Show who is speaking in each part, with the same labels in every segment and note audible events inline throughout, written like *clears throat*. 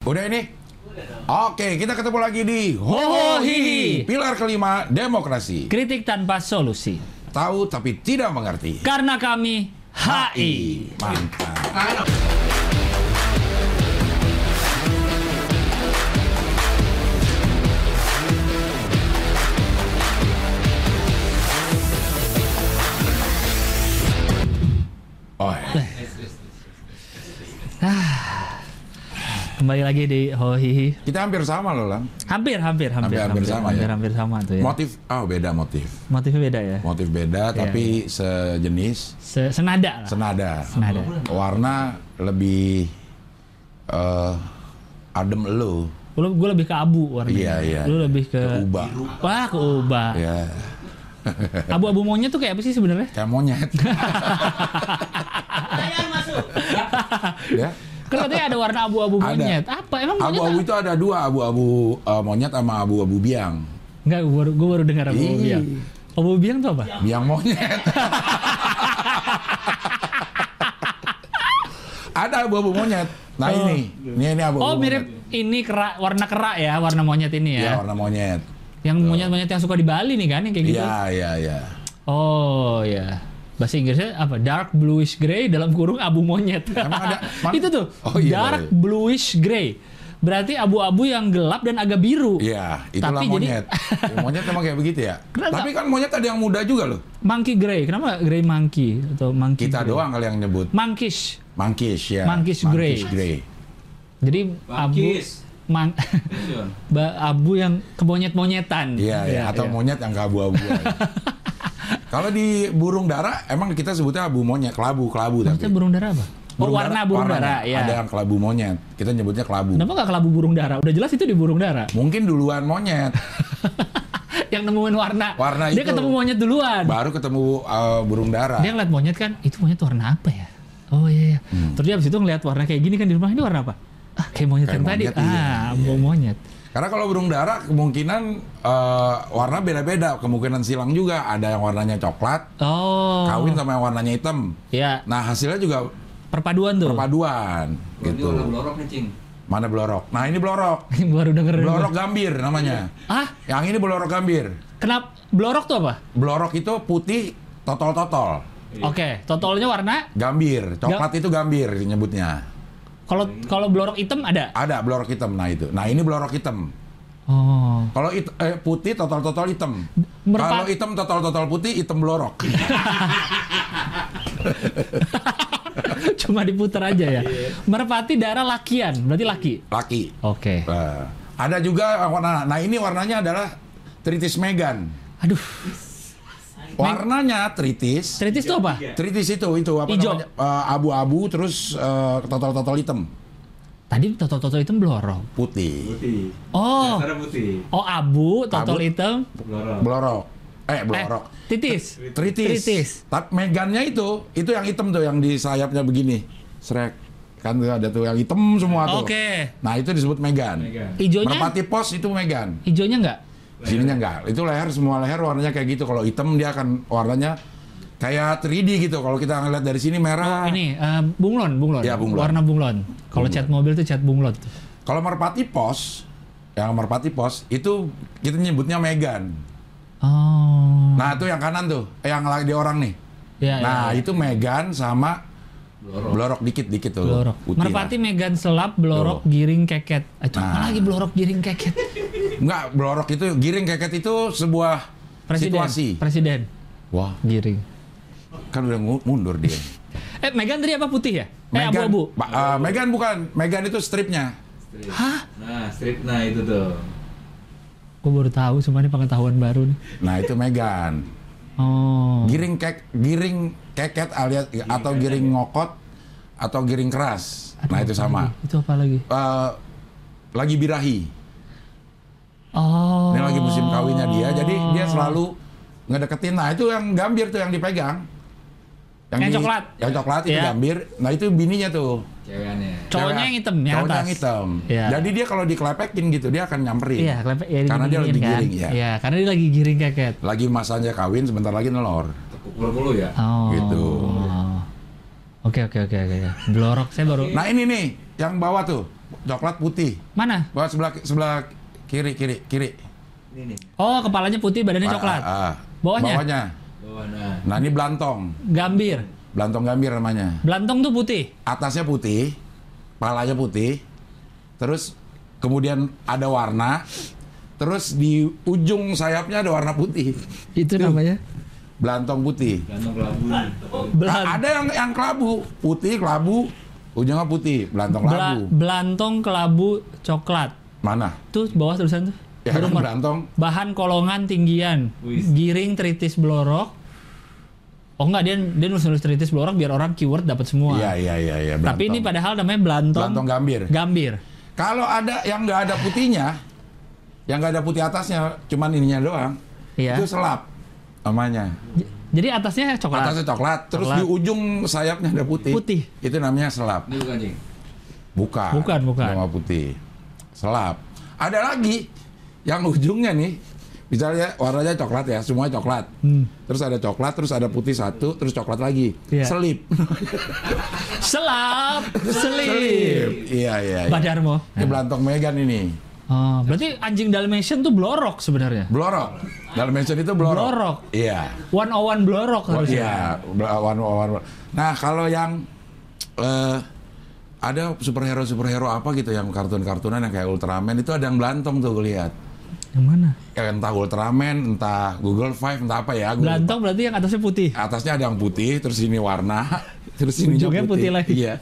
Speaker 1: Udah ini? Oke, kita ketemu lagi di Hohohihi, pilar kelima demokrasi.
Speaker 2: Kritik tanpa solusi.
Speaker 1: Tahu tapi tidak mengerti.
Speaker 2: Karena kami HI.
Speaker 1: HI. Mantap. Oh,
Speaker 2: Kembali lagi di Hohihi.
Speaker 1: kita hampir sama loh, Lang.
Speaker 2: Hampir, hampir, hampir,
Speaker 1: Hampir- hampir sama ya?
Speaker 2: hampir, hampir sama tuh ya.
Speaker 1: Motif, oh beda motif.
Speaker 2: Motifnya beda ya.
Speaker 1: Motif beda tapi sejenis,
Speaker 2: Se- Senada lah.
Speaker 1: senada.
Speaker 2: Senada.
Speaker 1: Warna lebih eh adem elu.
Speaker 2: Lu gue lebih ke abu warnanya.
Speaker 1: Iya, iya.
Speaker 2: Lu lebih ke,
Speaker 1: Ke ubah.
Speaker 2: Wah, ke ubah.
Speaker 1: Ya,
Speaker 2: Abu-abu monyet tuh kayak apa sih sebenarnya?
Speaker 1: kayak monyet. ya.
Speaker 2: Kan katanya ada warna abu-abu
Speaker 1: Ada.
Speaker 2: monyet. Apa? Emang monyet
Speaker 1: Abu-abu
Speaker 2: apa?
Speaker 1: itu ada dua, abu-abu eh, monyet sama abu-abu biang.
Speaker 2: Enggak, gue baru, gua baru dengar abu-abu
Speaker 1: Ih.
Speaker 2: biang. Abu-abu biang tuh apa?
Speaker 1: Biang monyet. *laughs* ada abu-abu monyet. Nah
Speaker 2: Oh.
Speaker 1: ini, ini ini abu-abu
Speaker 2: Oh, mirip
Speaker 1: monyet.
Speaker 2: ini kerak, warna kerak ya, warna monyet ini
Speaker 1: Ya,
Speaker 2: ya.
Speaker 1: warna monyet.
Speaker 2: yang monyet-monyet yang suka di Bali nih kan, yang kayak gitu.
Speaker 1: Iya, iya, iya.
Speaker 2: Oh ya. Bahasa Inggrisnya apa? Dark bluish grey dalam kurung abu monyet.
Speaker 1: Emang ada- emang-
Speaker 2: *laughs* Itu tuh.
Speaker 1: Oh, iya,
Speaker 2: dark
Speaker 1: iya.
Speaker 2: bluish grey. Berarti abu-abu yang gelap dan agak biru.
Speaker 1: Iya, itulah
Speaker 2: Tapi jadi-
Speaker 1: monyet. Ya, monyet emang kayak begitu ya.
Speaker 2: *laughs* Kenapa?
Speaker 1: Tapi kan monyet ada yang muda juga loh.
Speaker 2: Monkey grey. Kenapa nggak grey monkey atau monkey?
Speaker 1: Kita
Speaker 2: grey?
Speaker 1: doang kali yang nyebut.
Speaker 2: Monkeys.
Speaker 1: Monkeys ya.
Speaker 2: Monkeys grey.
Speaker 1: grey.
Speaker 2: Jadi
Speaker 3: Monkeys.
Speaker 2: abu man- *laughs*
Speaker 3: Gitu.
Speaker 2: ba- abu yang kemonyet-monyetan.
Speaker 1: Iya, ya. atau
Speaker 2: iya.
Speaker 1: monyet yang abu-abu.
Speaker 2: *laughs*
Speaker 1: Kalau di burung dara, emang kita sebutnya abu monyet, kelabu, kelabu tapi.
Speaker 2: Maksudnya burung dara apa? oh,
Speaker 1: Burung
Speaker 2: warna burung
Speaker 1: warnanya.
Speaker 2: dara, ya.
Speaker 1: Ada yang kelabu monyet. Kita nyebutnya kelabu.
Speaker 2: Kenapa nggak kelabu burung dara? Udah jelas itu di burung dara.
Speaker 1: Mungkin duluan monyet,
Speaker 2: *laughs* yang nemuin warna.
Speaker 1: Warna
Speaker 2: Dia
Speaker 1: itu.
Speaker 2: ketemu monyet duluan.
Speaker 1: baru ketemu uh, burung dara.
Speaker 2: dia ngeliat monyet kan itu monyet warna apa ya oh iya, iya.
Speaker 1: Hmm.
Speaker 2: terus dia abis itu ngeliat warna kayak gini kan di rumah ini warna apa ah kayak monyet
Speaker 1: Kayak
Speaker 2: yang
Speaker 1: monyet,
Speaker 2: tadi
Speaker 1: iya,
Speaker 2: ah bau monyet
Speaker 1: Karena kalau burung dara kemungkinan uh, warna beda-beda, kemungkinan silang juga. Ada yang warnanya coklat,
Speaker 2: oh
Speaker 1: kawin sama yang warnanya hitam.
Speaker 2: ya
Speaker 1: Nah hasilnya juga
Speaker 2: perpaduan tuh
Speaker 1: perpaduan,
Speaker 3: Gitu.
Speaker 1: gitu.
Speaker 3: Udah blorok nih, Cing.
Speaker 1: Mana belorok? Nah ini belorok,
Speaker 2: *laughs* baru denger
Speaker 1: belorok gambir namanya.
Speaker 2: ah
Speaker 1: Yang ini belorok gambir.
Speaker 2: kenapa blorok tuh apa
Speaker 1: Belorok itu putih, totol-totol.
Speaker 2: oke totolnya warna
Speaker 1: Gambir, coklat itu gambir nyebutnya.
Speaker 2: kalau kalau blorok hitam ada
Speaker 1: Ada belorok hitam, nah itu. Nah ini belorok hitam.
Speaker 2: oh
Speaker 1: Kalau it- eh, putih totol-totol hitam.
Speaker 2: Merpa-
Speaker 1: Kalau hitam totol-totol putih, hitam belorok.
Speaker 2: Oh. *laughs* cuma diputar aja ya merpati darah lakian berarti laki
Speaker 1: Laki.
Speaker 2: oke
Speaker 1: Eh, ada juga warna. Nah, ini warnanya adalah tritis megan.
Speaker 2: aduh
Speaker 1: Warnanya tritis.
Speaker 2: tritis tuh apa
Speaker 1: Tritis itu itu apa
Speaker 2: Ijo.
Speaker 1: namanya? Eh, abu-abu terus eh, totol-totol hitam,
Speaker 2: tadi totol-totol hitam blorok
Speaker 1: putih.
Speaker 3: Putih.
Speaker 2: oh
Speaker 3: Dasarnya putih.
Speaker 2: oh abu totol
Speaker 1: Abu.
Speaker 2: hitam
Speaker 3: Blorok.
Speaker 1: Belorok. Eh, belorok.
Speaker 2: Eh, titis.
Speaker 1: Tritis.
Speaker 2: Tritis.
Speaker 1: Tapi megannya itu, itu yang hitam tuh yang di sayapnya begini. Srek. Kan tuh ada tuh yang hitam semua tuh.
Speaker 2: Oke.
Speaker 1: Nah, itu disebut megan.
Speaker 3: Megan.
Speaker 2: Ijonya?
Speaker 1: Merpati pos itu megan.
Speaker 2: Hijaunya enggak?
Speaker 1: Sininya enggak. Itu leher semua leher warnanya kayak gitu. Kalau hitam dia akan warnanya kayak 3D gitu. Kalau kita ngeliat dari sini merah.
Speaker 2: Ini eh, bunglon, bunglon.
Speaker 1: Iya, bunglon.
Speaker 2: Warna bunglon. Kalau cat mobil tuh cat bunglon.
Speaker 1: Kalau merpati pos, yang merpati pos itu kita nyebutnya megan.
Speaker 2: Oh.
Speaker 1: Nah, itu yang kanan tuh, eh, yang lagi di orang nih.
Speaker 2: Iya, iya,
Speaker 1: nah,
Speaker 2: iya.
Speaker 1: itu megan sama
Speaker 3: Blorok.
Speaker 1: blorok dikit-dikit tuh.
Speaker 2: Blorok.
Speaker 1: putih
Speaker 2: Merpati
Speaker 1: lah.
Speaker 2: Megan Selap, Blorok, Giring, Keket. Ah, Itu apa
Speaker 1: Nah.
Speaker 2: lagi Blorok, Giring, Keket?
Speaker 1: Enggak, blorok itu giring keket itu sebuah
Speaker 2: Presiden.
Speaker 1: situasi.
Speaker 2: Presiden.
Speaker 1: Wah,
Speaker 2: Giring.
Speaker 1: kan udah ngu- mundur dia.
Speaker 2: *laughs* Eh, Megan tadi apa putih ya? Eh,
Speaker 1: Megan-
Speaker 2: abu-abu.
Speaker 1: Ba- eh, Megan bukan, Megan itu stripnya.
Speaker 3: Strip.
Speaker 2: Hah?
Speaker 3: Nah, strip nah itu tuh.
Speaker 2: Gue baru tahu, cuma ini pengetahuan baru nih.
Speaker 1: Nah, itu Megan.
Speaker 2: Oh.
Speaker 1: giring kek giring keket ya. alias atau giring ngokot atau giring keras
Speaker 2: Aduh,
Speaker 1: nah itu
Speaker 2: apa
Speaker 1: sama
Speaker 2: lagi? Itu apa lagi?
Speaker 1: Eh, lagi birahi
Speaker 2: Oh.
Speaker 1: ini lagi musim kawinnya dia jadi dia selalu ngedeketin nah itu yang gambir tuh yang dipegang
Speaker 2: Yang coklat.
Speaker 1: yang coklat itu
Speaker 2: Iya.
Speaker 1: gambir nah itu bininya tuh
Speaker 3: Cewekannya.
Speaker 2: Cowoknya
Speaker 1: Cewek-
Speaker 2: yang hitam, yang
Speaker 1: cowoknya
Speaker 2: atas.
Speaker 1: yang hitam
Speaker 2: Iya.
Speaker 1: jadi dia kalau dikelepekin gitu dia akan nyamperin
Speaker 2: Iya, kelepek. Ya,
Speaker 1: karena dia lagi
Speaker 2: diginiin kan.
Speaker 1: giring ya
Speaker 2: Iya, karena dia lagi giring Keket.
Speaker 1: lagi masanya kawin sebentar lagi nelor
Speaker 3: Tekuk dulu ya.
Speaker 2: Oh.
Speaker 1: Gitu.
Speaker 2: Oke oke oke oke. Blorok saya baru.
Speaker 1: nah ini nih yang bawah tuh coklat putih.
Speaker 2: Mana?
Speaker 1: Buat sebelah sebelah kiri kiri kiri.
Speaker 3: Ini nih,
Speaker 2: Oh, kepalanya putih, badannya
Speaker 1: Ah,
Speaker 2: coklat.
Speaker 1: ah, ah.
Speaker 2: Bawahnya?
Speaker 1: Bawahnya.
Speaker 3: bawah nah.
Speaker 1: Nah ini belantong,
Speaker 2: Gambir.
Speaker 1: belantong gambir namanya.
Speaker 2: Belantong tuh putih.
Speaker 1: atasnya putih, palanya putih, terus kemudian ada warna, terus di ujung sayapnya ada warna putih,
Speaker 2: Itu namanya
Speaker 1: belantong putih.
Speaker 3: Gantung kelabu nih.
Speaker 1: Nah,
Speaker 2: belan
Speaker 1: ada yang yang kelabu, putih kelabu, ujungnya putih, belantong
Speaker 2: bela-
Speaker 1: kelabu.
Speaker 2: belantong kelabu coklat.
Speaker 1: Mana?
Speaker 2: Tuh bawah tulisan tuh.
Speaker 1: Ya kan
Speaker 2: Berumur.
Speaker 1: belantong.
Speaker 2: Bahan kolongan tinggian,
Speaker 3: Wis.
Speaker 2: giring tritis belorok. Oh enggak dia dia nulis nulis tritis belorok biar orang keyword dapat semua.
Speaker 1: Iya iya iya iya.
Speaker 2: Tapi ini
Speaker 1: belantong.
Speaker 2: padahal namanya belantong,
Speaker 1: belantong gambir.
Speaker 2: gambir.
Speaker 1: Kalau ada yang nggak ada putihnya, yang nggak ada putih atasnya, cuman ininya doang,
Speaker 2: Iya.
Speaker 1: itu selap namanya.
Speaker 2: J- Jadi atasnya coklat.
Speaker 1: Atasnya coklat, terus
Speaker 2: Ah, Coklat.
Speaker 1: di ujung sayapnya ada putih.
Speaker 2: Putih.
Speaker 1: Itu namanya selap.
Speaker 3: Ini bukan cing.
Speaker 1: Bukan.
Speaker 2: Bukan, bukan.
Speaker 1: Bunga putih. Selap. Ada lagi yang ujungnya nih. Misalnya warnanya coklat ya, semua coklat.
Speaker 2: Hmm.
Speaker 1: Terus ada coklat, terus ada putih satu, terus coklat lagi.
Speaker 2: Iya.
Speaker 1: Selip.
Speaker 2: Selap,
Speaker 1: Selip.
Speaker 2: selip.
Speaker 1: Iya, iya. iya.
Speaker 2: Badarmo.
Speaker 1: Ini belantong Megan ini.
Speaker 2: Oh, berarti anjing Dalmatian tuh blorok sebenarnya.
Speaker 1: Blorok. Dalam mention itu blorok.
Speaker 2: Blorok.
Speaker 1: Iya.
Speaker 2: 101 blorok
Speaker 1: Oh,
Speaker 2: harusnya.
Speaker 1: iya, lawan lawan. Nah, kalau yang eh ada superhero superhero apa gitu yang kartun-kartunan yang kayak Ultraman itu ada yang belantong tuh gue lihat.
Speaker 2: Yang mana?
Speaker 1: Ya, entah Ultraman, entah Google Five, entah apa ya. gua lupa.
Speaker 2: Belantong berarti yang atasnya putih.
Speaker 1: Atasnya ada yang putih, terus ini warna, *laughs* terus ini
Speaker 2: Ujungnya
Speaker 1: putih.
Speaker 2: putih lagi.
Speaker 1: Iya.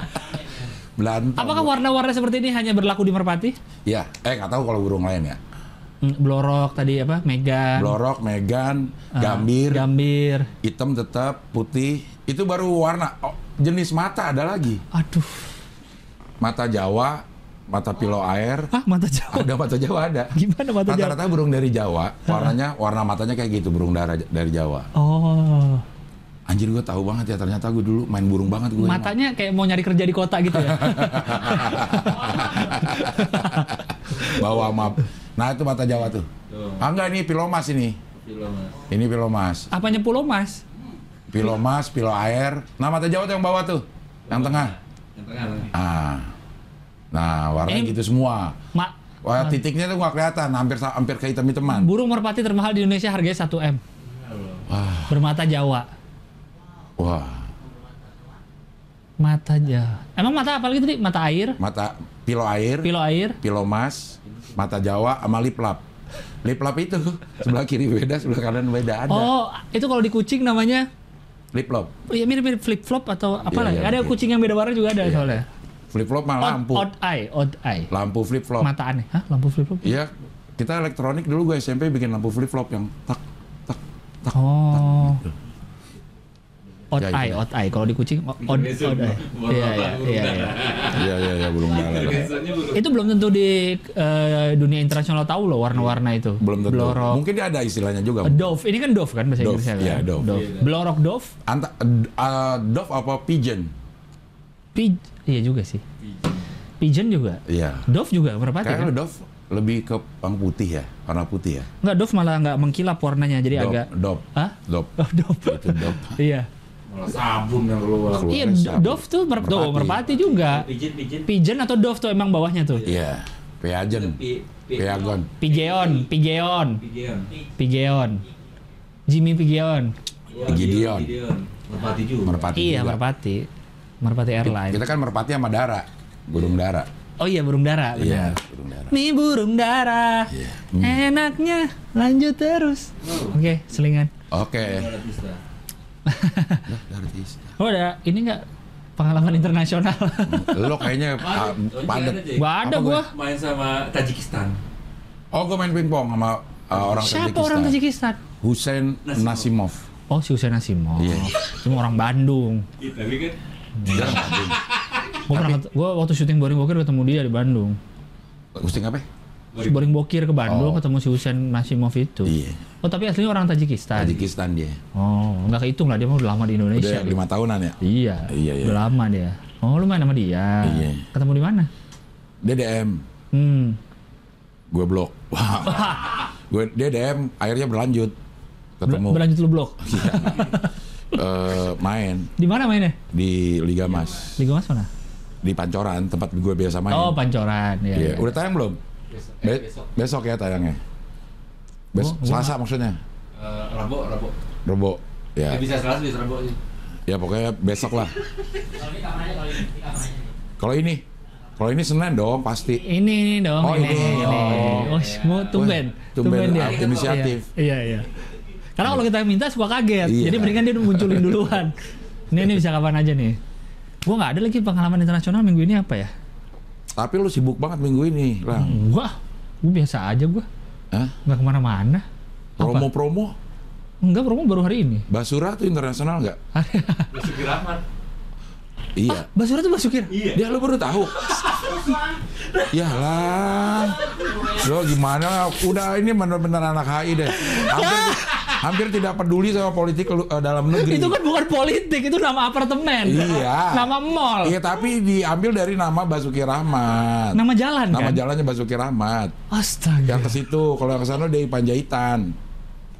Speaker 1: *laughs* belantong.
Speaker 2: Apakah warna-warna seperti ini hanya berlaku di merpati?
Speaker 1: Iya. Eh nggak tahu kalau burung lain ya.
Speaker 2: Hmm, Blorok tadi apa? Megan.
Speaker 1: Blorok, Megan,
Speaker 2: Kan? Ah,
Speaker 1: Gambir,
Speaker 2: Gambir.
Speaker 1: hitam tetap, putih. Itu baru warna. Oh, jenis mata ada lagi.
Speaker 2: Aduh.
Speaker 1: mata Jawa, mata pilau
Speaker 2: *laughs*
Speaker 1: air,
Speaker 2: Ah, mata Jawa.
Speaker 1: ada mata Jawa ada.
Speaker 2: Gimana mata Jawa?
Speaker 1: Rata-rata burung dari Jawa, warnanya warna matanya kayak gitu burung dara, dari Jawa.
Speaker 2: Oh.
Speaker 1: Anjir gue tahu banget ya ternyata gue dulu main burung banget gue.
Speaker 2: Matanya kayak mau nyari kerja di kota gitu ya.
Speaker 1: *laughs* bawa map. Nah itu mata Jawa tuh.
Speaker 3: Tuh,
Speaker 1: Ah enggak ini pilomas ini.
Speaker 3: film mas.
Speaker 1: Ini pilomas.
Speaker 2: Apanya pulau Mas?
Speaker 1: Pilomas, pilau air. Nah mata Jawa tuh yang bawah tuh, yang tengah.
Speaker 3: Yang tengah tengah.
Speaker 1: Ah. Nah warna
Speaker 2: Ini-
Speaker 1: gitu semua.
Speaker 2: Ma
Speaker 1: Wah
Speaker 2: Nah.
Speaker 1: titiknya tuh nggak kelihatan, hampir hampir ke hitam hitaman.
Speaker 2: burung merpati termahal di Indonesia harganya 1M.
Speaker 3: Halo.
Speaker 2: Bermata Jawa.
Speaker 1: Wah.
Speaker 2: Mata Jawa. Emang mata apa lagi tadi? Mata air,
Speaker 1: mata pilo air,
Speaker 2: pilo air.
Speaker 1: pilo mas, mata Jawa sama liplap. Liplap itu sebelah kiri beda, sebelah kanan beda ada.
Speaker 2: Oh, itu kalau di kucing namanya
Speaker 1: Liplop.
Speaker 2: ya mirip-mirip flip-flop atau apalah.
Speaker 1: iya,
Speaker 2: ada
Speaker 1: iya.
Speaker 2: kucing yang beda warna juga ada soalnya.
Speaker 1: Flip flop mah
Speaker 2: Odd,
Speaker 1: lampu.
Speaker 2: odd eye, odd eye.
Speaker 1: Lampu flip flop.
Speaker 2: Mata aneh. Hah? Lampu flip-flop?
Speaker 1: Iya, kita elektronik dulu gue SMP bikin lampu flip flop yang tak tak.
Speaker 2: Oh.
Speaker 1: Iya,
Speaker 2: Odd
Speaker 1: Ya,
Speaker 2: eye,
Speaker 1: gitu.
Speaker 2: odd eye. Kalau di kucing odd, odd
Speaker 3: Besok,
Speaker 2: odd eye.
Speaker 3: baru
Speaker 2: Iya, iya,
Speaker 3: baru
Speaker 2: iya,
Speaker 3: baru.
Speaker 2: iya.
Speaker 1: Iya iya iya belum ada.
Speaker 2: Gitu.
Speaker 3: Besoknya baru.
Speaker 2: Itu belum tentu di eh, dunia internasional tahu loh warna-warna itu.
Speaker 1: Belum tentu.
Speaker 2: Blorok.
Speaker 1: Mungkin dia ada istilahnya juga.
Speaker 2: Eh, Dove. Ini kan dove kan bahasa
Speaker 1: Dove,
Speaker 2: Inggrisnya kan?
Speaker 1: iya, dove.
Speaker 3: Iya.
Speaker 2: Blorok dove.
Speaker 1: Anta, d- uh, dove apa pigeon?
Speaker 2: Pig iya juga sih. Pigeon juga.
Speaker 1: Iya.
Speaker 2: Dove juga merpati kan?
Speaker 1: Kayaknya dove lebih ke yang putih ya, warna putih ya.
Speaker 2: Enggak, dove malah nggak mengkilap warnanya jadi
Speaker 1: Dove,
Speaker 2: agak
Speaker 1: dove,
Speaker 2: Hah?
Speaker 1: dove.
Speaker 2: Oh,
Speaker 1: *laughs*
Speaker 2: dove.
Speaker 1: Itu dove.
Speaker 2: iya.
Speaker 3: Malah sabun yang keluar.
Speaker 1: Keluar.
Speaker 2: Iya,
Speaker 1: Keluarnya siapa?
Speaker 2: dove tuh mer- tuh, merpati.
Speaker 1: Merpati.
Speaker 2: juga.
Speaker 3: Pijit pijit.
Speaker 2: Pigeon atau dove tuh emang bawahnya tuh.
Speaker 1: Iya, pigeon.
Speaker 3: Pi- pi-
Speaker 1: Piagon.
Speaker 2: Pigeon, pigeon,
Speaker 3: Pigeon.
Speaker 2: pigeon. Jimmy pigeon.
Speaker 3: Wah,
Speaker 1: Gideon.
Speaker 3: Gideon. Merpati juga.
Speaker 1: Merpati.
Speaker 2: iya,
Speaker 1: juga.
Speaker 2: merpati. Merpati Airline.
Speaker 1: Kita kan merpati sama dara, burung dara.
Speaker 2: Oh iya, burung dara.
Speaker 1: Iya,
Speaker 2: benar.
Speaker 1: burung dara.
Speaker 2: Nih burung dara.
Speaker 1: Iya.
Speaker 2: Enaknya lanjut terus.
Speaker 3: Oh.
Speaker 2: Oke, selingan.
Speaker 1: Oke.
Speaker 3: Ada Tista.
Speaker 1: Lah, Dara Tista.
Speaker 2: Oh, ada ini enggak pengalaman internasional?
Speaker 1: *laughs* Lo kayaknya
Speaker 3: Ada,
Speaker 1: ah,
Speaker 3: oh, ini ada,
Speaker 1: padet.
Speaker 3: Cing.
Speaker 2: Gak ada
Speaker 1: Apa
Speaker 2: gua.
Speaker 3: Main sama Tajikistan.
Speaker 1: Oh, gue main pingpong sama ah, orang
Speaker 2: Siapa orang Tajikistan?
Speaker 1: Hussein
Speaker 3: Nasimov.
Speaker 1: Nasimov.
Speaker 2: Oh, si Husain Asimov.
Speaker 1: Iya.
Speaker 2: Cuma orang Bandung.
Speaker 3: Iya, tapi kan
Speaker 1: Jarang Bandung.
Speaker 2: Gue pernah ket- gua waktu syuting Boring Bokir ketemu dia di Bandung.
Speaker 1: Hussein apa? ya?
Speaker 2: Terus Boring Bokir ke Bandung
Speaker 1: Oh.
Speaker 2: ketemu si Husain Nasimov itu.
Speaker 1: Iya.
Speaker 2: Oh tapi aslinya orang Tajikistan.
Speaker 1: Tajikistan dia.
Speaker 2: Oh nggak kehitung lah dia mah udah lama di
Speaker 1: Udah
Speaker 2: Indonesia.
Speaker 1: lima tahunan ya.
Speaker 2: Iya.
Speaker 1: Iya, iya.
Speaker 2: Udah lama dia. Oh lu main sama dia.
Speaker 1: Iya.
Speaker 2: Ketemu di mana?
Speaker 1: Dia DM,
Speaker 2: Hmm.
Speaker 1: gue
Speaker 2: *laughs*
Speaker 1: blok. Wah. gue dia DM, akhirnya berlanjut.
Speaker 2: Ber-
Speaker 1: Ketemu.
Speaker 2: berlanjut lu blok.
Speaker 1: Eh, main
Speaker 2: Di mana mainnya?
Speaker 1: di Liga Mas.
Speaker 2: Liga Mas mana?
Speaker 1: Di di Pancoran tempat gue biasa main.
Speaker 2: Oh, pancoran. Ya,
Speaker 1: Iya.
Speaker 2: ya.
Speaker 1: Udah tayang belum?
Speaker 3: Besok, eh,
Speaker 1: Be-
Speaker 3: besok. Oh,
Speaker 1: besok ya tayangnya. Bes-
Speaker 2: Gua- gua
Speaker 1: Selasa maksudnya.
Speaker 3: Eh, Rabu, Rabu.
Speaker 1: Rebo.
Speaker 3: Ya.
Speaker 1: Ya.
Speaker 3: bisa Selasa, bisa Rabu
Speaker 2: *laughs*
Speaker 3: sih.
Speaker 1: Ya pokoknya besok lah. Kalau ini, kalau ini Senin dong pasti.
Speaker 2: Ini dong.
Speaker 1: Oh, ini.
Speaker 2: Oh,
Speaker 1: Oh.
Speaker 2: mau tumben.
Speaker 1: Wah, tumben
Speaker 2: ya.
Speaker 1: aktif inisiatif.
Speaker 2: Iya, iya. Karena kalau kita minta suka kaget.
Speaker 1: Iya.
Speaker 2: Jadi mendingan dia munculin duluan. ini ini bisa kapan aja nih. Gua nggak ada lagi pengalaman internasional minggu ini apa ya?
Speaker 1: Tapi lu sibuk banget minggu ini, Lang.
Speaker 3: Hmm.
Speaker 2: Wah, gua biasa aja gua.
Speaker 1: Hah?
Speaker 2: Nggak kemana-mana. Apa?
Speaker 1: Promo-promo?
Speaker 2: Enggak, promo baru hari ini.
Speaker 1: Basura tuh internasional nggak?
Speaker 3: Basuki Rahmat.
Speaker 1: Iya.
Speaker 2: Basura tuh masukin.
Speaker 3: Iya.
Speaker 1: Dia lu baru tahu. ya lah. Lo gimana? Udah ini benar-benar anak HI deh. Hampir,
Speaker 3: Ya.
Speaker 1: hampir tidak peduli sama politik lu- eh, dalam negeri.
Speaker 2: Itu kan bukan politik, itu nama apartemen.
Speaker 1: Iya.
Speaker 2: Nama mall.
Speaker 1: Iya, tapi diambil dari nama Basuki Rahmat.
Speaker 2: Nama jalan
Speaker 1: Nama
Speaker 2: kan?
Speaker 1: jalannya Basuki Rahmat.
Speaker 2: Astaga.
Speaker 1: Yang ke situ, kalau yang ke sana dari Panjaitan.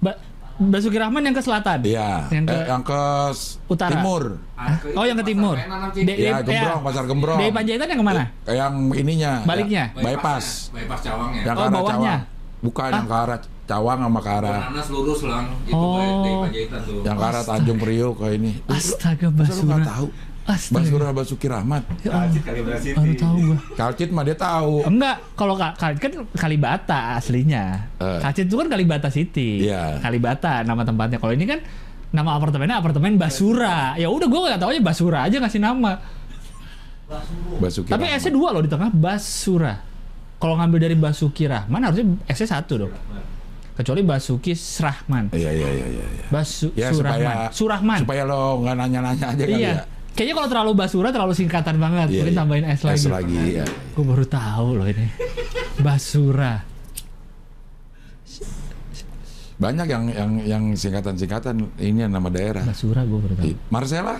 Speaker 2: Ba- Basuki Rahman yang ke selatan.
Speaker 1: Iya. Yang
Speaker 2: Yang ke
Speaker 1: ke, yang ke s-
Speaker 2: Utara.
Speaker 1: timur.
Speaker 2: Oh, yang ke timur.
Speaker 3: Dek.
Speaker 1: Ya, Gembrong, Pasar Gembrong.
Speaker 2: Dari Panjaitan yang kemana?
Speaker 1: Yang ininya.
Speaker 2: Baliknya?
Speaker 1: ya, bypass.
Speaker 3: Bypass Cawang ya.
Speaker 1: Yang
Speaker 2: Oh,
Speaker 1: ke arah
Speaker 2: bawahnya.
Speaker 1: Cawang. Bukan
Speaker 2: Ah.
Speaker 1: yang ke arah Cawang sama ke arah
Speaker 3: Nanas lurus lang. Itu
Speaker 2: Oh.
Speaker 3: oh. dari Panjaitan tuh.
Speaker 1: yang ke arah Tanjung Priok kayak ini. Masa
Speaker 2: Astaga,
Speaker 1: lu
Speaker 2: Basura.
Speaker 1: nggak tahu?
Speaker 2: Astaga.
Speaker 1: Basura Basuki Rahmat.
Speaker 2: Ya Allah,
Speaker 3: Kalibrasi
Speaker 2: baru tahu gua.
Speaker 1: Kalcit mah dia tahu.
Speaker 2: Enggak, kalau Ka- Ka- kan Kalibata aslinya.
Speaker 1: Eh.
Speaker 2: Kalcit itu kan Kalibata City.
Speaker 1: Iya.
Speaker 2: Kalibata nama tempatnya. Kalau ini kan nama apartemennya apartemen Basura. Ya udah gua nggak tahu aja Basura aja ngasih nama.
Speaker 1: Basuki
Speaker 2: Tapi
Speaker 1: Rahmat.
Speaker 2: S-nya dua loh di tengah Basura. Kalau ngambil dari Basuki Rahman harusnya S-nya satu dong. Kecuali Basuki Srahman.
Speaker 1: Iya iya iya iya. iya.
Speaker 2: Basu
Speaker 1: Ya
Speaker 2: Surahman.
Speaker 1: supaya
Speaker 2: Surahman.
Speaker 1: supaya lo nggak nanya-nanya aja kali
Speaker 2: iya.
Speaker 1: ya.
Speaker 2: Kayaknya kalau terlalu Basura terlalu singkatan banget.
Speaker 1: Iya,
Speaker 2: Mungkin
Speaker 1: iya.
Speaker 2: tambahin S lagi.
Speaker 1: S lagi iya.
Speaker 2: Gue baru tahu loh ini. Basura.
Speaker 1: Banyak yang yang yang singkatan-singkatan ini yang nama daerah.
Speaker 2: Basura gue baru tahu.
Speaker 1: I- Marcella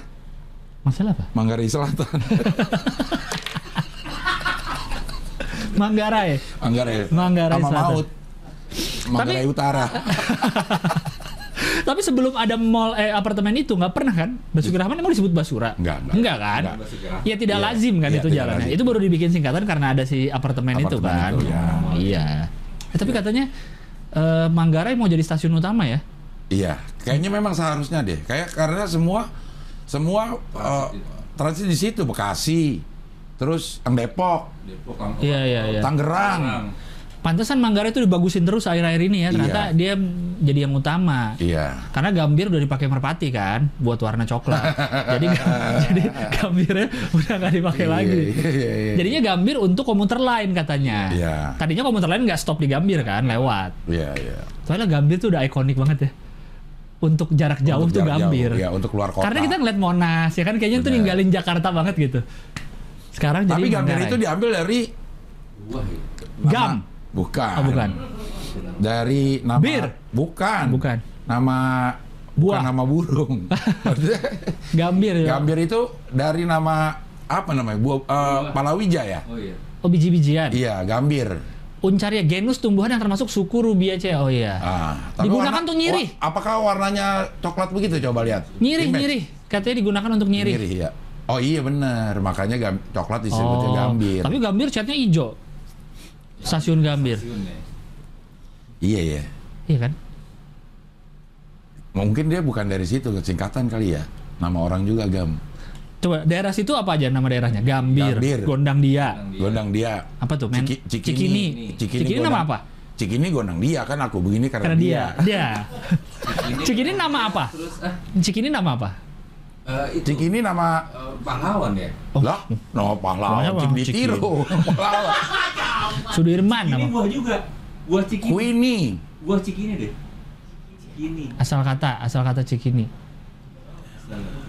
Speaker 2: Masalah apa?
Speaker 1: Manggarai
Speaker 2: *laughs*
Speaker 1: Selatan.
Speaker 2: Manggarai.
Speaker 1: Manggarai.
Speaker 2: Manggarai
Speaker 1: sama
Speaker 2: Selatan.
Speaker 1: Maut. Manggarai Utara.
Speaker 2: *laughs* Tapi sebelum ada mall eh apartemen itu nggak pernah kan? Basuki Rahman emang disebut Basura?
Speaker 1: Enggak, enggak.
Speaker 2: kan?
Speaker 1: Enggak.
Speaker 3: Basuki Rahmat.
Speaker 2: Ya tidak
Speaker 1: Iya,
Speaker 2: lazim kan
Speaker 1: iya,
Speaker 2: itu
Speaker 1: tidak
Speaker 2: jalannya.
Speaker 1: lazim.
Speaker 2: Itu baru dibikin singkatan karena ada si apartemen, itu
Speaker 1: Apartemen
Speaker 2: kan.
Speaker 1: itu, ya.
Speaker 2: Iya. Eh, tapi katanya eh, Manggarai mau jadi stasiun utama ya?
Speaker 1: Iya, kayaknya memang seharusnya deh. Kayak karena semua semua eh, transit di situ Bekasi, terus yang Depok,
Speaker 3: Depok, Kampung.
Speaker 2: Iya iya iya.
Speaker 1: Tangerang.
Speaker 2: Pantesan Manggarai itu dibagusin terus akhir-akhir ini ya. Ternyata
Speaker 1: Iya.
Speaker 2: dia jadi yang utama.
Speaker 1: Iya.
Speaker 2: Karena Gambir udah dipakai merpati kan, buat warna
Speaker 1: *laughs*
Speaker 2: coklat. jadi jadi Gambirnya udah nggak dipakai lagi.
Speaker 1: Iya, iya, iya.
Speaker 2: Jadinya Gambir untuk komuter lain katanya.
Speaker 1: Iya.
Speaker 2: Tadinya komuter lain nggak stop di Gambir kan, lewat.
Speaker 1: Iya, iya.
Speaker 2: Soalnya Gambir tuh udah ikonik banget ya. Untuk jarak jauh
Speaker 1: Untuk
Speaker 2: tuh
Speaker 1: jarak jauh,
Speaker 2: Gambir.
Speaker 1: Iya, untuk keluar kota.
Speaker 2: Karena kita ngeliat Monas ya kan, kayaknya tuh
Speaker 1: Bener.
Speaker 2: ninggalin Jakarta banget gitu.
Speaker 1: Tapi
Speaker 2: Sekarang jadi
Speaker 1: Gambir
Speaker 2: Manggarai.
Speaker 1: itu diambil dari
Speaker 3: Wah, ya.
Speaker 1: nama-
Speaker 2: Gam.
Speaker 1: Bukan.
Speaker 2: Oh, bukan.
Speaker 1: Dari nama
Speaker 2: Bir.
Speaker 1: Bukan.
Speaker 2: Bukan.
Speaker 1: Nama bukan
Speaker 2: Buah.
Speaker 1: nama burung.
Speaker 2: *laughs*
Speaker 1: Maksudnya,
Speaker 2: Gambir. ya.
Speaker 1: Gambir itu dari nama apa namanya? Buah, eh, Palawija ya?
Speaker 3: Oh iya.
Speaker 2: Oh biji-bijian.
Speaker 1: Iya, Gambir.
Speaker 2: Uncaria genus tumbuhan yang termasuk suku Rubiaceae. Oh iya.
Speaker 1: Ah,
Speaker 2: Digunakan
Speaker 1: warna-
Speaker 2: tuh nyiri.
Speaker 1: wa- apakah warnanya coklat begitu coba lihat?
Speaker 2: Nyirih,
Speaker 1: Image.
Speaker 2: nyirih. Katanya digunakan untuk
Speaker 1: Nyiri.
Speaker 2: nyirih.
Speaker 1: ya. Oh iya bener, makanya gam- coklat disebutnya
Speaker 2: Oh,
Speaker 1: gambir.
Speaker 2: Tapi Gambir catnya hijau. Stasiun Gambir.
Speaker 3: Siun ya.
Speaker 1: Iya iya.
Speaker 2: Iya kan?
Speaker 1: Mungkin dia bukan dari situ, singkatan kali ya. Nama orang juga gam.
Speaker 2: Coba daerah situ apa aja nama daerahnya? Gambir,
Speaker 1: Gambir.
Speaker 2: Gondang
Speaker 3: Yang
Speaker 2: Dia.
Speaker 4: Iya.
Speaker 3: di-
Speaker 1: Gondang dia.
Speaker 2: Apa tuh, men?
Speaker 1: Ciki-
Speaker 2: Cikini.
Speaker 1: Cikini,
Speaker 2: Cikini
Speaker 1: gondang-
Speaker 2: nama apa?
Speaker 1: Cikini gondang dia kan aku begini karena,
Speaker 2: Karena dia.
Speaker 1: dia.
Speaker 2: Dia.
Speaker 3: Cikini.
Speaker 2: Cikini nama apa?
Speaker 3: Terus ah,
Speaker 2: Cikini nama apa?
Speaker 3: eh, itu
Speaker 1: Cikini nama
Speaker 3: eh, pahlawan ya.
Speaker 2: Oh.
Speaker 1: lah, no
Speaker 2: Banyak
Speaker 1: pahlawan
Speaker 2: orang
Speaker 1: Cik ditiru. *laughs* Pahlawan.
Speaker 2: Sudirman
Speaker 3: Ini
Speaker 2: nama.
Speaker 3: buah juga. Buah Cikini.
Speaker 1: Queenie.
Speaker 3: Buah Cikini deh. Cikini.
Speaker 2: Asal kata, asal kata Cikini.
Speaker 3: Astaga.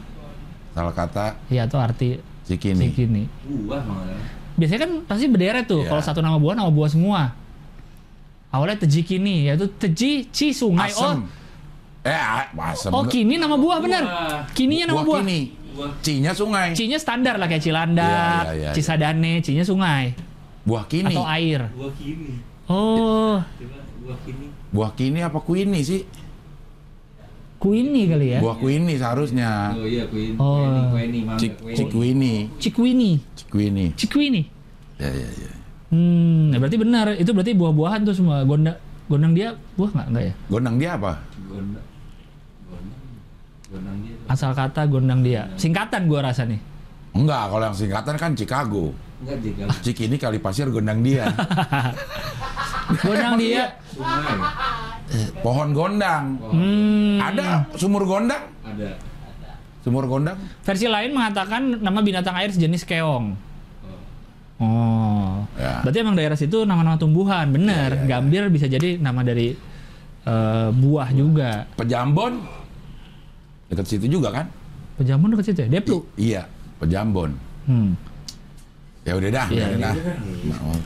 Speaker 1: Salah kata
Speaker 2: Iya atau arti
Speaker 1: Cikini.
Speaker 2: Cikini.
Speaker 3: Buah malah.
Speaker 2: Biasanya kan pasti berderet tuh.
Speaker 1: Iya.
Speaker 2: Kalau satu nama buah, nama buah semua. Awalnya Tejikini, yaitu Teji Ci Sungai.
Speaker 1: Asem. Eh, a- asem.
Speaker 2: Oh, oh Kini nama buah bener.
Speaker 3: Buah.
Speaker 2: Kininya nama buah.
Speaker 1: Kini.
Speaker 3: Buah.
Speaker 1: Cinya sungai.
Speaker 2: Cinya standar lah kayak Cilandak,
Speaker 1: Iya, iya, iya.
Speaker 2: Cisadane, Cinya sungai
Speaker 1: Buah kini.
Speaker 2: atau air.
Speaker 3: Buah kini.
Speaker 2: Oh,
Speaker 3: Coba buah kini.
Speaker 1: Buah kini apa kuini sih?
Speaker 2: Queenie kali ya.
Speaker 1: Buah kuini seharusnya.
Speaker 3: Oh iya Queen.
Speaker 2: Oh.
Speaker 3: Queenie, Queenie, mangga
Speaker 1: Ah. Cik
Speaker 3: Queenie.
Speaker 1: Cikwini.
Speaker 2: Cikwini.
Speaker 1: Cikwini.
Speaker 2: Cikwini.
Speaker 1: Ya ya ya.
Speaker 2: Hmm, nah berarti benar. Itu berarti buah-buahan tuh semua. Gondang gondang dia buah nggak nggak ya?
Speaker 1: Gondang dia apa?
Speaker 3: Gondang. Gondang. Gondang dia. tuh.
Speaker 2: Asal kata gondang dia. Singkatan gua rasa nih.
Speaker 1: Enggak, kalau yang singkatan kan Chicago.
Speaker 3: Enggak jika
Speaker 2: *laughs*
Speaker 1: Cikini kali pasir gondang dia.
Speaker 2: Gondang
Speaker 1: *laughs* Iya.
Speaker 2: dia.
Speaker 3: sungai
Speaker 1: Pohon gondang.
Speaker 3: Oh,
Speaker 2: Hmm.
Speaker 1: Ada sumur gondang?
Speaker 3: ada.
Speaker 1: Sumur gondang?
Speaker 2: Versi lain mengatakan nama binatang air sejenis keong.
Speaker 3: Oh.
Speaker 2: Oh.
Speaker 1: Ya. Iya,
Speaker 2: Berarti emang daerah situ nama-nama tumbuhan, bener. Gambir bisa jadi nama dari eh, buah juga.
Speaker 1: Pejambon? Dekat situ juga kan?
Speaker 2: Pejambon dekat situ ya? Deplu.
Speaker 1: I- iya, Pejambon.
Speaker 2: Hmm.
Speaker 1: Ya udah dah,
Speaker 2: Iya,
Speaker 1: ya udah. dah.
Speaker 3: kan?
Speaker 1: Nah,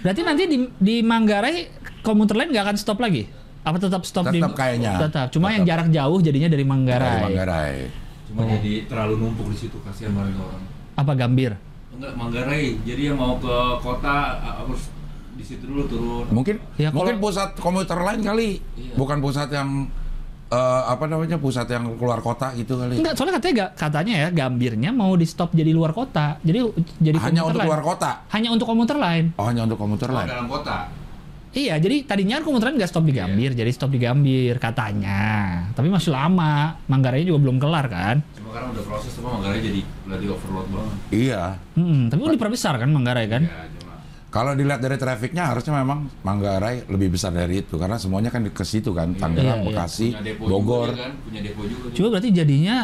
Speaker 2: Berarti nanti di, di Manggarai komuter lain nggak akan stop lagi? Apa tetap stop di?
Speaker 1: Tetap kayaknya.
Speaker 2: Tetap. Cuma yang
Speaker 1: Tetap.
Speaker 2: jarak jauh jadinya dari Manggarai.
Speaker 1: Dari Manggarai. Nah.
Speaker 3: Cuma jadi terlalu numpuk di situ kasihan banget
Speaker 1: Hmm.
Speaker 3: orang.
Speaker 2: Apa Gambir?
Speaker 3: Enggak Manggarai. Jadi yang mau ke kota ah, harus di situ dulu turun.
Speaker 1: Mungkin
Speaker 2: Ya, kalau-
Speaker 1: mungkin pusat komuter lain kali.
Speaker 3: Iya.
Speaker 1: Bukan pusat yang eh, apa namanya? Pusat yang keluar kota gitu kali.
Speaker 2: Enggak, soalnya katanya ga- katanya ya Gambirnya mau di stop jadi luar kota. Jadi jadi
Speaker 1: Hanya
Speaker 2: komuter
Speaker 1: untuk
Speaker 2: lain.
Speaker 1: keluar kota.
Speaker 2: Hanya untuk komuter lain.
Speaker 1: Oh, hanya untuk komuter
Speaker 3: Oh,
Speaker 1: lain.
Speaker 3: dalam kota.
Speaker 2: Iya, jadi tadinya kan komuter lain nggak stop di
Speaker 1: Iya.
Speaker 2: Gambir, jadi stop di Gambir katanya. Tapi masih lama, Manggarainya juga belum kelar kan.
Speaker 3: Cuma karena udah proses cuma Manggarai jadi berarti overload banget.
Speaker 1: Iya.
Speaker 2: Hmm, tapi udah diperbesar kan Manggarai kan?
Speaker 3: Ya, cuma
Speaker 1: Kalau dilihat dari trafiknya harusnya memang Manggarai lebih besar dari itu karena semuanya kan ke situ kan Tangerang,
Speaker 2: Iya, iya.
Speaker 1: Bekasi,
Speaker 3: punya depo
Speaker 1: Bogor.
Speaker 3: juga dia kan, punya depo juga. dia.
Speaker 2: Cuma berarti jadinya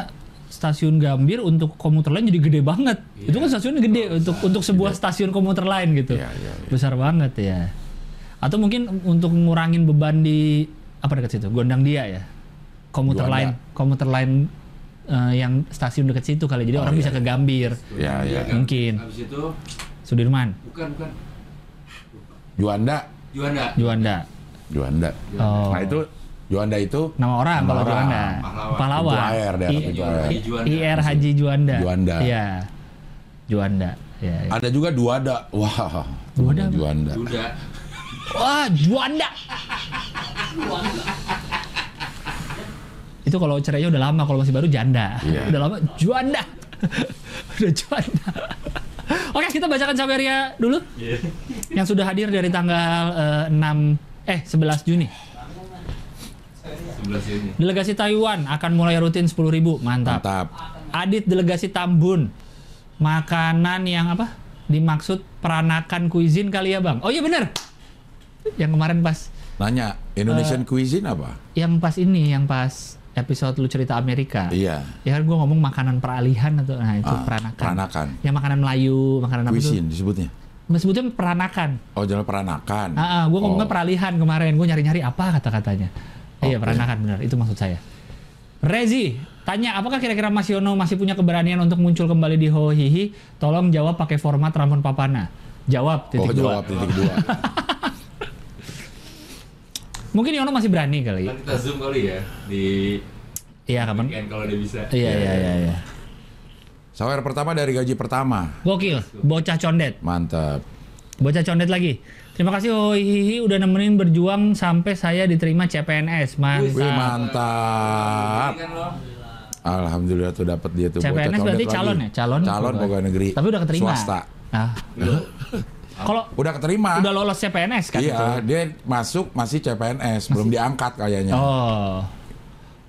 Speaker 2: stasiun Gambir untuk komuter lain jadi gede banget.
Speaker 3: Iya.
Speaker 2: Itu kan stasiun gede untuk untuk sebuah stasiun komuter lain
Speaker 1: Oh,
Speaker 2: gitu.
Speaker 1: Iya, iya, iya.
Speaker 2: Besar banget ya. Atau mungkin untuk ngurangin beban di apa dekat situ? Gondang dia ya. Komuter
Speaker 1: Juanda.
Speaker 2: lain, komuter lain eh, yang stasiun dekat situ kali. Jadi orang bisa ke Gambir,
Speaker 1: Oh, Iya, iya.
Speaker 3: kan?
Speaker 2: Mungkin.
Speaker 3: Habis itu
Speaker 2: Sudirman,
Speaker 3: bukan bukan
Speaker 1: Juanda,
Speaker 3: Juanda.
Speaker 2: Juanda.
Speaker 1: Juanda.
Speaker 2: Oh.
Speaker 1: Nah itu Juanda itu
Speaker 2: nama orang
Speaker 1: Nama
Speaker 2: kalau
Speaker 1: orang.
Speaker 2: Juanda.
Speaker 3: Pahlawan.
Speaker 2: Pahlawan.
Speaker 1: Pintu air, daerah
Speaker 2: I-
Speaker 1: pintu
Speaker 3: air.
Speaker 2: I-
Speaker 3: Juanda.
Speaker 2: IR Haji Juanda.
Speaker 1: Juanda.
Speaker 2: Iya. Juanda. Iya. iya.
Speaker 1: ada juga Duada. Wah.
Speaker 2: Duada apa?
Speaker 1: Juanda.
Speaker 3: Juanda.
Speaker 2: Wah, Juanda. Itu kalau cerainya udah lama, kalau masih baru janda.
Speaker 1: Iya.
Speaker 2: Udah lama Juanda. *laughs* udah Juanda. Oke, kita bacakan Saberia dulu
Speaker 3: Iya.
Speaker 2: yang sudah hadir dari tanggal eh, 6 eh 11 Juni.
Speaker 3: Sebelah sini.
Speaker 2: Delegasi Taiwan akan mulai rutin 10.000. Mantap.
Speaker 1: Mantap.
Speaker 2: Adit delegasi Tambun. Makanan yang apa? Dimaksud peranakan kuisin kali ya, Bang. Oh iya bener Yang kemarin pas
Speaker 1: Nanya Indonesian
Speaker 2: Eh,
Speaker 1: cuisine apa?
Speaker 2: yang pas ini, yang pas episode lu cerita Amerika.
Speaker 1: Iya.
Speaker 2: Ya kan gua ngomong makanan peralihan atau nah itu
Speaker 1: Ah,
Speaker 2: peranakan.
Speaker 1: peranakan.
Speaker 2: Yang makanan Melayu, makanan apa tuh?
Speaker 1: Cuisine disebutnya.
Speaker 2: Sebutnya peranakan.
Speaker 1: Oh jalan peranakan.
Speaker 2: Ah, ah, gua ngomongnya
Speaker 1: Oh.
Speaker 2: peralihan kemarin. Gua nyari-nyari apa kata-katanya. Eh, Iya,
Speaker 1: Oke.
Speaker 2: peranakan benar. Itu maksud saya. Rezi, tanya apakah kira-kira Mas Yono masih punya keberanian untuk muncul kembali di Hohihi? Tolong jawab pakai format Ramon Papana. Jawab
Speaker 1: Oh
Speaker 2: titik dua.
Speaker 1: jawab titik dua.
Speaker 2: Mungkin Yono masih berani kali.
Speaker 3: Kan kita zoom kali ya di
Speaker 2: Iya, kapan?
Speaker 3: weekend kalau dia bisa.
Speaker 2: Iya, iya, iya, iya.
Speaker 1: Sawer pertama dari gaji pertama.
Speaker 2: Gokil, bocah condet.
Speaker 1: Mantap.
Speaker 2: Bocah condet lagi. Terima kasih Hohihi udah nemenin berjuang sampai saya diterima CPNS.
Speaker 1: Wih
Speaker 2: Mantap.
Speaker 1: mantap.
Speaker 3: Ini kan lo.
Speaker 1: Alhamdulillah tuh dapat dia tuh bocah
Speaker 2: CPNS
Speaker 1: condet
Speaker 2: berarti
Speaker 1: lagi.
Speaker 2: calon ya? Calon.
Speaker 1: Calon pegawai negeri.
Speaker 2: Tapi udah keterima.
Speaker 1: Swasta.
Speaker 2: Ah.
Speaker 1: *laughs*
Speaker 2: Kalau
Speaker 1: Udah keterima.
Speaker 2: udah lolos CPNS kan
Speaker 1: iya,
Speaker 2: itu?
Speaker 1: dia masuk masih CPNS, belum diangkat kayaknya.
Speaker 2: Oh.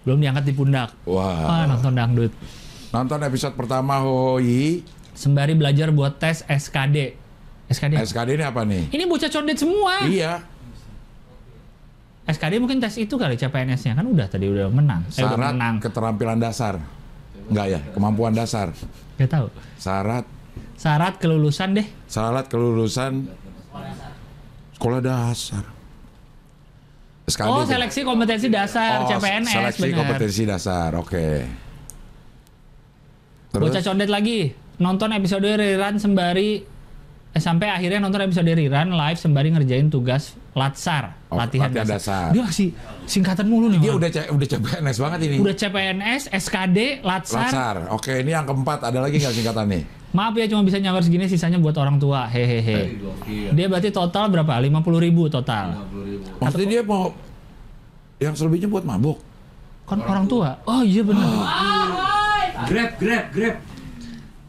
Speaker 2: Belum diangkat di pundak.
Speaker 1: Wah.
Speaker 2: Ah, nonton dangdut.
Speaker 1: Nonton episode pertama Hoi.
Speaker 2: Sembari belajar buat tes SKD. SKD. apa?
Speaker 1: SKD ini apa nih?
Speaker 2: Ini bocah condet semua.
Speaker 1: Iya.
Speaker 2: SKD mungkin tes itu kali CPNS-nya kan udah tadi udah menang. Eh, udah
Speaker 1: Syarat
Speaker 2: menang.
Speaker 1: keterampilan dasar. Enggak ya, kemampuan dasar.
Speaker 2: Gak tahu.
Speaker 1: Syarat
Speaker 2: Syarat kelulusan deh.
Speaker 1: syarat kelulusan sekolah dasar. SKD.
Speaker 2: oh, seleksi kompetensi dasar
Speaker 1: Oh,
Speaker 2: CPNS
Speaker 1: Seleksi
Speaker 2: benar.
Speaker 1: kompetensi dasar. Oke. Terus
Speaker 2: Bocah condet lagi nonton episode rerun sembari eh, sampai akhirnya nonton episode rerun live sembari ngerjain tugas latsar
Speaker 1: Oh,
Speaker 2: latihan,
Speaker 1: latihan dasar.
Speaker 2: dasar. Dia masih singkatan mulu nih.
Speaker 1: dia
Speaker 2: orang.
Speaker 1: udah C- udah CPNS banget ini.
Speaker 2: udah CPNS, SKD, latsar.
Speaker 1: Latsar. Oke, ini yang keempat ada lagi nggak singkatan nih?
Speaker 2: Maaf ya cuma bisa nyamar segini sisanya buat orang tua.
Speaker 3: Tadi
Speaker 2: Hehehe.
Speaker 3: gokil.
Speaker 2: Dia berarti total berapa? 50.000 ribu total.
Speaker 3: 50.000.
Speaker 1: Maksudnya dia mau yang selebihnya buat mabuk.
Speaker 2: Kan orang, tua. Oh iya
Speaker 1: *gasps*
Speaker 2: benar.
Speaker 3: Grab, grab, grab.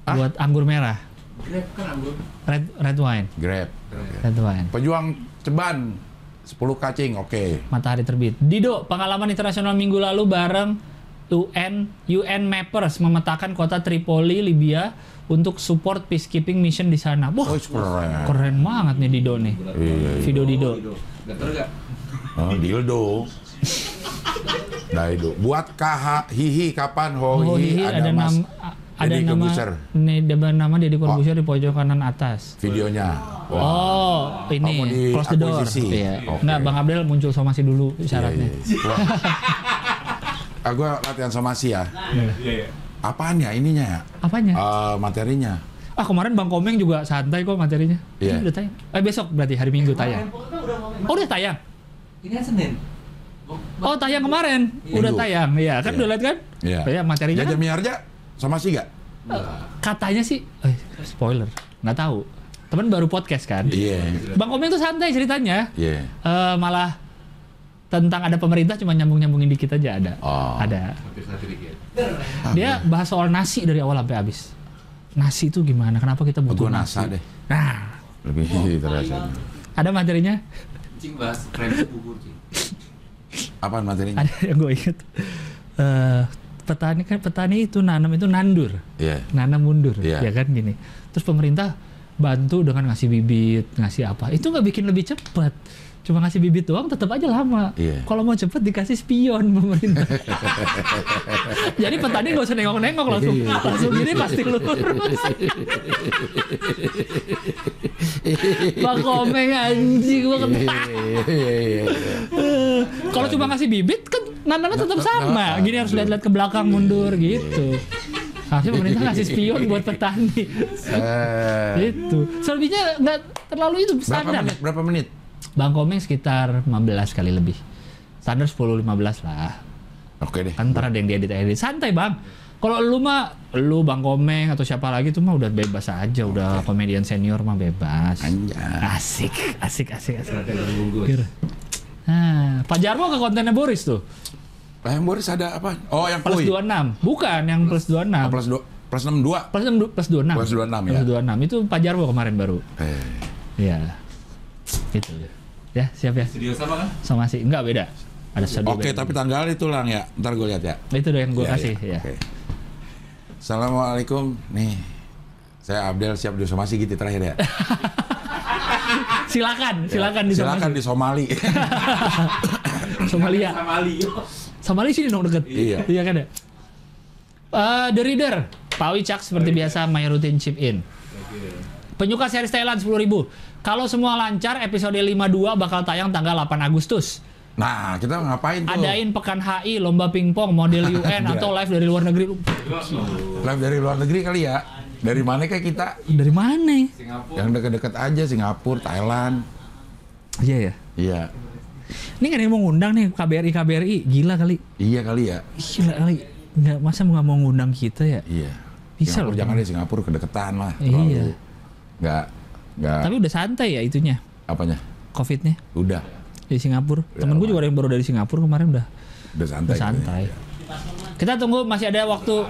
Speaker 1: Ah.
Speaker 2: Buat anggur merah.
Speaker 3: Grab kan anggur.
Speaker 2: Red red wine.
Speaker 1: Grab. Iya.
Speaker 2: Red wine.
Speaker 1: Pejuang ceban 10 kacing, oke.
Speaker 2: Matahari terbit. Dido, pengalaman internasional minggu lalu bareng UN UN Mappers memetakan kota Tripoli, Libya untuk support peacekeeping mission di sana. Wah,
Speaker 1: Oh, keren.
Speaker 2: keren banget nih Dido nih.
Speaker 1: Iya, iya, iya.
Speaker 2: Video Dido.
Speaker 3: Gatel gak?
Speaker 1: Oh, dildo. Daido. Buat KH Hihi kapan Ho
Speaker 2: Oh,
Speaker 1: Hihi
Speaker 2: hihi,
Speaker 1: iya, ada,
Speaker 2: ada,
Speaker 1: Mas
Speaker 2: nama ada
Speaker 1: Deddy
Speaker 2: nama
Speaker 1: Corbuzier.
Speaker 2: nih ada nama Deddy Corbuzier di pojok kanan atas.
Speaker 1: videonya. Wah. iya,
Speaker 2: Oh,
Speaker 1: Kamu di
Speaker 2: ini close the door.
Speaker 1: akuisisi.
Speaker 2: Iya.
Speaker 1: Oke. Iya,
Speaker 2: Nggak, Bang Abdel muncul sama si dulu syaratnya.
Speaker 1: Wah. Ah, gua latihan sama si ya.
Speaker 3: Iya, iya.
Speaker 1: Apaan ya ininya ya?
Speaker 2: Apanya?
Speaker 1: Eh, materinya.
Speaker 2: Ah, kemarin Bang Komeng juga santai kok materinya.
Speaker 1: Iya.
Speaker 2: Ini Udah tayang. Eh, besok berarti hari Minggu tayang. Oh, udah tayang.
Speaker 3: Ini kan Senin.
Speaker 2: Oh, tayang kemarin. Udah
Speaker 1: Minggu.
Speaker 2: tayang. Iya, kan
Speaker 1: Iya.
Speaker 2: udah lihat kan?
Speaker 1: Iya.
Speaker 2: Ya, materinya
Speaker 1: Jaja
Speaker 2: kan,
Speaker 1: Miharja sama si gak?
Speaker 2: katanya sih eh, spoiler. Nggak tahu. Temen baru podcast kan.
Speaker 1: Iya.
Speaker 2: Bang Komeng tuh santai ceritanya.
Speaker 1: Iya.
Speaker 2: Eh, malah tentang ada pemerintah cuma nyambung-nyambungin dikit aja ada.
Speaker 1: Oh.
Speaker 2: Ada.
Speaker 3: Hampir satirik ya.
Speaker 2: Dia bahas soal nasi dari awal sampai habis. Nasi itu gimana? Kenapa kita
Speaker 1: Iya.
Speaker 2: butuh
Speaker 1: Gua
Speaker 2: nasi?
Speaker 1: nasa deh.
Speaker 2: Nah,
Speaker 1: Lebih *laughs* terasa.
Speaker 2: ada materinya?
Speaker 1: Hmm.
Speaker 3: Cing bahas krem bubur, Cing.
Speaker 1: Apaan materinya?
Speaker 2: Ada yang gue inget. Eh, petani kan petani itu nanam itu nandur,
Speaker 1: Iya.
Speaker 2: nanam mundur,
Speaker 1: Iya.
Speaker 2: ya kan gini. Terus pemerintah bantu dengan ngasih bibit, ngasih apa? Itu nggak bikin lebih cepat. Cuma ngasih bibit doang tetap aja lama.
Speaker 1: Iya.
Speaker 2: Kalau mau cepet dikasih spion
Speaker 1: *laughs*
Speaker 2: pemerintah. Jadi petani nggak usah nengok-nengok langsung
Speaker 1: Iya.
Speaker 2: langsung gini pasti lurus. Bang Komeng anjing gua ketawa.
Speaker 1: Iya.
Speaker 2: iya. Kalau cuma ngasih bibit kan nanannya
Speaker 1: Nah,
Speaker 2: tetap sama. Gini harus lihat-lihat ke belakang mundur
Speaker 1: Iya.
Speaker 2: gitu. Harusnya pemerintah ngasih spion buat petani.
Speaker 1: Eh,
Speaker 2: Gitu. Selebihnya nggak terlalu itu
Speaker 1: Berapa
Speaker 2: standar.
Speaker 1: menit? Berapa menit?
Speaker 2: Bang Komeng sekitar 15 kali lebih. Standar 10-15 lah.
Speaker 1: Oke deh.
Speaker 2: Kan ntar ada yang diedit edit santai bang. Kalau lu mah, lu Bang Komeng atau siapa lagi tuh mah udah bebas aja, udah komedian senior mah bebas.
Speaker 1: Anjay.
Speaker 2: Asik, asik, asik, asik.
Speaker 3: Ada yang bungkus.
Speaker 2: Nah, Pak Jarwo ke kontennya Boris tuh.
Speaker 1: Lah yang Boris ada apa? Oh yang
Speaker 2: Plus
Speaker 1: Puy.
Speaker 2: 26. Bukan yang plus
Speaker 1: Ah,
Speaker 2: 26.
Speaker 1: plus dua. Plus enam dua.
Speaker 2: Plus, enam du- plus 26.
Speaker 1: Plus 26, ya.
Speaker 2: Plus 26. Itu Pak Jarwo kemarin baru.
Speaker 1: Eh,
Speaker 2: Iya. Itu. Ya, siap ya.
Speaker 3: Studio sama kan?
Speaker 2: Sama sih. Enggak beda. Ada satu
Speaker 1: Oke, tapi tanggal itu lang ya. Ntar gue lihat ya.
Speaker 2: itu doang yang gue
Speaker 1: Ya,
Speaker 2: kasih ya.
Speaker 1: Oke. Assalamualaikum. Nih, saya Abdel siap disomasi gitu
Speaker 2: *laughs*
Speaker 1: terakhir ya.
Speaker 2: Silakan,
Speaker 1: Iya.
Speaker 2: silakan di Somali.
Speaker 1: Silakan di Somali. *laughs*
Speaker 2: Somalia.
Speaker 3: Sama Ali.
Speaker 2: Somali sini dong deket.
Speaker 1: Iya.
Speaker 2: Iya kan ya? Eh, The Reader. Pak Wicak seperti biasa my routine chip in. Penyuka series Thailand 10.000. Kalau semua lancar episode 52 bakal tayang tanggal 8 Agustus.
Speaker 1: nah, kita ngapain tuh?
Speaker 2: Adain pekan HI, lomba pingpong,
Speaker 1: *laughs*
Speaker 2: model UN atau
Speaker 1: Iya.
Speaker 2: live dari luar negeri.
Speaker 1: Live dari luar negeri kali ya. Dari mana kayak kita?
Speaker 2: Dari mana? ya?
Speaker 3: Singapura.
Speaker 1: Yang deket-deket aja Singapura, Thailand.
Speaker 2: Iya ya.
Speaker 1: Iya.
Speaker 2: Ini kan yang mau ngundang nih KBRI KBRI gila kali.
Speaker 1: Iya kali ya.
Speaker 2: Gila kali. Nggak masa nggak mau ngundang kita ya?
Speaker 1: Iya.
Speaker 2: Bisa
Speaker 1: Singapura
Speaker 2: loh.
Speaker 1: jangan deh Singapura kedeketan lah.
Speaker 2: Iya.
Speaker 1: Terlalu nggak nggak
Speaker 2: Tapi udah santai ya itunya.
Speaker 1: apanya?
Speaker 2: Covidnya
Speaker 1: Udah
Speaker 2: di Singapura.
Speaker 1: Ya
Speaker 2: Temen gue juga ada yang baru dari Singapura kemarin udah
Speaker 1: udah santai.
Speaker 2: udah santai.
Speaker 1: ya.
Speaker 2: Kita tunggu masih ada waktu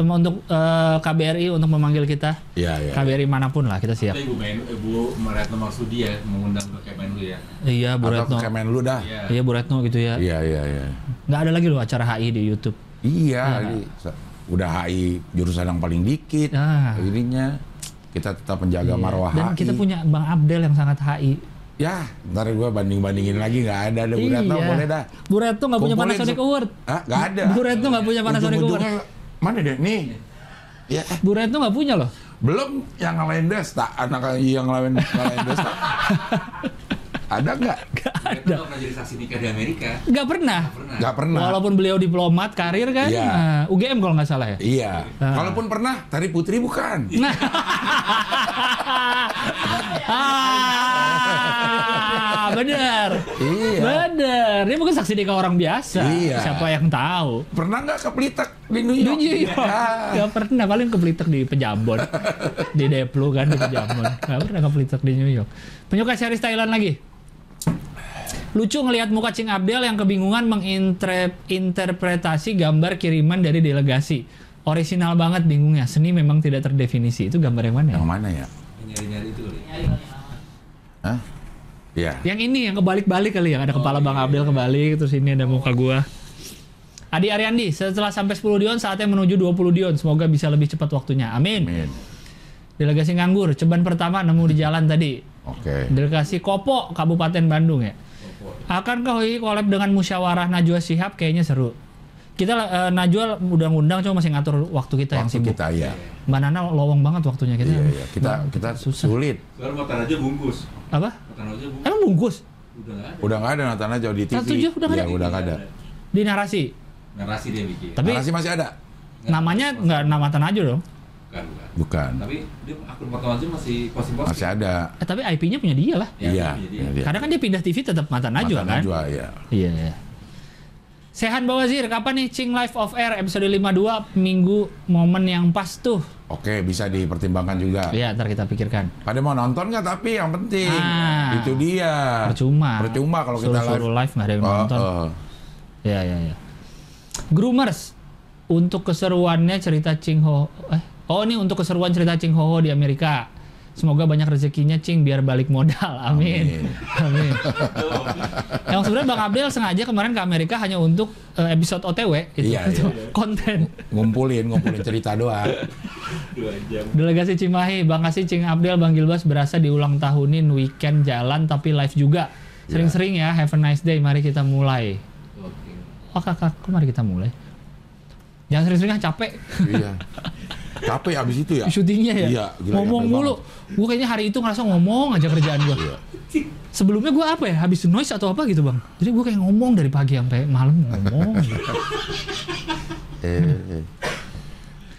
Speaker 2: em, untuk eh, KBRI untuk memanggil kita.
Speaker 1: Iya iya.
Speaker 2: KBRI manapun lah kita siap.
Speaker 3: Tapi Ibu main, Ibu Retno Marsudi ya mengundang ke Kemen dulu ya.
Speaker 2: Iya Bu
Speaker 1: Atau
Speaker 2: Retno.
Speaker 1: ke Kemen lu dah.
Speaker 3: Iya.
Speaker 2: Iya Bu Retno gitu ya.
Speaker 1: Iya iya iya.
Speaker 2: Nggak ada lagi loh acara HI di YouTube.
Speaker 1: Iya. ini sa- Udah HI jurusan yang paling dikit.
Speaker 2: Ah.
Speaker 1: Akhirnya kita tetap menjaga
Speaker 2: Iya.
Speaker 1: marwah
Speaker 2: Dan
Speaker 1: HI.
Speaker 2: kita punya Bang Abdel yang sangat HI.
Speaker 1: Ya, ntar gua banding bandingin lagi nggak ada deh
Speaker 2: Iya.
Speaker 1: Bu Retno boleh dah.
Speaker 2: Bu Retno nggak punya
Speaker 1: Kumpulin
Speaker 2: Panasonic
Speaker 1: se-
Speaker 2: Award.
Speaker 1: Ah nggak ada.
Speaker 2: Bu Retno nggak punya Panasonic Award.
Speaker 1: Ujung-ujungnya, Mana deh nih? Ya, eh,
Speaker 2: Bu Retno nggak punya loh.
Speaker 1: belum yang ngalahin Desta, anak yang ngalahin ngalahin
Speaker 2: *laughs*
Speaker 1: Desta. ada nggak?
Speaker 3: Retno nggak pernah jadi saksi nikah di Amerika.
Speaker 2: Nggak pernah.
Speaker 3: Pernah.
Speaker 1: Nggak pernah.
Speaker 2: Walaupun beliau diplomat karir kan,
Speaker 1: Nah. Iya.
Speaker 2: nah, UGM kalau nggak salah ya.
Speaker 1: Iya.
Speaker 2: Ah.
Speaker 1: Kalaupun pernah, tari putri bukan.
Speaker 2: Nah.
Speaker 1: Iya.
Speaker 2: ah, bener.
Speaker 1: Iya.
Speaker 2: Bener. Dia mungkin saksi nikah orang biasa.
Speaker 1: Iya.
Speaker 2: Siapa yang tahu?
Speaker 1: Pernah nggak ke Blitak di New York?
Speaker 2: Di New York.
Speaker 1: Iya. Ah.
Speaker 2: Iya, Nggak pernah paling ke Blitek di Pejambon. di Deplu kan di Pejambon. Gak pernah ke Blitek di New York. Penyuka series Thailand lagi. Lucu ngelihat muka Cing Abdel yang kebingungan menginterpretasi gambar kiriman dari delegasi. Orisinal banget bingungnya. Seni memang tidak terdefinisi. Itu gambar yang mana? ya?
Speaker 1: Yang mana ya?
Speaker 3: Nyari-nyari itu ya. kali.
Speaker 2: Iya.
Speaker 1: Hah? Ya.
Speaker 2: Yang ini yang kebalik-balik kali ya. Ada kepala Bang Abdel kebalik, terus ini ada muka gua. Adi Ariandi, setelah sampai 10 dion saatnya menuju 20 dion. Semoga bisa lebih cepat waktunya. Amin.
Speaker 1: Min.
Speaker 2: Delegasi nganggur, ceban pertama nemu di jalan tadi.
Speaker 1: Oke.
Speaker 2: Delegasi Kopo, Kabupaten Bandung ya. Akankah UI collab dengan musyawarah Najwa Shihab kayaknya seru. Kita eh, Najwa udah ngundang cuma masih ngatur waktu kita yang
Speaker 1: Waktu
Speaker 2: sibuk. Nah,
Speaker 1: kita ya.
Speaker 2: Mbak Nana lowong banget waktunya kita.
Speaker 1: Iya, iya. Kita kita sulit.
Speaker 3: Soalnya Motar aja bungkus.
Speaker 2: Apa?
Speaker 3: Motar aja bungkus.
Speaker 2: Emang bungkus
Speaker 3: Udah nggak ada.
Speaker 1: Udah nggak ada Natana jauh di TV.
Speaker 2: Satu jauh udah nggak
Speaker 1: Iya,
Speaker 2: ada.
Speaker 1: udah nggak ada.
Speaker 2: di narasi.
Speaker 3: Narasi dia bikin.
Speaker 2: Tapi
Speaker 1: Narasi masih ada?
Speaker 2: namanya nggak namatan aja dong.
Speaker 3: Bukan, bukan.
Speaker 1: Bukan.
Speaker 3: Tapi dia akun Motar aja masih posting-posting.
Speaker 1: Masih ada.
Speaker 2: Eh, tapi IP-nya punya dia lah.
Speaker 3: Ya,
Speaker 1: Iya.
Speaker 3: jadi
Speaker 1: iya,
Speaker 3: ya.
Speaker 1: iya.
Speaker 2: Karena kan dia pindah TV tetap Mata Najwa
Speaker 1: Mata
Speaker 2: kan.
Speaker 1: Najwa, iya.
Speaker 2: Iya. Sehan Bawazir, kapan nih Cing Life of Air episode 52 minggu momen yang pas tuh?
Speaker 1: Oke, bisa dipertimbangkan juga.
Speaker 2: Iya, ntar kita pikirkan.
Speaker 1: Pada mau nonton nggak tapi yang penting
Speaker 2: Ah.
Speaker 1: itu dia.
Speaker 2: Percuma.
Speaker 1: Percuma kalau kita
Speaker 2: Suruh-suruh
Speaker 1: live.
Speaker 2: live nggak ada yang
Speaker 1: Oh,
Speaker 2: nonton.
Speaker 1: oh.
Speaker 2: Iya, iya, iya. Groomers, untuk keseruannya cerita Cing Ho... Eh, oh, ini untuk keseruan cerita Cing Ho Ho di Amerika. Semoga banyak rezekinya Cing biar balik modal. *laughs* Amin.
Speaker 1: *laughs*
Speaker 2: Amin. Yang sebenarnya Bang Abdel sengaja kemarin ke Amerika hanya untuk eh, episode OTW itu,
Speaker 1: Iya, iya.
Speaker 2: konten.
Speaker 1: Ngumpulin, ngumpulin cerita
Speaker 2: *laughs*
Speaker 1: doang.
Speaker 3: Dua jam.
Speaker 2: Delegasi Cimahi, Bang Kasih, Cing Abdel, Bang Gilbas berasa diulang tahunin weekend jalan tapi live juga. Sering-sering ya, have a nice day, mari kita mulai.
Speaker 3: Oke.
Speaker 2: Oh kakak, kok mari kita mulai? Jangan sering-sering ah, capek
Speaker 1: iya. Capek abis itu ya.
Speaker 2: syutingnya ya.
Speaker 1: Iya, gila,
Speaker 2: ngomong
Speaker 1: capek
Speaker 2: mulu. Gue kayaknya hari itu ngerasa ngomong aja kerjaan gue.
Speaker 1: Iya.
Speaker 2: Sebelumnya gue apa ya, habis noise atau apa gitu bang. Jadi gue kayak ngomong dari pagi sampai malam ngomong.
Speaker 1: *laughs* Eh, eh.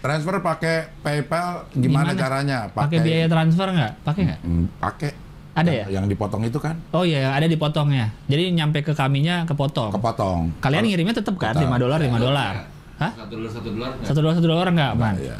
Speaker 1: Transfer pakai PayPal gimana,
Speaker 2: Gimana?
Speaker 1: caranya?
Speaker 2: Pakai biaya transfer nggak? Pakai nggak?
Speaker 1: Hmm, Pakai.
Speaker 2: Ada ya?
Speaker 1: Yang- Yang dipotong itu kan
Speaker 2: Oh iya, ada dipotongnya. Jadi nyampe ke kaminya kepotong.
Speaker 1: kepotong. Oh,
Speaker 2: Kalian ngirimnya tetap kan?
Speaker 1: Tetap.
Speaker 2: 5 dolar, 5 dolar. Hah?
Speaker 3: Satu dolar, satu dolar. nggak?
Speaker 2: Satu dolar, satu dolar nggak, Man?
Speaker 1: Iya.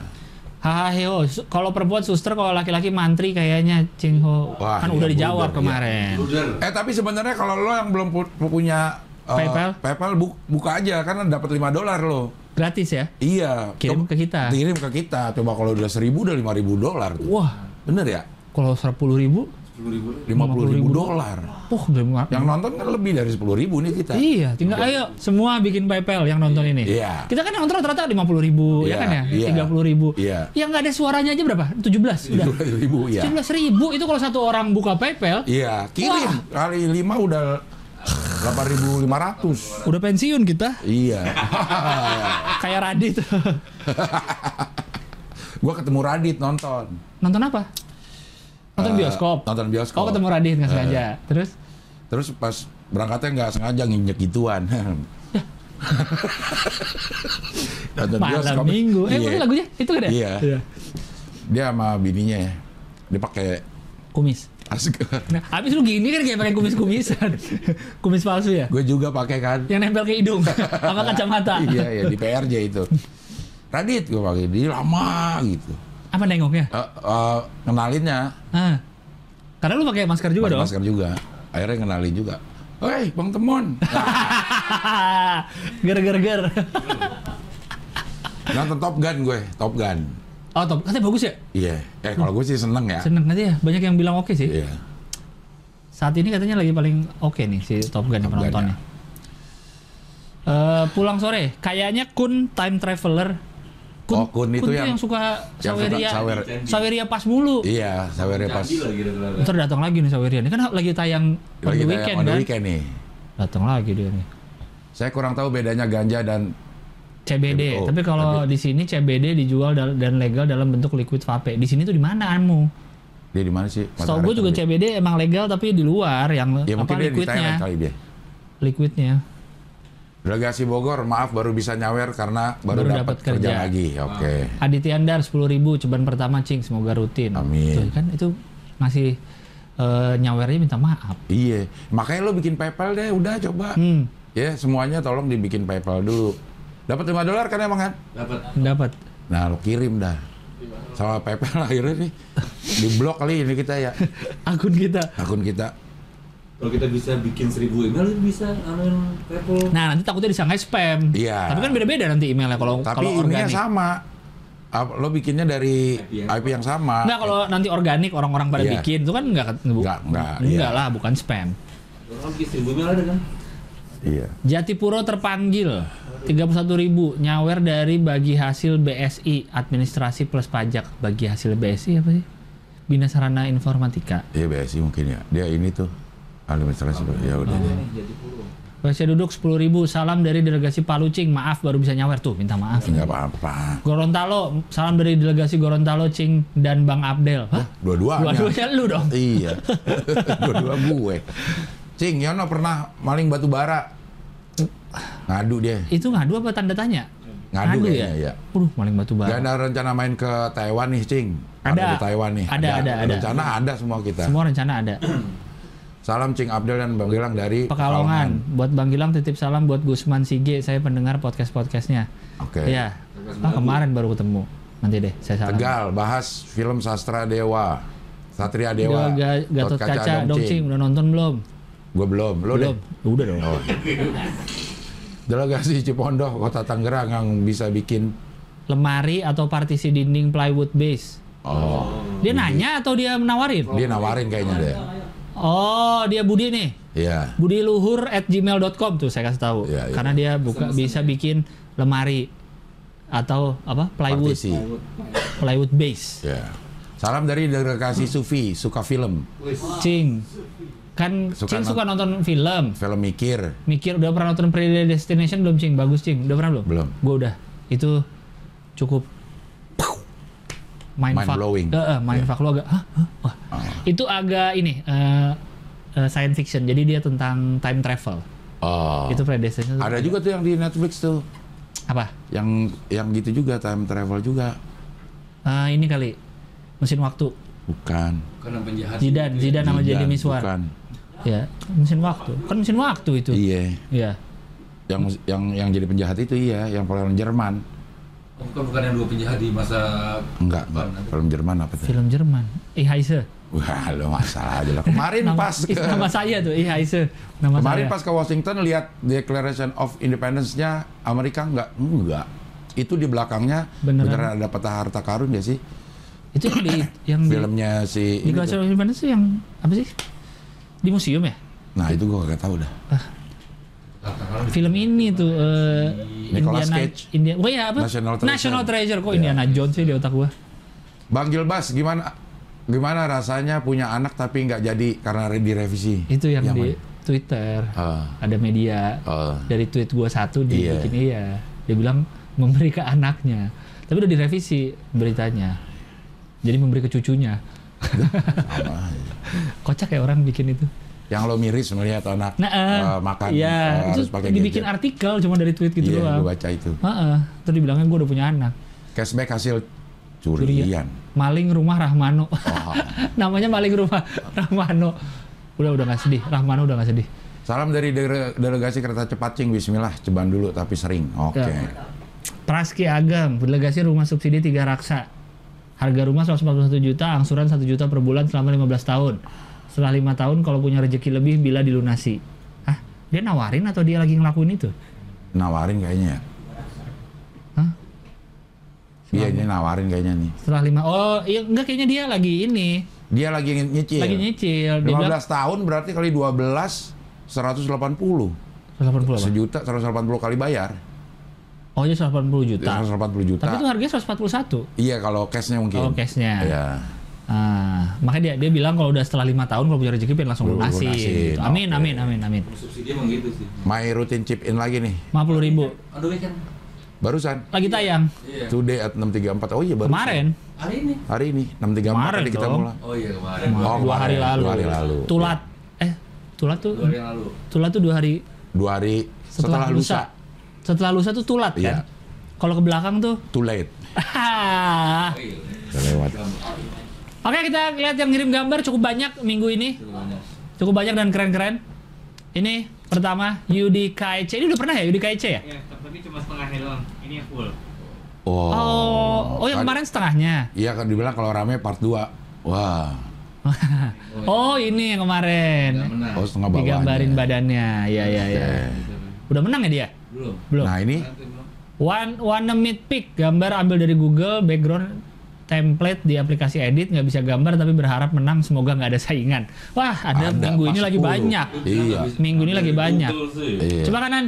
Speaker 2: Hahaha, heo. Su- Kalau perempuan suster, kalau laki-laki mantri kayaknya Cing Ho.
Speaker 1: Wah,
Speaker 2: kan
Speaker 1: iya,
Speaker 2: udah dijawab
Speaker 1: blunder,
Speaker 2: kemarin.
Speaker 3: Dolar.
Speaker 1: Eh tapi sebenarnya kalau lo yang belum pu- punya eh,
Speaker 2: PayPal?
Speaker 1: PayPal bu- buka aja karena dapat 5 dolar lo.
Speaker 2: Gratis ya?
Speaker 1: Iya.
Speaker 2: Kirim
Speaker 1: Coba-
Speaker 2: ke kita.
Speaker 1: Kirim ke kita. Coba kalau udah 1000 udah 5000 dolar tuh.
Speaker 2: Wah,
Speaker 1: Bener ya?
Speaker 2: kalau 10 ribu,
Speaker 3: Sepuluh ribu.
Speaker 1: 50 ribu
Speaker 2: 50.000
Speaker 1: dolar.
Speaker 2: wah udah ma-
Speaker 1: Yang nonton kan lebih dari 10 ribu nih kita.
Speaker 2: Iya, tinggal ayo semua bikin PayPal yang nonton ini.
Speaker 1: Iya.
Speaker 2: Kita kan yang nonton rata-rata 50 ribu,
Speaker 1: Iya,
Speaker 2: ya kan ya?
Speaker 1: iya.
Speaker 2: 30 ribu.
Speaker 1: Iya.
Speaker 2: Yang nggak ada suaranya aja berapa? 17, udah.
Speaker 1: 10 ribu ya.
Speaker 2: 17 ribu itu kalau satu orang buka PayPal,
Speaker 1: Iya, kirim kali 5 udah 8500.
Speaker 2: udah pensiun kita.
Speaker 1: Iya.
Speaker 2: *laughs* Kayak Radit. *laughs*
Speaker 1: Gua ketemu Radit nonton.
Speaker 2: nonton apa? Nonton
Speaker 1: Eh,
Speaker 2: bioskop.
Speaker 1: Nonton bioskop. Eh,
Speaker 2: Oh ketemu Radit nggak sengaja. Terus
Speaker 1: Terus pas berangkatnya nggak sengaja nginjek gituan. *laughs* Nonton
Speaker 2: malam
Speaker 1: bioskop.
Speaker 2: minggu. Eh
Speaker 1: Iya.
Speaker 2: bukan lagunya itu kan ya?
Speaker 1: Iya. Dia sama bininya ya. Dia pakai
Speaker 2: Kumis.
Speaker 1: asik.
Speaker 2: Nah, habis lu gini kan kayak pakai kumis-kumisan. *laughs* kumis palsu ya?
Speaker 1: Gue juga pakai kan.
Speaker 2: Yang nempel ke
Speaker 1: *laughs*
Speaker 2: hidung sama kacamata.
Speaker 1: Iya, iya di PRJ itu. Radit gue pakai dia lama gitu.
Speaker 2: Apa nengoknya?
Speaker 1: Eh, eh, kenalinnya
Speaker 2: Ah. Karena lu pakai masker juga
Speaker 1: pakai
Speaker 2: *laughs* dong.
Speaker 1: masker juga. Akhirnya kenalin juga. Hei, Bang Temon. Nah,
Speaker 2: ger ger ger.
Speaker 1: nonton Top Gun gue, Top Gun.
Speaker 2: Oh, top. Katanya bagus ya?
Speaker 1: Iya. Eh, kalau gue sih seneng ya.
Speaker 2: Seneng aja ya. Banyak yang bilang oke sih.
Speaker 1: Iya.
Speaker 2: Saat ini katanya lagi paling oke nih si Top Gun
Speaker 1: Top Gun,
Speaker 2: penontonnya.
Speaker 1: ya.
Speaker 2: Eh, pulang sore, kayaknya Kun time traveler.
Speaker 1: Oh, Kun itu
Speaker 2: tuh
Speaker 1: yang-
Speaker 2: suka
Speaker 1: yang suka
Speaker 2: Saweria.
Speaker 1: sawer-
Speaker 2: Saweria pas mulu.
Speaker 1: Iya, sawernya pas
Speaker 3: Canggih lagi dolar.
Speaker 2: Ntar datang lagi nih Saweria. Ini kan lagi tayang on
Speaker 1: lagi
Speaker 2: the
Speaker 1: tayang
Speaker 2: weekend
Speaker 1: on the
Speaker 2: kan.
Speaker 1: weekend nih.
Speaker 2: Datang lagi dia nih.
Speaker 1: Saya kurang tahu bedanya ganja dan
Speaker 2: CBD,
Speaker 1: Oh,
Speaker 2: tapi kalau di sini CBD dijual dal- dan legal dalam bentuk liquid vape. Di sini tuh di mana anmu?
Speaker 1: dia di mana sih?
Speaker 2: Setahu gue juga
Speaker 1: Matahari
Speaker 2: CBD emang legal tapi di luar yang
Speaker 1: Ya
Speaker 2: apa
Speaker 1: mungkin dia di Thailand
Speaker 2: liquidnya,
Speaker 1: kali dia.
Speaker 2: liquidnya.
Speaker 1: Delegasi Bogor, maaf baru bisa nyawer karena baru,
Speaker 2: Baru
Speaker 1: dapat
Speaker 2: dapat
Speaker 1: kerja.
Speaker 2: kerja.
Speaker 1: lagi. Oke.
Speaker 2: Aditya Andar 10.000 cobaan pertama cing semoga rutin.
Speaker 1: Amin.
Speaker 2: Tuh, kan itu masih eh, nyawernya minta maaf.
Speaker 1: Iya. Makanya lo bikin PayPal deh, udah coba.
Speaker 2: Hmm,
Speaker 1: Ya, semuanya tolong dibikin PayPal dulu. Dapat 5 dolar kan emang kan?
Speaker 3: Dapat.
Speaker 2: dapat.
Speaker 1: Nah, lo kirim dah. Sama *laughs* PayPal akhirnya nih di blok kali ini kita ya
Speaker 2: Akun kita
Speaker 1: akun kita.
Speaker 4: Kalau kita bisa bikin seribu email, kita bisa anuin people.
Speaker 2: Nah nanti takutnya disangka spam.
Speaker 1: Iya.
Speaker 2: Tapi kan beda-beda nanti emailnya kalau
Speaker 1: Tapi
Speaker 2: kalau
Speaker 1: ininya
Speaker 2: organik.
Speaker 1: sama. Ap- Lo bikinnya dari
Speaker 4: IP yang
Speaker 1: IP yang sama.
Speaker 2: Nggak kalau nanti organik orang-orang pada
Speaker 1: Iya.
Speaker 2: bikin itu kan nggak ket- bu-
Speaker 1: Nggak, nggak,
Speaker 2: nggak
Speaker 1: iya.
Speaker 2: lah bukan spam.
Speaker 4: Orang bikin seribu email ada kan?
Speaker 1: Iya.
Speaker 2: Jatipuro terpanggil 31.000 nyawer dari bagi hasil BSI administrasi plus pajak bagi hasil BSI apa sih? Bina Sarana Informatika.
Speaker 1: Iya BSI mungkin ya. Dia ini tuh administrasi ya udah.
Speaker 4: Eh, jadi puluh.
Speaker 2: Baca duduk 10.000 salam dari delegasi Palucing. Maaf baru bisa nyawer tuh, minta maaf.
Speaker 1: Enggak apa-apa.
Speaker 2: Gorontalo, salam dari delegasi Gorontalo Cing dan Bang Abdel. Hah?
Speaker 1: Dua-duanya.
Speaker 2: Dua-duanya lu dong.
Speaker 1: Iya. *laughs* Dua-dua gue. Cing, Yono pernah maling batu bara. Ngadu dia.
Speaker 2: Itu ngadu apa tanda tanya?
Speaker 1: Ngadu,
Speaker 2: Ngadu iya.
Speaker 1: kayaknya, ya.
Speaker 2: Waduh, maling batu
Speaker 1: Gak
Speaker 2: bara.
Speaker 1: ada rencana main ke Taiwan nih, Cing.
Speaker 2: Ada.
Speaker 1: di Taiwan nih.
Speaker 2: Ada, ada, ada.
Speaker 1: Rencana ada semua kita.
Speaker 2: Semua rencana *clears throat* ada.
Speaker 1: Salam Cing Abdel dan Bang Gilang dari
Speaker 2: Pekalongan. Buat Bang Gilang titip salam buat Gusman Sige. Saya pendengar podcast-podcastnya.
Speaker 1: Pekalongan. Oke.
Speaker 2: Iya. Ah, kemarin baru ketemu. Nanti deh saya salam.
Speaker 1: Tegal bahas film sastra dewa. Satria
Speaker 2: Dewa
Speaker 1: Dewa.
Speaker 2: Ga- Gatot Kaca, Dongcing. Udah nonton belum?
Speaker 1: Gue belum. Lo
Speaker 2: belum.
Speaker 1: deh.
Speaker 2: Udah dong.
Speaker 1: Oh. Delegasi Cipondoh Kota Tangerang yang bisa bikin
Speaker 2: Lemari atau partisi dinding plywood base.
Speaker 1: oh
Speaker 2: Dia nanya atau dia menawarin?
Speaker 1: dia nawarin kayaknya deh.
Speaker 2: Oh, dia Budi nih.
Speaker 1: Iya.
Speaker 2: budiluhur at gmail.com tuh saya kasih tahu
Speaker 1: Iya, iya.
Speaker 2: karena dia buka bisa bikin lemari atau apa plywood
Speaker 1: Partisi.
Speaker 2: plywood base
Speaker 1: Iya. Salam dari delegasi Sufi suka film,
Speaker 2: cing kan
Speaker 1: Suka
Speaker 2: cing
Speaker 1: nont-
Speaker 2: suka nonton film
Speaker 1: film mikir.
Speaker 2: mikir udah pernah nonton Predestination belum cing bagus cing udah pernah belum
Speaker 1: Belum.
Speaker 2: gue udah itu cukup mind,
Speaker 1: Mind-blowing. Iya. Ah.
Speaker 2: mind fuck lu agak hah? Hah? Wah. itu agak ini eh, eh, science fiction jadi dia tentang time travel
Speaker 1: Oh.
Speaker 2: itu Predestination
Speaker 1: Ada juga tuh yang di Netflix tuh
Speaker 2: apa
Speaker 1: yang yang gitu juga time travel juga.
Speaker 2: Eh, ini kali mesin waktu
Speaker 1: Bukan.
Speaker 3: Karena penjahat.
Speaker 2: Zidan Zidan sama
Speaker 1: Zidan,
Speaker 2: Jadi Miswar
Speaker 1: Bukan.
Speaker 2: ya mesin waktu kan mesin waktu itu
Speaker 1: Iya.
Speaker 2: ya
Speaker 1: Yang yang yang jadi penjahat itu iya, yang film Jerman.
Speaker 3: Oh, Bukan bukan yang dua penjahat di masa
Speaker 1: Enggak, enggak. Film Jerman apa tuh?
Speaker 2: film Jerman Ihaise
Speaker 1: Wah, lo masalah aja lah. Kemarin
Speaker 2: nama, ya.
Speaker 1: pas ke
Speaker 2: *laughs* nama saya tuh Ihaise nama
Speaker 1: Kemarin
Speaker 2: saya
Speaker 1: pas ke Washington lihat Declaration of Independence-nya Amerika nggak? Nggak. Itu di belakangnya
Speaker 2: Beneran.
Speaker 1: beneran ada peta harta karun ya sih?
Speaker 2: itu yang di yang di
Speaker 1: Filmnya si
Speaker 2: di
Speaker 1: ini tuh.
Speaker 2: Glacier of Independence tuh yang apa sih di museum ya
Speaker 1: Nah, itu gua nggak tahu dah.
Speaker 2: film ini tuh eh,
Speaker 1: Nicolas
Speaker 2: Indiana
Speaker 1: Cage.
Speaker 2: India oh ya apa
Speaker 1: National Treasure.
Speaker 2: Treasure. kok
Speaker 1: Ya.
Speaker 2: Indiana Jones sih di otak gua
Speaker 1: Bang Gilbas, gimana gimana rasanya punya anak tapi nggak jadi karena re- direvisi?
Speaker 2: itu yang, di
Speaker 1: mana?
Speaker 2: Twitter
Speaker 1: Ah,
Speaker 2: ada media
Speaker 1: ah.
Speaker 2: dari tweet gua satu
Speaker 1: Iya.
Speaker 2: dibikin iya. Dia bilang memberi ke anaknya. Tapi udah direvisi beritanya. Jadi memberi ke cucunya. *laughs* Kocak ya orang bikin itu.
Speaker 1: yang lo miris melihat anak
Speaker 2: Nah, eh,
Speaker 1: eh, makan
Speaker 2: iya,
Speaker 1: eh,
Speaker 2: itu
Speaker 1: harus pakai
Speaker 2: dibikin
Speaker 1: gadget.
Speaker 2: artikel cuma dari tweet gitu
Speaker 1: Iya,
Speaker 2: doang.
Speaker 1: gua baca itu.
Speaker 2: Heeh, terus dibilangnya gua udah punya anak.
Speaker 1: Cashback hasil curian.
Speaker 2: Maling rumah Rahmano.
Speaker 1: Oh.
Speaker 2: *laughs* Namanya maling rumah Rahmano. Udah udah nggak sedih, Rahmano udah nggak sedih.
Speaker 1: Salam dari dere- delegasi kereta cepat Cing Bismillah ceban dulu tapi sering. Oke.
Speaker 2: Ya. Praski Agam, delegasi rumah subsidi 3 raksa. Harga rumah 141 juta, angsuran 1 juta per bulan selama 15 tahun. Setelah 5 tahun kalau punya rezeki lebih bila dilunasi. Hah? Dia nawarin atau dia lagi ngelakuin itu?
Speaker 1: Nawarin kayaknya. ya.
Speaker 2: Hah?
Speaker 1: Iya ini nawarin kayaknya nih.
Speaker 2: Setelah 5 Oh, iya enggak kayaknya dia lagi ini,
Speaker 1: Dia lagi ngi- nyicil.
Speaker 2: lagi nyicil.
Speaker 1: 15
Speaker 2: Dia bilang
Speaker 1: tahun berarti kali 12 180.
Speaker 2: 180 apa?
Speaker 1: Sejuta 180 kali bayar.
Speaker 2: Oh, dia 180
Speaker 1: Iya,
Speaker 2: juta.
Speaker 1: 180 juta.
Speaker 2: Tapi itu harganya 141.
Speaker 1: Iya kalau cashnya mungkin.
Speaker 2: Kalau Oh, cashnya.
Speaker 1: Iya.
Speaker 2: Ah, makanya dia dia bilang kalau udah setelah lima tahun kalau punya rezeki pengen langsung
Speaker 1: Lu- lu
Speaker 2: lunasin.
Speaker 1: lunasin,
Speaker 2: gitu. Amin,
Speaker 1: oke.
Speaker 2: amin, amin, amin.
Speaker 4: Subsidi emang gitu sih.
Speaker 1: My routine chip in lagi nih.
Speaker 2: 50 ribu.
Speaker 4: Aduh weekend.
Speaker 1: Barusan.
Speaker 2: Lagi tayang.
Speaker 3: Iya.
Speaker 1: Today at 634. Oh iya baru.
Speaker 2: Kemarin.
Speaker 4: Hari ini.
Speaker 1: Hari ini 634
Speaker 2: Kemarin
Speaker 1: tadi kita
Speaker 2: dong.
Speaker 1: mulai.
Speaker 4: Oh iya kemarin.
Speaker 1: Oh,
Speaker 2: dua hari
Speaker 1: kemarin,
Speaker 2: lalu.
Speaker 1: dua hari lalu.
Speaker 2: Tulat. Eh, tulat tuh.
Speaker 4: Dua hari yang lalu.
Speaker 2: Tulat tuh dua hari
Speaker 1: Dua hari
Speaker 2: setelah, lusa. Setelah lusa tuh tulat
Speaker 1: Iya.
Speaker 2: kan. Kalau ke belakang tuh. *laughs*
Speaker 1: Too late.
Speaker 2: Hahaha.
Speaker 4: Oh, iya.
Speaker 1: Udah lewat.
Speaker 2: Oke kita lihat yang ngirim gambar cukup banyak minggu ini.
Speaker 4: Cukup banyak.
Speaker 2: Cukup banyak dan keren-keren. Ini pertama Yudi KEC. Ini udah pernah ya Yudi KEC ya?
Speaker 5: Ya, tapi cuma setengahnya doang. Ini yang full.
Speaker 1: Oh. kan
Speaker 2: Oh, oh yang
Speaker 1: Tadi-
Speaker 2: kemarin setengahnya. *laughs*
Speaker 1: Iya kan dibilang kalau rame part 2. Wah.
Speaker 2: oh ini yang kemarin.
Speaker 4: Nggak menang.
Speaker 1: Oh setengah bawahnya.
Speaker 2: Digambarin badannya. Iya iya iya. Udah menang ya dia?
Speaker 4: Belum.
Speaker 2: Belum.
Speaker 1: Nah ini
Speaker 4: Nanti belum.
Speaker 2: One one minute pick gambar ambil dari Google background template di aplikasi edit nggak bisa gambar tapi berharap menang semoga nggak ada saingan. Wah ada, minggu
Speaker 1: pas
Speaker 2: ini lagi
Speaker 1: 10.
Speaker 2: banyak.
Speaker 1: Iya.
Speaker 2: Minggu ini lagi banyak.
Speaker 3: Betul sih.
Speaker 1: Iya.
Speaker 2: Coba kanan.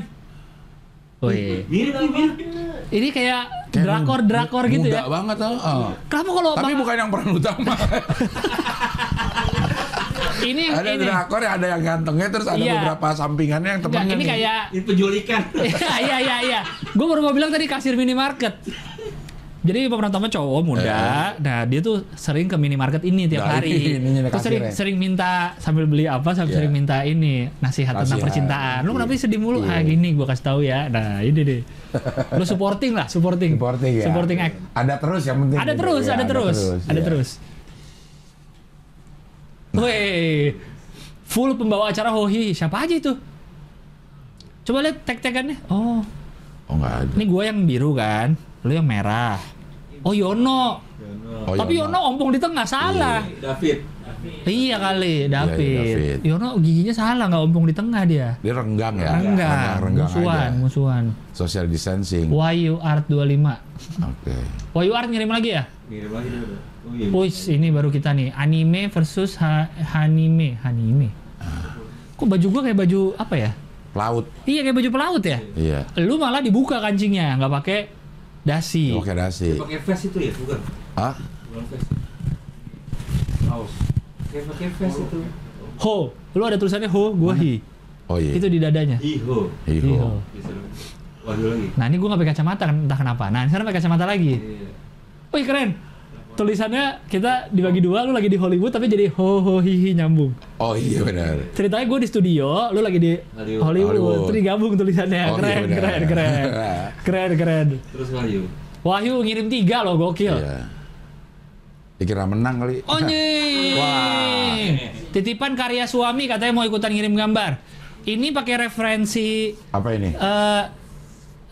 Speaker 2: Wih.
Speaker 4: Mirip nih, mirip.
Speaker 2: Ini kayak
Speaker 1: Kayak
Speaker 2: drakor drakor gitu
Speaker 1: muda
Speaker 2: ya.
Speaker 1: banget oh, heeh.
Speaker 2: Kamu kalau
Speaker 1: Tapi
Speaker 2: Oh, bang-
Speaker 1: bukan yang peran utama.
Speaker 2: ini *laughs* yang
Speaker 1: ada
Speaker 2: ini.
Speaker 1: drakor ya, ada yang gantengnya terus ada
Speaker 2: Iya.
Speaker 1: beberapa sampingannya yang
Speaker 2: Enggak,
Speaker 1: temennya.
Speaker 2: ini
Speaker 1: nih.
Speaker 2: kayak
Speaker 4: Ini penculikan.
Speaker 2: Iya *laughs* iya iya iya. Gue baru mau bilang tadi kasir minimarket. Jadi pemerantamnya cowok muda. Nah dia tuh sering ke minimarket ini
Speaker 1: Eh.
Speaker 2: tiap
Speaker 1: Nah,
Speaker 2: hari.
Speaker 1: ini- ini nih
Speaker 2: Terus sering
Speaker 1: kasirnya.
Speaker 2: sering minta sambil beli apa, sambil
Speaker 1: Iya.
Speaker 2: sering minta ini nasihat tentang
Speaker 1: Nasihat.
Speaker 2: percintaan. Lu kenapa
Speaker 1: Iya.
Speaker 2: sih sedih mulu? Ah
Speaker 1: Iya.
Speaker 2: gini gue kasih tahu ya. Nah ini deh. Lu supporting lah, supporting.
Speaker 1: Supporting ya.
Speaker 2: Supporting act.
Speaker 1: Ada terus yang penting.
Speaker 2: Ada
Speaker 1: gitu.
Speaker 2: terus,
Speaker 1: Ya,
Speaker 2: ada terus, ada
Speaker 1: ya.
Speaker 2: terus. Weh, full pembawa acara Hohi. Siapa aja itu? Coba lihat tag-tagannya. Oh,
Speaker 1: Oh enggak ada.
Speaker 2: ini gue yang biru kan, lu yang merah. Oh Yono,
Speaker 1: Oh,
Speaker 2: tapi Yono. ompong di tengah salah.
Speaker 4: Iya, David.
Speaker 2: Iya kali, David.
Speaker 1: David.
Speaker 2: Yono giginya salah nggak ompong di tengah dia.
Speaker 1: Dia renggang ya.
Speaker 2: Renggang,
Speaker 1: renggang
Speaker 2: musuhan,
Speaker 1: aja.
Speaker 2: musuhan.
Speaker 1: Social distancing. Oke.
Speaker 2: Wayu Art 25. Wayu Art ngirim lagi ya?
Speaker 4: Mirip lagi dia udah. Oh iya.
Speaker 2: Wis, ini baru kita nih. Anime versus ha- anime, anime. Kok baju gua kayak baju apa ya?
Speaker 1: Laut.
Speaker 2: Iya kayak baju pelaut ya.
Speaker 1: Iya.
Speaker 2: Lu malah dibuka kancingnya, nggak pakai dasi.
Speaker 1: Oke dasi.
Speaker 4: Pakai vest itu ya, bukan?
Speaker 1: Hah?
Speaker 4: Bukan vest. Kaos. Kayak pakai vest itu.
Speaker 2: Ho, lu ada tulisannya ho, gua hi.
Speaker 1: Oh iya.
Speaker 2: Itu di dadanya.
Speaker 4: Iho.
Speaker 1: Iho.
Speaker 2: Iho.
Speaker 4: Disuruh. Waduh lagi.
Speaker 2: Nah ini gua nggak pakai kacamata kan, entah kenapa. Nah sekarang pakai kacamata lagi.
Speaker 4: Iya.
Speaker 2: Wih keren. Tulisannya kita dibagi dua, lu lagi di Hollywood tapi jadi ho ho hi hi nyambung.
Speaker 1: Oh iya benar.
Speaker 2: Ceritanya gue di studio, lu lagi di Hollywood,
Speaker 4: Hollywood.
Speaker 1: Hollywood.
Speaker 2: terus digabung tulisannya.
Speaker 1: Oh, iya
Speaker 2: keren,
Speaker 1: benar.
Speaker 2: keren, keren,
Speaker 1: *laughs*
Speaker 2: keren, keren.
Speaker 4: Terus Wahyu.
Speaker 2: Wahyu ngirim tiga loh, gokil.
Speaker 1: Iya. Dikira menang kali.
Speaker 2: Oh, iya. Onye.
Speaker 1: Wah.
Speaker 2: Titipan karya suami katanya mau ikutan ngirim gambar. Ini pakai referensi
Speaker 1: *laughs* Apa ini?
Speaker 2: eh eh,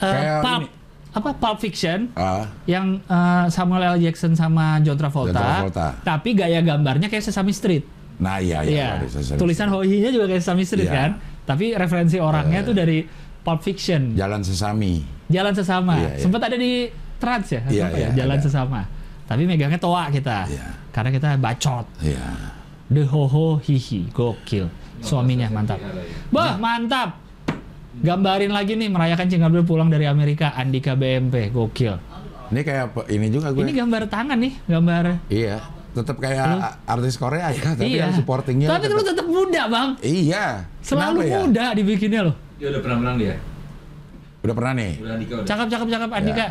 Speaker 1: Kayak
Speaker 2: pulp
Speaker 1: ini.
Speaker 2: apa pulp fiction
Speaker 1: Ah,
Speaker 2: yang eh, Samuel L. Jackson sama John Travolta,
Speaker 1: John Travolta.
Speaker 2: tapi gaya gambarnya kayak Sesame Street.
Speaker 1: nah iya iya.
Speaker 2: Iya.
Speaker 1: baru selesai.
Speaker 2: Tulisan Hoihinya juga kayak Sesame Street
Speaker 1: Iya.
Speaker 2: kan, tapi referensi orangnya
Speaker 1: Iya.
Speaker 2: tuh dari Pulp Fiction.
Speaker 1: Jalan Sesami.
Speaker 2: Jalan sesama.
Speaker 1: Iya, iya.
Speaker 2: Sempat ada di Trans ya,
Speaker 1: Iya,
Speaker 2: apa
Speaker 1: iya,
Speaker 2: ya? Jalan
Speaker 1: ada.
Speaker 2: sesama. Tapi megangnya toa kita.
Speaker 1: Iya.
Speaker 2: Karena kita bacot.
Speaker 1: Iya.
Speaker 2: The hoho hihi, gokil. Suaminya mantap. Bah, mantap. Gambarin lagi nih merayakan Cingabel pulang dari Amerika Andika BMP, gokil.
Speaker 1: Ini kayak pe- ini juga gue.
Speaker 2: Ini gambar tangan nih, gambar.
Speaker 1: Iya. Tetap kayak
Speaker 2: Lu?
Speaker 1: a- artis Korea ya, tapi
Speaker 2: Hmm? iya.
Speaker 1: yang supportingnya
Speaker 2: Tapi lu
Speaker 1: tetap-
Speaker 2: tetap muda, Bang.
Speaker 1: Iya.
Speaker 2: Selalu
Speaker 1: Kenapa ya?
Speaker 2: muda dibikinnya loh.
Speaker 4: Dia udah pernah menang dia.
Speaker 1: Udah pernah nih.
Speaker 4: Udah nikah udah.
Speaker 2: Cakep cakep
Speaker 1: Ya.
Speaker 2: cakep Andika.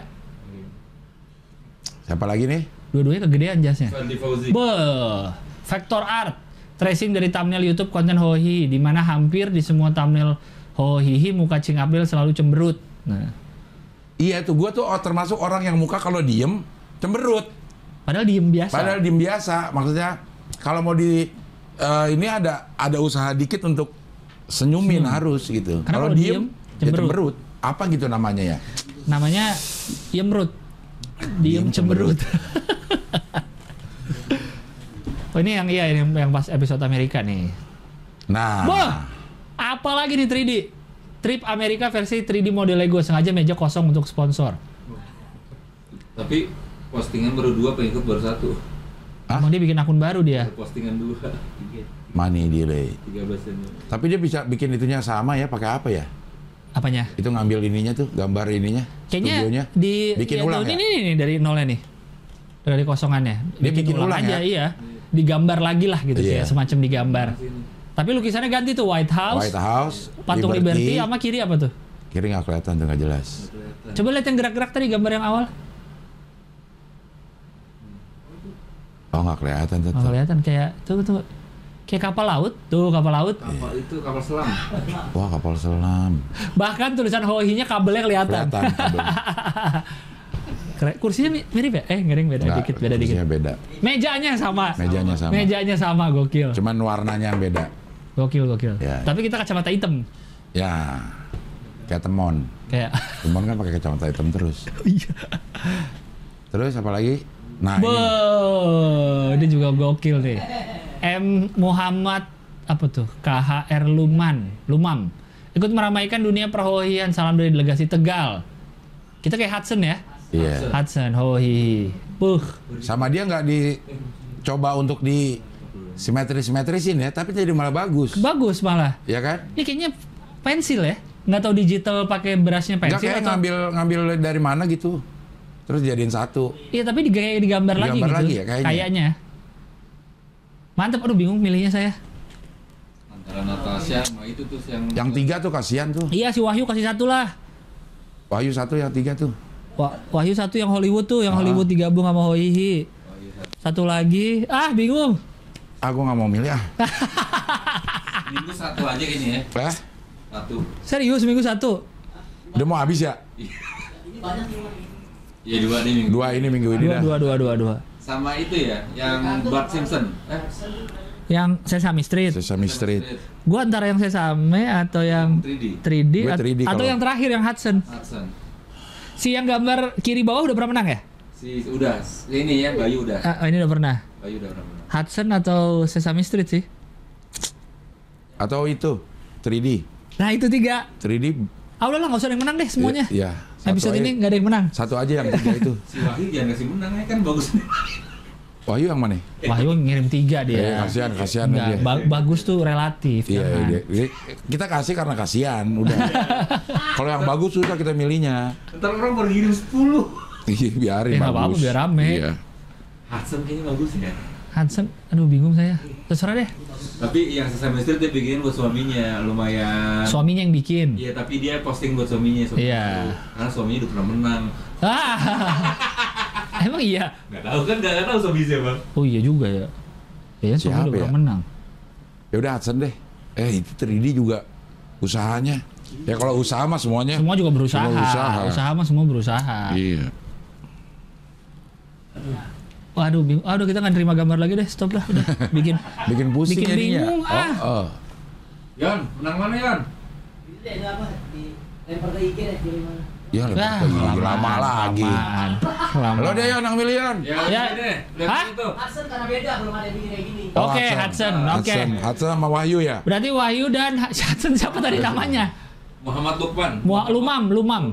Speaker 1: Siapa lagi nih?
Speaker 2: Dua-duanya kegedean jasnya.
Speaker 4: Fadli Fauzi.
Speaker 2: Beuh, Vector Art tracing dari thumbnail YouTube konten Hohi di mana hampir di semua thumbnail Hohihi muka Cing Abdel selalu cemberut. Nah,
Speaker 1: Iya tuh gue tuh oh, termasuk orang yang muka kalau diem cemberut.
Speaker 2: padahal diem biasa.
Speaker 1: Padahal diem biasa. Maksudnya kalau mau di eh, ini ada ada usaha dikit untuk senyumin harus gitu.
Speaker 2: Hmm. Karena
Speaker 1: Kalau
Speaker 2: kalau diem,
Speaker 1: diem, ya
Speaker 2: cemberut.
Speaker 1: cemberut. Apa gitu namanya ya?
Speaker 2: Namanya Yemrut. Diem cemberut. *laughs* oh ini yang iya yang, yang pas episode Amerika nih.
Speaker 1: Nah,
Speaker 2: Wah, apalagi nih 3D. Trip Amerika versi 3D model Lego sengaja meja kosong untuk sponsor.
Speaker 4: Tapi postingan baru dua, pengikut baru satu.
Speaker 1: Hah?
Speaker 2: Emang dia bikin akun baru dia.
Speaker 4: Ada Postingan dua, tiga,
Speaker 1: money delay.
Speaker 4: tiga belas Januari.
Speaker 1: Tapi dia bisa bikin itunya sama ya, pakai apa ya?
Speaker 2: Apanya?
Speaker 1: Itu ngambil ininya tuh, gambar ininya,
Speaker 2: Kayaknya
Speaker 1: studionya.
Speaker 2: di
Speaker 1: bikin
Speaker 2: ya,
Speaker 1: ulang
Speaker 2: ini,
Speaker 1: ya?
Speaker 2: ini, ini, dari nolnya nih. Dari kosongannya.
Speaker 1: Dia bikin ulang
Speaker 2: aja,
Speaker 1: ya?
Speaker 2: iya. Digambar lagi lah gitu sih,
Speaker 1: Iya.
Speaker 2: ya, semacam digambar. Tapi lukisannya ganti tuh White House,
Speaker 1: White House,
Speaker 2: patung Liberty, sama kiri apa tuh?
Speaker 1: Kiri nggak kelihatan tuh nggak jelas.
Speaker 4: Kelihatan.
Speaker 2: Coba lihat yang gerak-gerak tadi gambar yang awal.
Speaker 1: Oh nggak kelihatan
Speaker 2: Oh,
Speaker 1: tetap.
Speaker 2: kelihatan kayak tuh tuh kayak kapal laut, tuh kapal
Speaker 1: *laughs*
Speaker 2: laut.
Speaker 4: Kapal itu kapal selam.
Speaker 1: Wah kapal selam.
Speaker 2: Bahkan tulisan Hohi-nya kabelnya kelihatan.
Speaker 1: Kelihatan.
Speaker 2: *laughs*
Speaker 1: kabel.
Speaker 2: Keren. Kursinya mi- mirip ya? Eh, ngering beda
Speaker 1: Nggak,
Speaker 2: dikit, beda dikit.
Speaker 1: kursinya beda.
Speaker 2: Mejanya sama.
Speaker 1: Mejanya sama.
Speaker 2: Mejanya sama, gokil.
Speaker 1: Cuman warnanya yang beda.
Speaker 2: Gokil, gokil.
Speaker 1: Ya.
Speaker 2: Tapi kita kacamata hitam.
Speaker 1: Ya, kayak temon.
Speaker 2: Kayak
Speaker 1: Temon kan pakai kacamata hitam
Speaker 2: *laughs*
Speaker 1: terus.
Speaker 2: iya.
Speaker 1: Terus apa lagi? Nah ini.
Speaker 2: Be, dia juga gokil nih. M Muhammad apa tuh KHR Luman Lumam ikut meramaikan dunia perhohian salam dari delegasi Tegal kita kayak Hudson ya
Speaker 1: Iya.
Speaker 2: Hudson hohi puh
Speaker 1: Sama dia nggak dicoba untuk di simetris-simetrisin ya, tapi jadi malah bagus.
Speaker 2: bagus malah
Speaker 1: Ya kan?
Speaker 2: ini kayaknya pensil ya nggak tahu digital pakai berasnya
Speaker 1: Nggak
Speaker 2: pensil
Speaker 1: kayak
Speaker 2: atau
Speaker 1: ngambil ngambil dari mana gitu. Terus jadiin satu.
Speaker 2: iya tapi diga- digambar, lagi
Speaker 1: Digambar lagi
Speaker 2: gitu
Speaker 1: ya, kayaknya.
Speaker 2: mantep aduh bingung milihnya saya
Speaker 4: Antara Natasha sama itu tuh yang
Speaker 1: Yang tiga tuh kasihan tuh.
Speaker 2: iya si Wahyu kasih satu lah
Speaker 1: Wahyu satu, yang tiga tuh.
Speaker 2: Wah, Wahyu satu yang Hollywood
Speaker 1: Ah.
Speaker 2: tuh, yang Hollywood digabung sama Hoihi.
Speaker 4: Oh, iya.
Speaker 2: Satu lagi, ah bingung.
Speaker 1: Aku nggak mau milih ah.
Speaker 4: minggu satu aja ini ya.
Speaker 1: Eh,
Speaker 4: Satu.
Speaker 2: Serius minggu satu.
Speaker 1: udah mau habis ya?
Speaker 4: Ya dua nih minggu.
Speaker 1: Dua ini minggu ini
Speaker 2: Dua,
Speaker 1: dah.
Speaker 2: dua, dua, dua, dua.
Speaker 4: Sama itu ya, yang Bart Simpson. Eh,
Speaker 2: Yang Sesame Street.
Speaker 1: Sesame Street.
Speaker 2: Gua antara yang Sesame atau yang
Speaker 4: 3D.
Speaker 2: 3D,
Speaker 1: Gua
Speaker 2: at-
Speaker 1: 3D
Speaker 2: atau
Speaker 1: kalau-
Speaker 2: yang terakhir yang Hudson.
Speaker 4: Hudson.
Speaker 2: Si yang gambar kiri bawah udah pernah menang ya?
Speaker 4: Si udah, ini ya Bayu udah.
Speaker 2: Ah, ini udah pernah.
Speaker 4: Bayu udah berapa?
Speaker 2: Hudson atau Sesame Street sih?
Speaker 1: Atau itu 3D.
Speaker 2: Nah itu tiga.
Speaker 1: 3D
Speaker 2: Ah udah lah nggak usah ada yang menang deh semuanya.
Speaker 1: Ya, ya. Satu
Speaker 2: Episode ini
Speaker 1: aja,
Speaker 2: nggak ada yang menang.
Speaker 1: satu aja yang tiga itu.
Speaker 4: Si Wahyu jangan kasih menang ya kan bagus.
Speaker 1: Wahyu yang mana?
Speaker 2: Wahyu ngirim tiga
Speaker 1: Eh,
Speaker 2: dia.
Speaker 1: kasihan, kasihan
Speaker 2: Iya. Nggak,
Speaker 1: dia.
Speaker 2: ba- bagus tuh relatif. kan?
Speaker 1: Iya,
Speaker 2: jangan.
Speaker 1: dia- dia- kita kasih karena kasihan
Speaker 2: *laughs*
Speaker 1: udah. Kalau yang bagus susah kita milihnya. *laughs*
Speaker 4: Ntar orang baru ngirim 10.
Speaker 1: Iya, biarin
Speaker 2: Ya, nggak
Speaker 1: bagus.
Speaker 2: apa-apa, biar rame.
Speaker 1: Iya.
Speaker 4: Hudson kayaknya bagus ya.
Speaker 2: Hudson, aduh bingung saya. Terserah deh.
Speaker 4: Tapi yang Sesame Street dia bikin buat suaminya lumayan.
Speaker 2: Suaminya yang bikin.
Speaker 4: Iya, tapi dia posting buat suaminya. suaminya
Speaker 2: Iya.
Speaker 4: dulu. Karena suaminya udah pernah menang.
Speaker 2: Ah, *laughs* emang iya.
Speaker 4: Gak tahu kan, gak, tahu suami siapa.
Speaker 2: Oh iya juga ya. Ya,
Speaker 1: Siapa
Speaker 2: semua udah
Speaker 1: ya?
Speaker 2: pernah menang.
Speaker 1: Ya udah Hudson deh. Eh, itu 3D juga usahanya. Ya kalau usaha mah semuanya.
Speaker 2: Semua juga berusaha.
Speaker 1: Ya. Semua usaha.
Speaker 2: Usaha mah semua berusaha.
Speaker 1: Iya.
Speaker 2: Waduh, bingung. Aduh, kita nggak terima gambar lagi deh. Stop lah, udah *laughs* bikin.
Speaker 1: Bikin pusing
Speaker 2: Bikin
Speaker 1: jadinya.
Speaker 2: bingung, ah.
Speaker 1: Oh, oh.
Speaker 4: Yon, menang mana Yon?
Speaker 6: Ini ada apa? Di lempar ke IG deh, pilih mana?
Speaker 1: Ya,
Speaker 2: Ah,
Speaker 1: lama, lama,
Speaker 2: kelamaan,
Speaker 1: lagi.
Speaker 2: kelamaan, kelamaan.
Speaker 1: Lo deh Yon, yang milion.
Speaker 4: Ya,
Speaker 2: Ya.
Speaker 4: ya. deh. Lihat
Speaker 2: Hah?
Speaker 4: itu.
Speaker 6: Arsen karena beda, belum ada yang bikin kayak gini.
Speaker 1: Oh,
Speaker 2: Oke, Hudson. Oke.
Speaker 1: Hudson, Hudson sama Wahyu ya.
Speaker 2: Berarti Wahyu dan *laughs* Hudson siapa tadi namanya?
Speaker 4: Muhammad Lukman.
Speaker 2: Mua- Lumam, Lumam.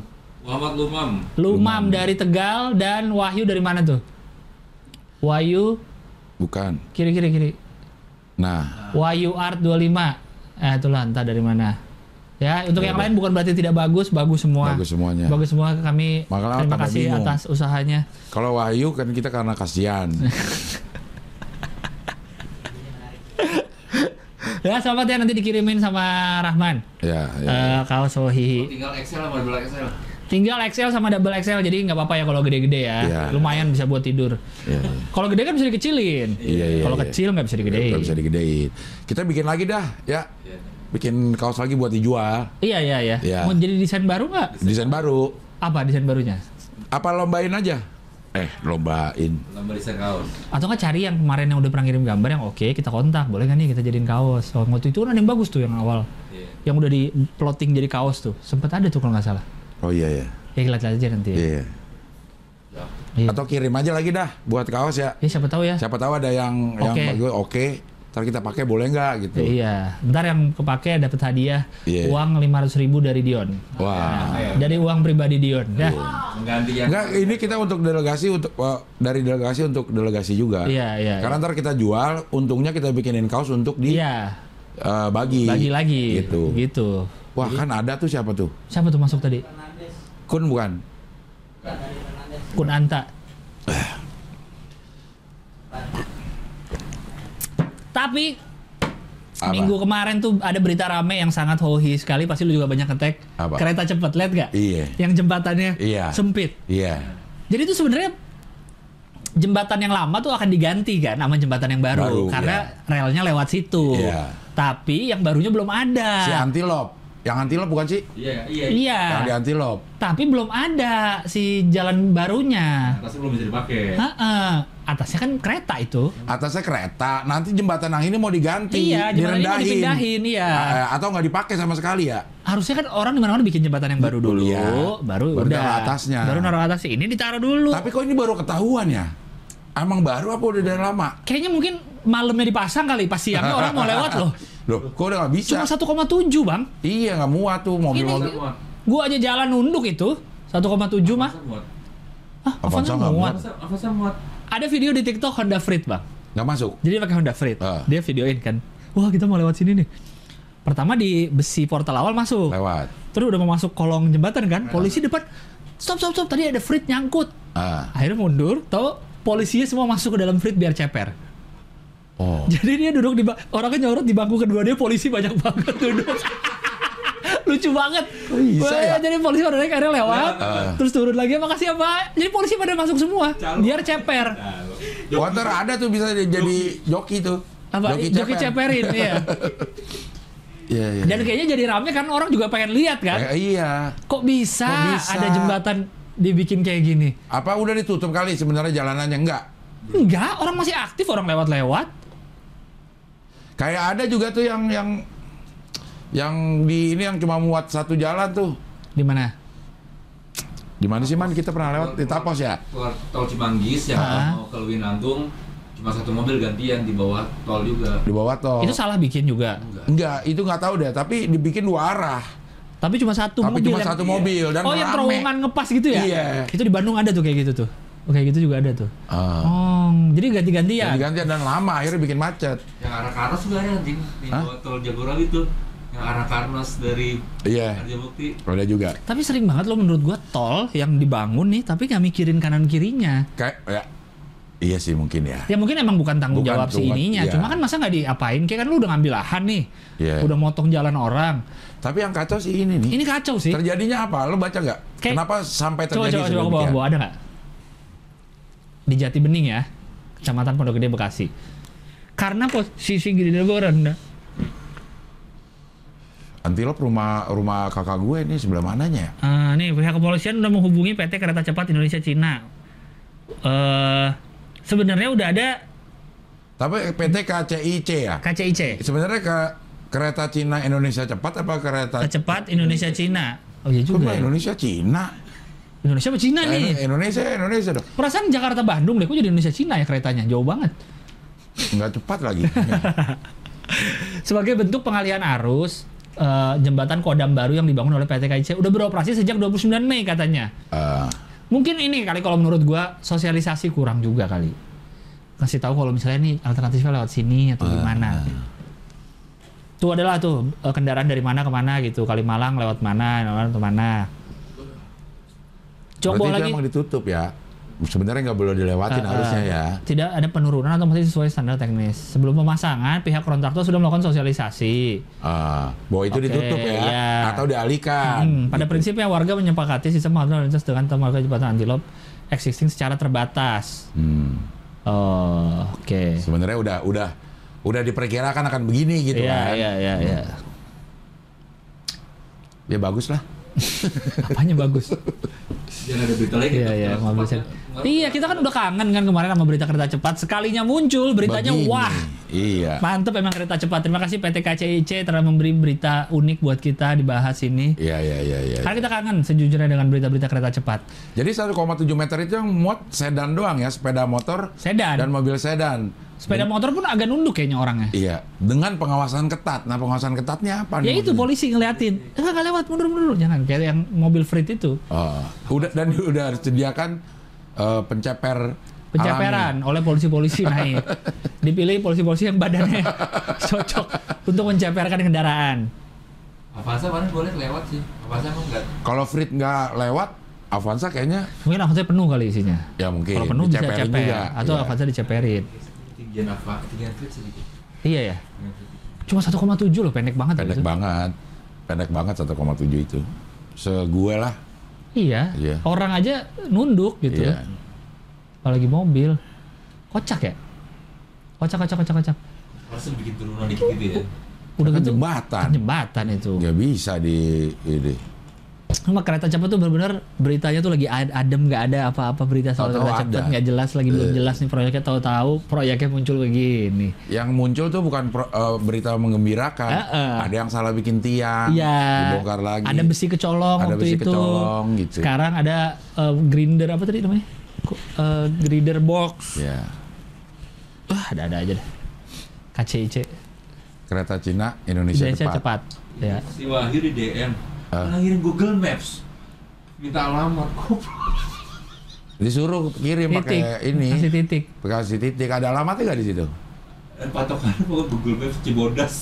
Speaker 4: Muhammad Lumam.
Speaker 2: Lumam dari Tegal dan Wahyu dari mana tuh? Wahyu
Speaker 1: Bukan.
Speaker 2: kiri kiri kiri.
Speaker 1: Nah,
Speaker 2: Wahyu Art 25. Eh itulah entah dari mana. Ya, untuk yang lain bukan berarti tidak bagus, bagus semua.
Speaker 1: Iya, Bagus semuanya.
Speaker 2: Bagus semua kami
Speaker 1: Makanya
Speaker 2: terima
Speaker 1: tambah
Speaker 2: kasih
Speaker 1: bingung.
Speaker 2: atas usahanya.
Speaker 1: kalau Wahyu kan kita karena
Speaker 2: *laughs*
Speaker 1: kasihan.
Speaker 2: Ya, selamat ya nanti dikirimin sama Rahman.
Speaker 1: ya, ya.
Speaker 2: Eh kaos Sohi.
Speaker 4: Tinggal Excel sama double Excel.
Speaker 2: Tinggal XL sama double XL jadi nggak apa-apa ya kalau gede-gede ya.
Speaker 1: Iya.
Speaker 2: Lumayan bisa buat tidur.
Speaker 1: Iya, iya.
Speaker 2: Kalau gede kan bisa dikecilin.
Speaker 1: Iya, iya,
Speaker 2: kalau
Speaker 1: iya.
Speaker 2: kecil nggak bisa digedein.
Speaker 1: Nggak bisa digedein. Kita bikin lagi dah, ya.
Speaker 4: Iya.
Speaker 1: Bikin kaos lagi buat dijual.
Speaker 2: Iya, iya, iya.
Speaker 1: Iya.
Speaker 2: Mau jadi desain baru nggak?
Speaker 1: Desain baru.
Speaker 2: Apa desain barunya?
Speaker 1: Apa lombain aja? Eh, lombain.
Speaker 4: Lama di kaos.
Speaker 2: Atau nggak cari yang kemarin yang udah pernah ngirim gambar yang oke kita kontak boleh nggak nih kita jadiin kaos oh, waktu itu kan ada yang bagus tuh yang awal
Speaker 4: Iya.
Speaker 2: yang udah di plotting jadi kaos tuh sempet ada tuh kalau nggak salah
Speaker 1: Oh iya ya.
Speaker 2: ya kita lihat aja nanti ya.
Speaker 1: Iya.
Speaker 2: Iya.
Speaker 1: Atau kirim aja lagi dah buat kaos ya.
Speaker 2: Ya, siapa tahu ya
Speaker 1: Siapa tahu ada yang yang
Speaker 2: Oke.
Speaker 1: bagus, oke. Ntar kita pakai boleh nggak gitu.
Speaker 2: Ya, iya ntar yang kepake dapat hadiah
Speaker 1: Iya. Ah.
Speaker 2: uang 500.000 ribu dari Dion
Speaker 1: Wah.
Speaker 2: dari uang pribadi Dion ya
Speaker 1: Iya.
Speaker 4: Mengganti yang
Speaker 1: Enggak, ini kita untuk delegasi untuk eh, dari delegasi untuk delegasi juga.
Speaker 2: Iya, iya,
Speaker 1: Karena ntar kita jual, untungnya kita bikinin kaos untuk di
Speaker 2: iya
Speaker 1: eh, bagi.
Speaker 2: lagi lagi
Speaker 1: Gitu. Wah, kan ada tuh siapa tuh?
Speaker 2: siapa tuh masuk tadi
Speaker 6: Fernandes,
Speaker 1: Kun bukan?
Speaker 6: bukan dari Fernandes.
Speaker 2: Kunanta. Tapi
Speaker 1: Apa?
Speaker 2: minggu kemarin tuh ada berita rame yang sangat hohi sekali pasti lu juga banyak ketek
Speaker 1: Apa?
Speaker 2: kereta cepat lihat gak?
Speaker 1: Iya.
Speaker 2: Yang jembatannya
Speaker 1: Iya.
Speaker 2: sempit.
Speaker 1: Iya.
Speaker 2: Jadi itu sebenarnya jembatan yang lama tuh akan diganti kan sama jembatan yang
Speaker 1: Baru,
Speaker 2: baru, karena relnya lewat situ.
Speaker 1: Iya.
Speaker 2: Tapi yang barunya belum ada.
Speaker 1: Si antilop. Yang antilop bukan sih?
Speaker 4: Iya, iya.
Speaker 2: Iya.
Speaker 1: Yang di antilop.
Speaker 2: Tapi belum ada si jalan barunya.
Speaker 4: Atasnya belum bisa dipakai.
Speaker 2: Heeh. Atasnya kan kereta itu.
Speaker 1: Atasnya kereta. Nanti jembatan yang ini mau diganti,
Speaker 2: Iya, jembatan ini mau
Speaker 1: direndahin.
Speaker 2: dipindahin, iya.
Speaker 1: Eh, atau nggak dipakai sama sekali ya?
Speaker 2: Harusnya kan orang di mana-mana bikin jembatan yang baru
Speaker 1: Betul,
Speaker 2: dulu,
Speaker 1: iya.
Speaker 2: baru,
Speaker 1: Baru
Speaker 2: udah
Speaker 1: naruh atasnya.
Speaker 2: Baru naruh atasnya. Ini ditaruh dulu.
Speaker 1: Tapi kok ini baru ketahuan ya? Emang baru apa udah dari lama?
Speaker 2: Kayaknya mungkin malamnya dipasang kali pas siangnya Iya, orang mau lewat loh.
Speaker 1: *laughs* Loh, kok udah nggak bisa?
Speaker 2: Cuma 1,7 bang.
Speaker 1: Iya nggak muat tuh
Speaker 3: Masa
Speaker 1: mobil-mobil.
Speaker 3: muat?
Speaker 2: Gua aja jalan nunduk itu 1,7 mah.
Speaker 3: Masa muat?
Speaker 2: Ah,
Speaker 1: Avanza
Speaker 2: Avanza
Speaker 1: nggak
Speaker 2: muat.
Speaker 1: muat.
Speaker 3: Masa, masa muat?
Speaker 2: Ada video di TikTok Honda Freed bang.
Speaker 1: Nggak masuk.
Speaker 2: Jadi pakai Honda Freed.
Speaker 1: Ah.
Speaker 2: Dia videoin kan. Wah kita mau lewat sini nih. Pertama di besi portal awal masuk.
Speaker 1: Lewat.
Speaker 2: Terus udah mau masuk kolong jembatan kan. Polisi depan. Stop stop stop. Tadi ada Freed nyangkut.
Speaker 1: Ah.
Speaker 2: Akhirnya mundur. Tahu polisinya semua masuk ke dalam Freed biar ceper. *laughs*
Speaker 1: Oh.
Speaker 2: Jadi dia duduk di ba- orangnya nyorot di bangku kedua dia polisi banyak banget duduk. *laughs* Lucu banget.
Speaker 1: Oh, bisa
Speaker 2: Wah,
Speaker 1: ya?
Speaker 2: Jadi polisi pada naik akhirnya lewat,
Speaker 1: Ah.
Speaker 2: terus turun lagi makasih ya Pak. Jadi polisi pada masuk semua biar ceper.
Speaker 1: Water ada tuh bisa jadi joki tuh.
Speaker 2: Apa joki,
Speaker 1: ceper.
Speaker 2: ceperin ya.
Speaker 1: *laughs* Iya, iya.
Speaker 2: Dan kayaknya jadi rame kan orang juga pengen lihat kan.
Speaker 1: Eh, iya.
Speaker 2: Kok bisa,
Speaker 1: Kok bisa?
Speaker 2: ada jembatan dibikin kayak gini?
Speaker 1: Apa udah ditutup kali sebenarnya jalanannya enggak?
Speaker 2: Enggak, orang masih aktif orang lewat-lewat.
Speaker 1: Kayak ada juga tuh yang yang yang di ini yang cuma muat satu jalan tuh.
Speaker 2: Di mana?
Speaker 1: Di mana sih man kita pernah lewat di Tapos ya?
Speaker 4: Keluar tol Cimanggis yang
Speaker 2: Ah.
Speaker 4: mau ke Lewinantung cuma satu mobil gantian di bawah tol juga.
Speaker 1: Di bawah tol.
Speaker 2: Itu salah bikin juga.
Speaker 1: Enggak, itu nggak tahu deh, tapi dibikin dua arah.
Speaker 2: Tapi cuma satu
Speaker 1: tapi
Speaker 2: mobil.
Speaker 1: cuma
Speaker 2: yang-
Speaker 1: satu mobil dan
Speaker 2: oh yang
Speaker 1: rame.
Speaker 2: terowongan ngepas gitu ya?
Speaker 1: Iya.
Speaker 2: Itu di Bandung ada tuh kayak gitu tuh. Oh, Kayak gitu juga ada tuh.
Speaker 1: Ah.
Speaker 2: Oh, jadi ganti-ganti ya?
Speaker 1: Jadi gantian dan lama akhirnya bikin macet.
Speaker 4: Yang arah Karnas juga ada anjing di
Speaker 1: Hah?
Speaker 4: bawah tol Jagorawi itu. Yang arah Karnas dari
Speaker 2: Eh.
Speaker 1: Iya.
Speaker 4: Harjamukti.
Speaker 1: Ada juga.
Speaker 2: Tapi sering banget lo menurut gua tol yang dibangun nih tapi nggak mikirin kanan kirinya.
Speaker 1: Kayak ya. Iya sih mungkin ya.
Speaker 2: Ya mungkin emang bukan tanggung
Speaker 1: Bukan,
Speaker 2: jawab si
Speaker 1: bukan,
Speaker 2: ininya.
Speaker 1: iya.
Speaker 2: Cuma kan masa nggak diapain? Kayak kan lu udah ngambil lahan nih.
Speaker 1: Iya. Hmm.
Speaker 2: Udah motong jalan orang.
Speaker 1: Tapi yang kacau sih ini nih.
Speaker 2: Ini kacau sih.
Speaker 1: Terjadinya apa? Lo baca nggak?
Speaker 2: Kayak-
Speaker 1: Kenapa sampai
Speaker 2: Coba
Speaker 1: terjadi
Speaker 2: coba coba ke bawah,
Speaker 1: sedemikian?
Speaker 2: bawah ada nggak? Di Jati Bening ya, Kecamatan Pondok Gede Bekasi. Karena posisi Gede rendah.
Speaker 1: Antilop rumah rumah kakak gue ini sebelah mananya? ya?
Speaker 2: Eh, nih pihak kepolisian udah menghubungi PT Kereta Cepat Indonesia Cina. Eh sebenarnya udah ada
Speaker 1: Tapi PT KCIC ya.
Speaker 2: KCIC,
Speaker 1: Sebenarnya ke kereta Cina Indonesia cepat apa kereta
Speaker 2: Kereta Cepat Indonesia Cina. Oh iya
Speaker 1: Kok
Speaker 2: juga.
Speaker 1: nggak
Speaker 2: ya. iya.
Speaker 1: Indonesia Cina?
Speaker 2: Indonesia apa Cina
Speaker 1: Eh,
Speaker 2: nih?
Speaker 1: Indonesia Indonesia dong.
Speaker 2: Perasaan Jakarta Bandung deh, kok jadi Indonesia Cina ya keretanya? Jauh banget.
Speaker 1: Nggak cepat lagi.
Speaker 2: *laughs* Sebagai bentuk pengalihan arus, eh, jembatan Kodam baru yang dibangun oleh PT KCIC udah beroperasi sejak 29 Mei katanya.
Speaker 1: Eh,
Speaker 2: Mungkin ini kali kalau menurut gua sosialisasi kurang juga kali. Kasih tahu kalau misalnya ini alternatifnya lewat
Speaker 1: Ah,
Speaker 2: sini atau gimana. Tuh adalah tuh eh, kendaraan dari mana ke mana gitu. Kalimalang lewat mana, lewat ke mana.
Speaker 1: berarti
Speaker 2: Coba
Speaker 1: itu
Speaker 2: lagi
Speaker 1: emang ditutup ya. Sebenarnya nggak boleh dilewatin
Speaker 2: Ah, ah.
Speaker 1: harusnya ya.
Speaker 2: tidak ada penurunan atau masih sesuai standar teknis. Sebelum pemasangan, pihak kontraktor sudah melakukan sosialisasi.
Speaker 1: Ah, bahwa itu
Speaker 2: Oke,
Speaker 1: ditutup ya,
Speaker 2: iya.
Speaker 1: atau dialihkan.
Speaker 2: Hmm, pada
Speaker 1: Gitu.
Speaker 2: prinsipnya warga menyepakati sistem pengaturan lalu lintas dengan tenaga jembatan antilop existing secara terbatas.
Speaker 1: Hmm,
Speaker 2: Oh, oke.
Speaker 1: sebenarnya udah udah udah diperkirakan akan begini gitu
Speaker 2: Iya,
Speaker 1: kan.
Speaker 2: iya, iya, iya.
Speaker 1: Ya bagus lah.
Speaker 2: Apanya bagus?
Speaker 4: Yang ada berita lagi.
Speaker 2: Iya, iya, nggak bisa. Iya, kita kan udah kangen kan kemarin sama berita kereta cepat. Sekalinya muncul beritanya
Speaker 1: Begini.
Speaker 2: wah.
Speaker 1: Iya.
Speaker 2: Mantep emang kereta cepat. Terima kasih PT KCIC telah memberi berita unik buat kita dibahas ini.
Speaker 1: Iya, iya, iya, iya.
Speaker 2: Karena kita kangen sejujurnya dengan berita-berita kereta cepat.
Speaker 1: Jadi 1,7 meter itu yang muat sedan doang ya, sepeda motor
Speaker 2: Sedan.
Speaker 1: dan mobil sedan.
Speaker 2: Sepeda motor pun agak nunduk kayaknya orangnya.
Speaker 1: Iya, dengan pengawasan ketat. Nah, pengawasan ketatnya apa
Speaker 2: Ya
Speaker 1: nih? maksudnya?
Speaker 2: itu polisi ngeliatin. Eh, nggak lewat mundur-mundur. Jangan kayak yang mobil freight itu.
Speaker 1: Oh, udah dan *laughs* udah disediakan eh, penceper
Speaker 2: penceperan oleh
Speaker 1: *laughs*
Speaker 2: polisi-polisi naik. Dipilih polisi-polisi yang badannya cocok untuk menceperkan kendaraan.
Speaker 4: Avanza kemarin boleh lewat sih. Avanza emang enggak.
Speaker 1: alami. Kalau Frit nggak lewat, Avanza kayaknya
Speaker 2: Mungkin Avanza penuh kali isinya.
Speaker 1: ya mungkin
Speaker 2: Kalau penuh bisa
Speaker 1: diceperin
Speaker 2: ceper atau
Speaker 1: Iya.
Speaker 2: Avanza diceperin.
Speaker 4: Ketinggian apa? Ketinggian Frit sedikit.
Speaker 2: Iya ya. Cuma 1,7 loh, pendek banget.
Speaker 1: pendek
Speaker 2: gitu.
Speaker 1: banget pendek banget 1,7 itu segue lah
Speaker 2: Iya.
Speaker 1: Iya.
Speaker 2: Orang aja nunduk gitu.
Speaker 1: Iya.
Speaker 2: Apalagi mobil. Kocak ya? Kocak, kocak, kocak, kocak.
Speaker 4: Harusnya bikin turunan dikit gitu ya.
Speaker 2: Udah
Speaker 1: Kan
Speaker 2: gitu.
Speaker 1: jembatan. Iya.
Speaker 2: Jembatan itu.
Speaker 1: nggak bisa di ini
Speaker 2: Cuma kereta cepat tuh benar-benar beritanya tuh lagi ad- adem nggak ada apa-apa berita soal
Speaker 1: Tahu-tahu
Speaker 2: kereta cepat
Speaker 1: ada. Eh.
Speaker 2: nggak jelas lagi belum jelas nih proyeknya tahu-tahu proyeknya muncul begini.
Speaker 1: yang muncul tuh bukan pro- eh, berita menggembirakan
Speaker 2: Heeh.
Speaker 1: ada yang salah bikin tiang
Speaker 2: Iya.
Speaker 1: Kan dibongkar lagi
Speaker 2: Ada besi kecolong
Speaker 1: Ada
Speaker 2: waktu
Speaker 1: besi
Speaker 2: itu.
Speaker 1: kecolong, gitu.
Speaker 2: Sekarang ada eh, grinder apa tadi namanya? Ko- eh, grinder box.
Speaker 1: ya
Speaker 2: Wah, ada-ada aja deh. KCIC.
Speaker 1: Kereta Cina Indonesia,
Speaker 2: Indonesia
Speaker 1: cepat.
Speaker 2: cepat. Ya.
Speaker 4: Si Wahyu di DM.
Speaker 1: Ah.
Speaker 4: Lahirin Google Maps. Minta alamat. Goblok.
Speaker 1: Disuruh kirim
Speaker 2: Titik.
Speaker 1: pakai ini.
Speaker 2: Kasih titik.
Speaker 1: Kasih titik ada alamatnya nggak di situ?
Speaker 4: Dan patokannya pokoknya Eh, Google Maps Cibodas.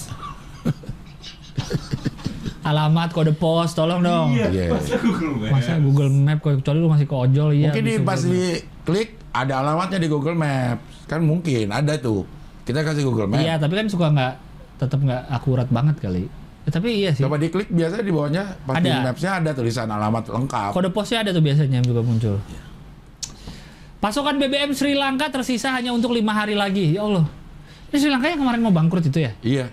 Speaker 2: Alamat kode pos, tolong dong.
Speaker 4: Iya,
Speaker 1: Iya.
Speaker 4: masa Google Maps.
Speaker 2: Masa Google Map kecuali lu masih ke ojol iya.
Speaker 1: mungkin di,
Speaker 2: bisa
Speaker 1: pas
Speaker 2: Google Map.
Speaker 1: di klik ada alamatnya di Google Maps kan mungkin ada tuh. Kita kasih Google Maps.
Speaker 2: Iya, tapi kan suka nggak tetap nggak akurat banget kali. Ya, tapi iya sih.
Speaker 1: Coba diklik biasanya di bawahnya pas di
Speaker 2: Ada.
Speaker 1: Maps-nya ada tulisan alamat lengkap.
Speaker 2: Kode posnya ada tuh biasanya yang juga muncul.
Speaker 1: Iya.
Speaker 2: Pasokan BBM Sri Lanka tersisa hanya untuk lima hari lagi. Ya Allah. Ini Sri Lanka yang kemarin mau bangkrut itu ya?
Speaker 1: Iya.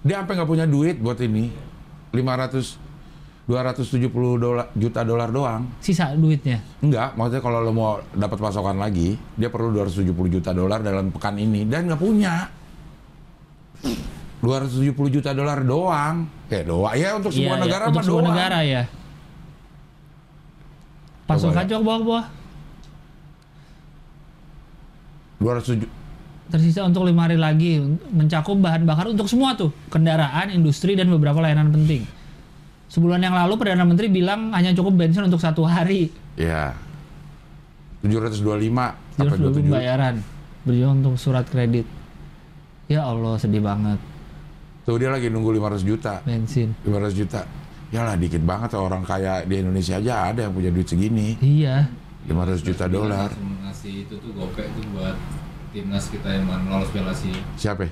Speaker 1: Dia sampai nggak punya duit buat ini. 500 270 dolar, juta dolar doang.
Speaker 2: Sisa duitnya.
Speaker 1: Enggak, maksudnya kalau lo mau dapat pasokan lagi, dia perlu 270 juta dolar dalam pekan ini dan nggak punya. 270 juta dolar doang. Ya doang. Ya untuk semua
Speaker 2: Iya, iya.
Speaker 1: negara
Speaker 2: Untuk
Speaker 1: mah
Speaker 2: semua
Speaker 1: doang.
Speaker 2: negara ya. Pasokan
Speaker 1: ya.
Speaker 2: coba bawah-bawah.
Speaker 1: 200 ju-
Speaker 2: Tersisa untuk lima hari lagi mencakup bahan bakar untuk semua tuh kendaraan, industri dan beberapa layanan penting. Sebulan yang lalu perdana menteri bilang hanya cukup bensin untuk satu hari.
Speaker 1: ya. 725 sampai 27.
Speaker 2: 27 bayaran berjuang untuk surat kredit. Ya Allah sedih banget
Speaker 1: Tuh dia lagi nunggu 500 juta.
Speaker 2: bensin.
Speaker 1: 500 juta. Yalah dikit banget orang kaya di Indonesia aja ada yang punya duit segini.
Speaker 2: Iya.
Speaker 1: 500 juta
Speaker 4: Dia
Speaker 1: dolar.
Speaker 4: langsung ngasih itu tuh gopek tuh buat timnas kita yang mana lolos Piala Asia
Speaker 1: Siapa? ya?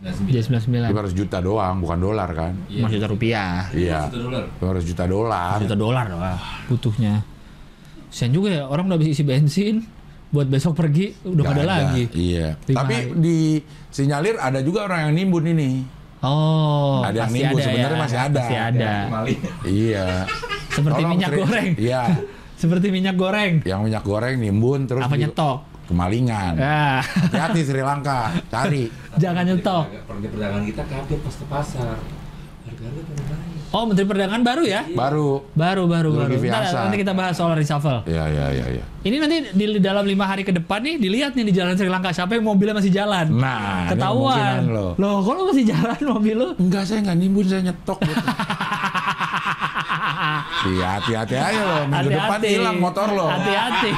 Speaker 2: Nah. Dia
Speaker 4: 99.
Speaker 2: 99.
Speaker 1: 500 juta doang, bukan dolar kan?
Speaker 4: Iya.
Speaker 2: Mas juta rupiah.
Speaker 1: Iya.
Speaker 4: 100 dolar.
Speaker 1: 500 juta dolar.
Speaker 2: Juta dolar lah Ah, butuhnya. Sian juga ya orang udah habis isi bensin buat besok pergi udah
Speaker 1: Nggak
Speaker 2: gak ada, lagi.
Speaker 1: Iya.
Speaker 2: Lima
Speaker 1: Tapi
Speaker 2: hari.
Speaker 1: di sinyalir ada juga orang yang nimbun ini.
Speaker 2: Oh,
Speaker 1: Ada yang
Speaker 2: pasti
Speaker 1: nimbun,
Speaker 2: ya.
Speaker 1: sebenarnya masih ada.
Speaker 2: Pasti ada.
Speaker 4: Mali.
Speaker 1: Iya.
Speaker 2: Seperti
Speaker 1: Tolong,
Speaker 2: minyak
Speaker 1: Tri.
Speaker 2: goreng.
Speaker 1: Iya.
Speaker 2: Seperti minyak goreng.
Speaker 1: Yang minyak goreng nimbun terus
Speaker 2: Apa
Speaker 1: di-
Speaker 2: nyetok?
Speaker 1: kemalingan.
Speaker 2: Ah,
Speaker 1: Hati Sri Lanka, cari.
Speaker 2: *laughs* jangan nyetok.
Speaker 4: Pergi perdagangan kita kaget pas ke pasar. Harganya pada naik.
Speaker 2: Oh, Menteri Perdagangan baru ya?
Speaker 1: Iya. Baru.
Speaker 2: Baru, baru, baru.
Speaker 1: Zulkifli
Speaker 2: Ntar,
Speaker 1: Hasan.
Speaker 2: nanti kita bahas soal reshuffle.
Speaker 1: Iya, iya, iya, iya.
Speaker 2: Ini nanti di dalam lima hari ke depan nih dilihat nih di jalan Sri Lanka siapa yang mobilnya masih jalan.
Speaker 1: Nah, ini kemungkinan
Speaker 2: Ketahuan.
Speaker 1: lo.
Speaker 2: Loh, kok lu masih jalan mobil lu?
Speaker 1: Enggak, saya nggak nimbun, saya nyetok.
Speaker 2: *laughs*
Speaker 1: gitu. Iya, hati-hati aja lo. Minggu depan hilang motor lo. *laughs*
Speaker 2: Hati-hati.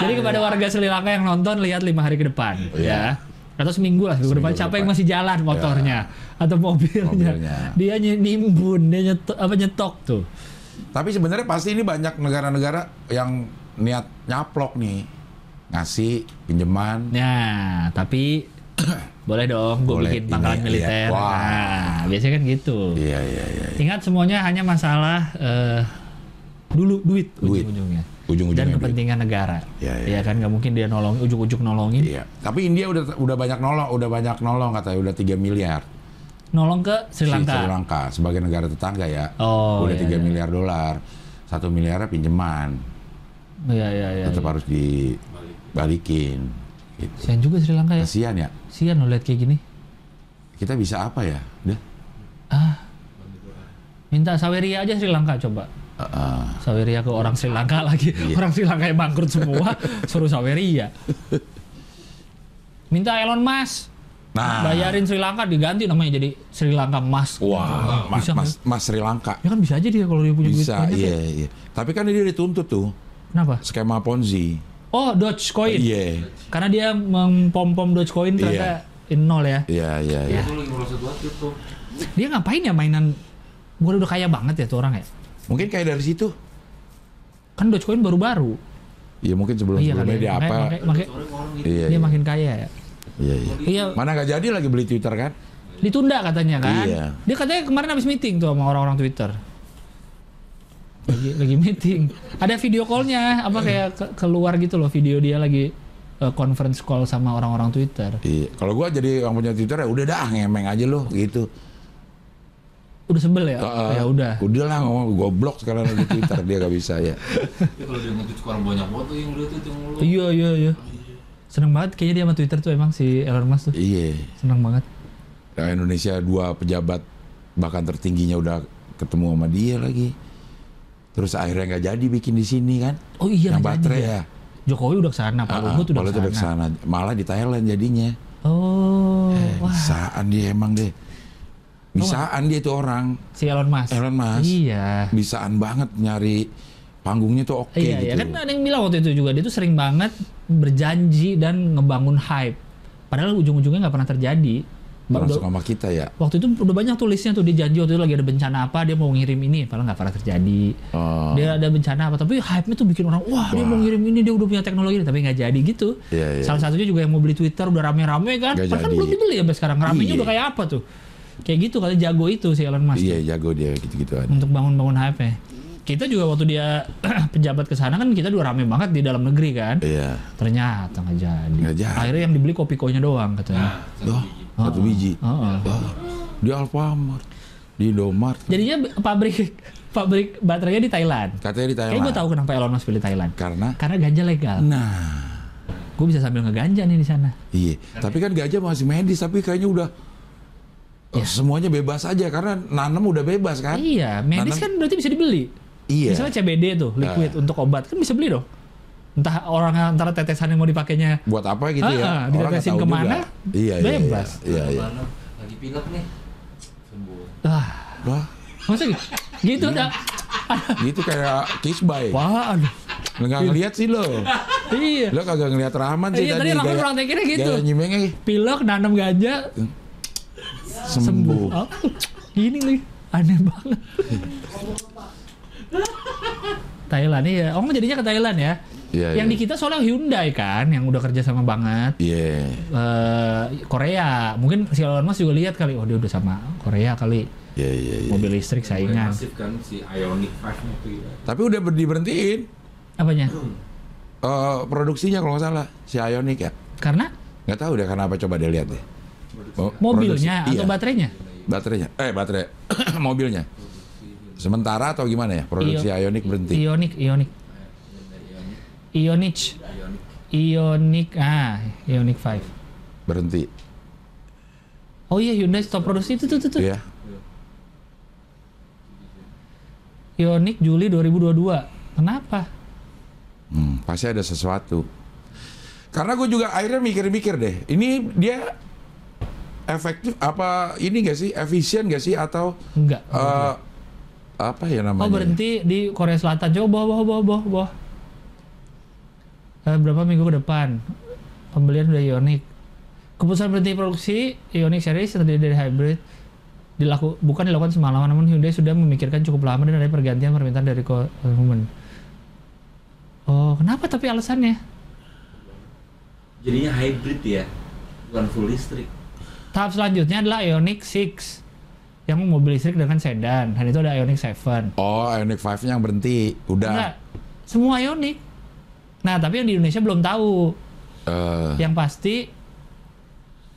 Speaker 2: Jadi kepada warga Sri Lanka yang nonton lihat lima hari ke depan
Speaker 1: Iya.
Speaker 2: ya. Atau seminggu lah
Speaker 1: Seminggu
Speaker 2: seminggu depan
Speaker 1: ke
Speaker 2: siapa
Speaker 1: depan. Iya.
Speaker 2: yang masih jalan motornya atau mobilnya.
Speaker 1: Mobilnya.
Speaker 2: Dia ny- nimbun, dia nyetok, apa nyetok tuh.
Speaker 1: Tapi sebenarnya pasti ini banyak negara-negara yang niat nyaplok nih. Ngasih pinjaman.
Speaker 2: Nah,
Speaker 1: *coughs*
Speaker 2: tapi boleh dong gue
Speaker 1: Boleh,
Speaker 2: bikin pangkalan
Speaker 1: ini, iya.
Speaker 2: militer.
Speaker 1: Wah.
Speaker 2: Nah, biasanya kan gitu.
Speaker 1: Iya, iya, iya.
Speaker 2: Ingat semuanya hanya masalah eh, dulu duit,
Speaker 1: Duit.
Speaker 2: ujung-ujungnya.
Speaker 1: Ujung-ujungnya
Speaker 2: Dan
Speaker 1: duit.
Speaker 2: kepentingan negara.
Speaker 1: Iya, iya.
Speaker 2: kan nggak mungkin dia nolongin ujuk-ujuk nolongin.
Speaker 1: Iya. Tapi India udah udah banyak nolong, udah banyak nolong katanya udah 3 miliar.
Speaker 2: Nolong ke
Speaker 1: Si
Speaker 2: Sri Lanka.
Speaker 1: Sri Lanka sebagai negara tetangga ya.
Speaker 2: Oh,
Speaker 1: udah 3
Speaker 2: iya, iya.
Speaker 1: miliar dolar. Satu miliarnya pinjaman.
Speaker 2: Iya, iya, iya.
Speaker 1: Tetap harus dibalikin. Gitu.
Speaker 2: Sian juga Sri Lanka ya.
Speaker 1: Kasihan ya.
Speaker 2: Sian lo lihat kayak gini.
Speaker 1: Kita bisa apa ya? Udah.
Speaker 2: Ah. Minta Saweria aja Sri Lanka coba.
Speaker 1: Eh, eh.
Speaker 2: Saweria ke orang Sri Lanka lagi.
Speaker 1: Iya.
Speaker 2: Orang Sri Lanka yang bangkrut
Speaker 1: *laughs*
Speaker 2: semua, suruh Saweria. Minta Elon Musk.
Speaker 1: Nah.
Speaker 2: Bayarin Sri Lanka diganti namanya jadi Sri Lanka Mas.
Speaker 1: Wah, mas,
Speaker 2: Bisa nggak?
Speaker 1: mas, mas Sri Lanka.
Speaker 2: Ya kan bisa aja dia kalau dia punya duit
Speaker 1: Bisa,
Speaker 2: banyak. ya.
Speaker 1: iya, iya. Tapi kan dia dituntut tuh
Speaker 2: Kenapa?
Speaker 1: skema Ponzi.
Speaker 2: Oh, Dogecoin.
Speaker 1: Iya,
Speaker 2: Karena dia mempom-pom Dogecoin ternyata in nol ya.
Speaker 1: iya, iya, iya.
Speaker 4: Aku lagi merosot banget gitu.
Speaker 2: Dia ngapain ya mainan Gue udah kaya banget ya tuh orang ya.
Speaker 1: Mungkin kayak dari situ.
Speaker 2: Kan Dogecoin baru-baru.
Speaker 1: Iya, mungkin sebelum
Speaker 2: Iya
Speaker 1: sebelumnya
Speaker 2: kali.
Speaker 1: dia
Speaker 2: Makanya-
Speaker 1: apa?
Speaker 2: makanya- makanya-
Speaker 4: Sore orang gitu.
Speaker 1: Iya, iya,
Speaker 2: dia makin kaya ya.
Speaker 1: iya, iya.
Speaker 2: Iya,
Speaker 1: Mana nggak jadi lagi beli Twitter kan?
Speaker 2: ditunda katanya kan.
Speaker 1: Iya.
Speaker 2: Dia katanya kemarin habis meeting tuh sama orang-orang Twitter. Lagi lagi meeting. Ada video call-nya, apa kayak ke- keluar gitu loh video dia lagi eh, conference call sama orang-orang Twitter.
Speaker 1: Iya. Kalau gua jadi yang punya Twitter ya udah dah ngemeng aja lo gitu.
Speaker 2: Udah sebel ya?
Speaker 1: Heeh.
Speaker 2: ya udah.
Speaker 1: Udah lah ngomong goblok sekarang lagi Twitter dia nggak bisa ya.
Speaker 4: Tapi kalau dia nge-tweet ke orang banyak banget tuh yang udah tuh yang lu.
Speaker 2: Iya, iya, iya. Seneng banget kayaknya dia sama Twitter tuh emang si Elon Musk tuh.
Speaker 1: Iya.
Speaker 2: Seneng banget.
Speaker 1: Nah, Indonesia dua pejabat bahkan tertingginya udah ketemu sama dia lagi. Terus akhirnya nggak jadi bikin di sini kan?
Speaker 2: Oh iya,
Speaker 1: yang
Speaker 2: nggak jadi
Speaker 1: baterai
Speaker 2: dia.
Speaker 1: ya.
Speaker 2: Jokowi udah kesana, Pak Luhut udah
Speaker 1: Kalau itu udah
Speaker 2: kesana.
Speaker 1: kesana. Malah di Thailand jadinya.
Speaker 2: Oh,
Speaker 1: Eh,
Speaker 2: wah.
Speaker 1: Bisaan dia emang deh. Bisaan dia itu orang.
Speaker 2: Si Elon Musk.
Speaker 1: Elon Musk.
Speaker 2: Iya.
Speaker 1: Bisaan banget nyari panggungnya tuh oke
Speaker 2: iya,
Speaker 1: gitu.
Speaker 2: iya. Kan ada yang bilang waktu itu juga dia tuh sering banget berjanji dan ngebangun hype. Padahal ujung-ujungnya nggak pernah terjadi.
Speaker 1: Termasuk
Speaker 2: Udah-
Speaker 1: sama kita ya.
Speaker 2: waktu itu udah banyak tuh listnya tuh dia janji waktu itu lagi ada bencana apa dia mau ngirim ini padahal nggak pernah terjadi
Speaker 1: Oh,
Speaker 2: dia ada bencana apa tapi hype-nya tuh bikin orang wah, dia
Speaker 1: Wah.
Speaker 2: mau ngirim ini dia udah punya teknologi tapi nggak jadi gitu
Speaker 1: Iya, iya.
Speaker 2: salah satunya juga yang mau beli Twitter udah rame-rame kan
Speaker 1: Nggak
Speaker 2: padahal kan
Speaker 1: jadi.
Speaker 2: belum dibeli ya sampai sekarang ramenya
Speaker 1: Iya.
Speaker 2: udah kayak apa tuh kayak gitu kali jago itu si Elon Musk
Speaker 1: iya jago dia gitu-gitu aja.
Speaker 2: untuk bangun-bangun hype -nya. kita juga waktu dia *clears throat* pejabat ke sana kan kita udah rame banget di dalam negeri kan
Speaker 1: Iya.
Speaker 2: ternyata nggak jadi.
Speaker 1: Nggak jadi.
Speaker 2: akhirnya yang dibeli kopikonya doang
Speaker 3: Nah,
Speaker 2: katanya
Speaker 3: satu
Speaker 1: Loh,
Speaker 3: biji.
Speaker 1: satu
Speaker 2: Oh,
Speaker 1: biji.
Speaker 2: Heeh.
Speaker 1: Wah, di Alfamart, di Indomart.
Speaker 2: jadinya b- pabrik *laughs* pabrik baterainya di Thailand
Speaker 1: Katanya di Thailand.
Speaker 2: Kayaknya gue tahu kenapa Elon Musk pilih Thailand.
Speaker 1: Karena
Speaker 2: Karena ganja legal.
Speaker 1: nah,
Speaker 2: Gue bisa sambil ngeganja nih di sana.
Speaker 1: iya. Tapi kan gajah masih medis tapi kayaknya udah eh, semuanya bebas aja karena nanam udah bebas kan?
Speaker 2: Iya,
Speaker 1: Nanam-
Speaker 2: medis kan berarti bisa dibeli.
Speaker 1: Iya.
Speaker 2: Misalnya CBD tuh, liquid untuk obat, kan bisa beli dong. Entah orang antara tetesan yang mau dipakainya.
Speaker 1: Buat apa gitu ya?
Speaker 2: Ah, ah,
Speaker 1: Orang nggak
Speaker 2: ditetesin
Speaker 1: tahu
Speaker 2: kemana,
Speaker 1: juga. Iya, iya,
Speaker 2: bebas.
Speaker 1: Iya, iya.
Speaker 4: Mana? Lagi pilek nih. Sembuh.
Speaker 2: Ah,
Speaker 1: Wah,
Speaker 2: maksudnya gitu? gitu
Speaker 1: Iya.
Speaker 2: dah.
Speaker 1: gitu kayak kisbay.
Speaker 2: Wah, aduh.
Speaker 1: Nggak ngeliat sih lo.
Speaker 2: Iya.
Speaker 1: Lo kagak ngeliat Rahman kan sih
Speaker 2: Iya, tadi
Speaker 1: tadi.
Speaker 2: Rahman
Speaker 1: gaya-
Speaker 2: kurang tekinnya gitu.
Speaker 1: Gaya nyimengnya
Speaker 2: Pilok, nanam ganja,
Speaker 1: sembuh.
Speaker 2: sembuh. Oh, gini nih, aneh banget. Thailand iya, orang jadinya ke Thailand ya.
Speaker 1: Iya,
Speaker 2: yang
Speaker 1: iya.
Speaker 2: di kita soalnya Hyundai kan, yang udah kerja sama banget.
Speaker 1: Iya.
Speaker 2: Eh, Korea, mungkin si Elon Musk juga lihat kali, oh dia udah sama Korea kali,
Speaker 1: Iya, iya, iya.
Speaker 2: mobil listrik
Speaker 4: Mulai
Speaker 2: saingan.
Speaker 4: Masif kan si Ionic 5 itu ya.
Speaker 1: Tapi udah ber- diberhentiin
Speaker 2: Apanya?
Speaker 1: eh, produksinya kalau nggak salah si Ioniq ya.
Speaker 2: Karena
Speaker 1: Nggak tahu deh kenapa coba deh lihat deh. Mo-
Speaker 2: mobilnya
Speaker 1: produksi-
Speaker 2: atau
Speaker 1: iya,
Speaker 2: baterainya?
Speaker 1: baterainya? Eh baterai *clears throat* mobilnya. Sementara atau gimana ya produksi
Speaker 2: Iya.
Speaker 1: Ioniq berhenti.
Speaker 2: Ionic, Ionic, Ionic,
Speaker 4: Ionic.
Speaker 2: Ionic, ah, Ionic 5.
Speaker 1: Berhenti.
Speaker 2: Oh iya Hyundai stop produksi itu tuh tuh. tuh.
Speaker 1: Iya.
Speaker 2: Ionic Juli 2022. Kenapa?
Speaker 1: Hmm, pasti ada sesuatu. Karena gue juga akhirnya mikir-mikir deh. Ini dia efektif apa ini gak sih efisien gak sih atau
Speaker 2: Enggak.
Speaker 1: eh, apa ya namanya?
Speaker 2: Oh
Speaker 1: ya?
Speaker 2: berhenti di Korea Selatan. Coba bawah bawah bawah bawah. bawah. Eh, berapa minggu ke depan pembelian udah Ioniq. Keputusan berhenti produksi Ioniq series terdiri dari hybrid dilaku bukan dilakukan semalaman namun Hyundai sudah memikirkan cukup lama dan ada pergantian permintaan dari ko- konsumen. Oh, kenapa tapi alasannya?
Speaker 4: Jadinya hybrid ya. Bukan full listrik.
Speaker 2: Tahap selanjutnya adalah Ioniq 6 yang mobil listrik dengan sedan. Dan itu ada Ioniq 7.
Speaker 1: Oh, Ioniq 5-nya yang berhenti.
Speaker 2: Enggak.
Speaker 1: Udah.
Speaker 2: Semua Ioniq. Nah, tapi yang di Indonesia belum tahu.
Speaker 1: Eh,
Speaker 2: Yang pasti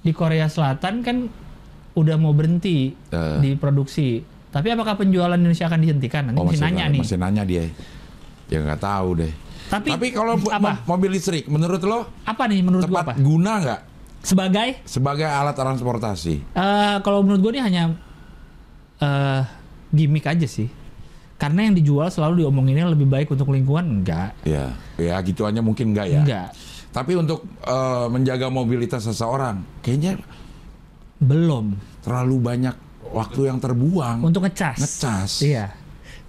Speaker 2: di Korea Selatan kan udah mau berhenti
Speaker 1: Eh.
Speaker 2: di produksi. Tapi apakah penjualan Indonesia akan dihentikan? Nanti
Speaker 1: oh,
Speaker 2: masih nanya nih.
Speaker 1: masih nanya dia. Ya nggak tahu deh.
Speaker 2: Tapi,
Speaker 1: Tapi kalau bu-
Speaker 2: apa?
Speaker 1: mo- mobil listrik, menurut lo
Speaker 2: Apa nih menurut gua
Speaker 1: tepat
Speaker 2: apa?
Speaker 1: guna nggak
Speaker 2: Sebagai
Speaker 1: sebagai alat transportasi?
Speaker 2: Eh, kalau menurut gue ini hanya eh gimmick aja sih. Karena yang dijual selalu diomonginnya lebih baik untuk lingkungan enggak.
Speaker 1: Ya, ya gitu aja mungkin nggak ya.
Speaker 2: Enggak.
Speaker 1: Tapi untuk eh, menjaga mobilitas seseorang, kayaknya
Speaker 2: Belum.
Speaker 1: terlalu banyak waktu yang terbuang.
Speaker 2: Untuk ngecas.
Speaker 1: Ngecas.
Speaker 2: Iya.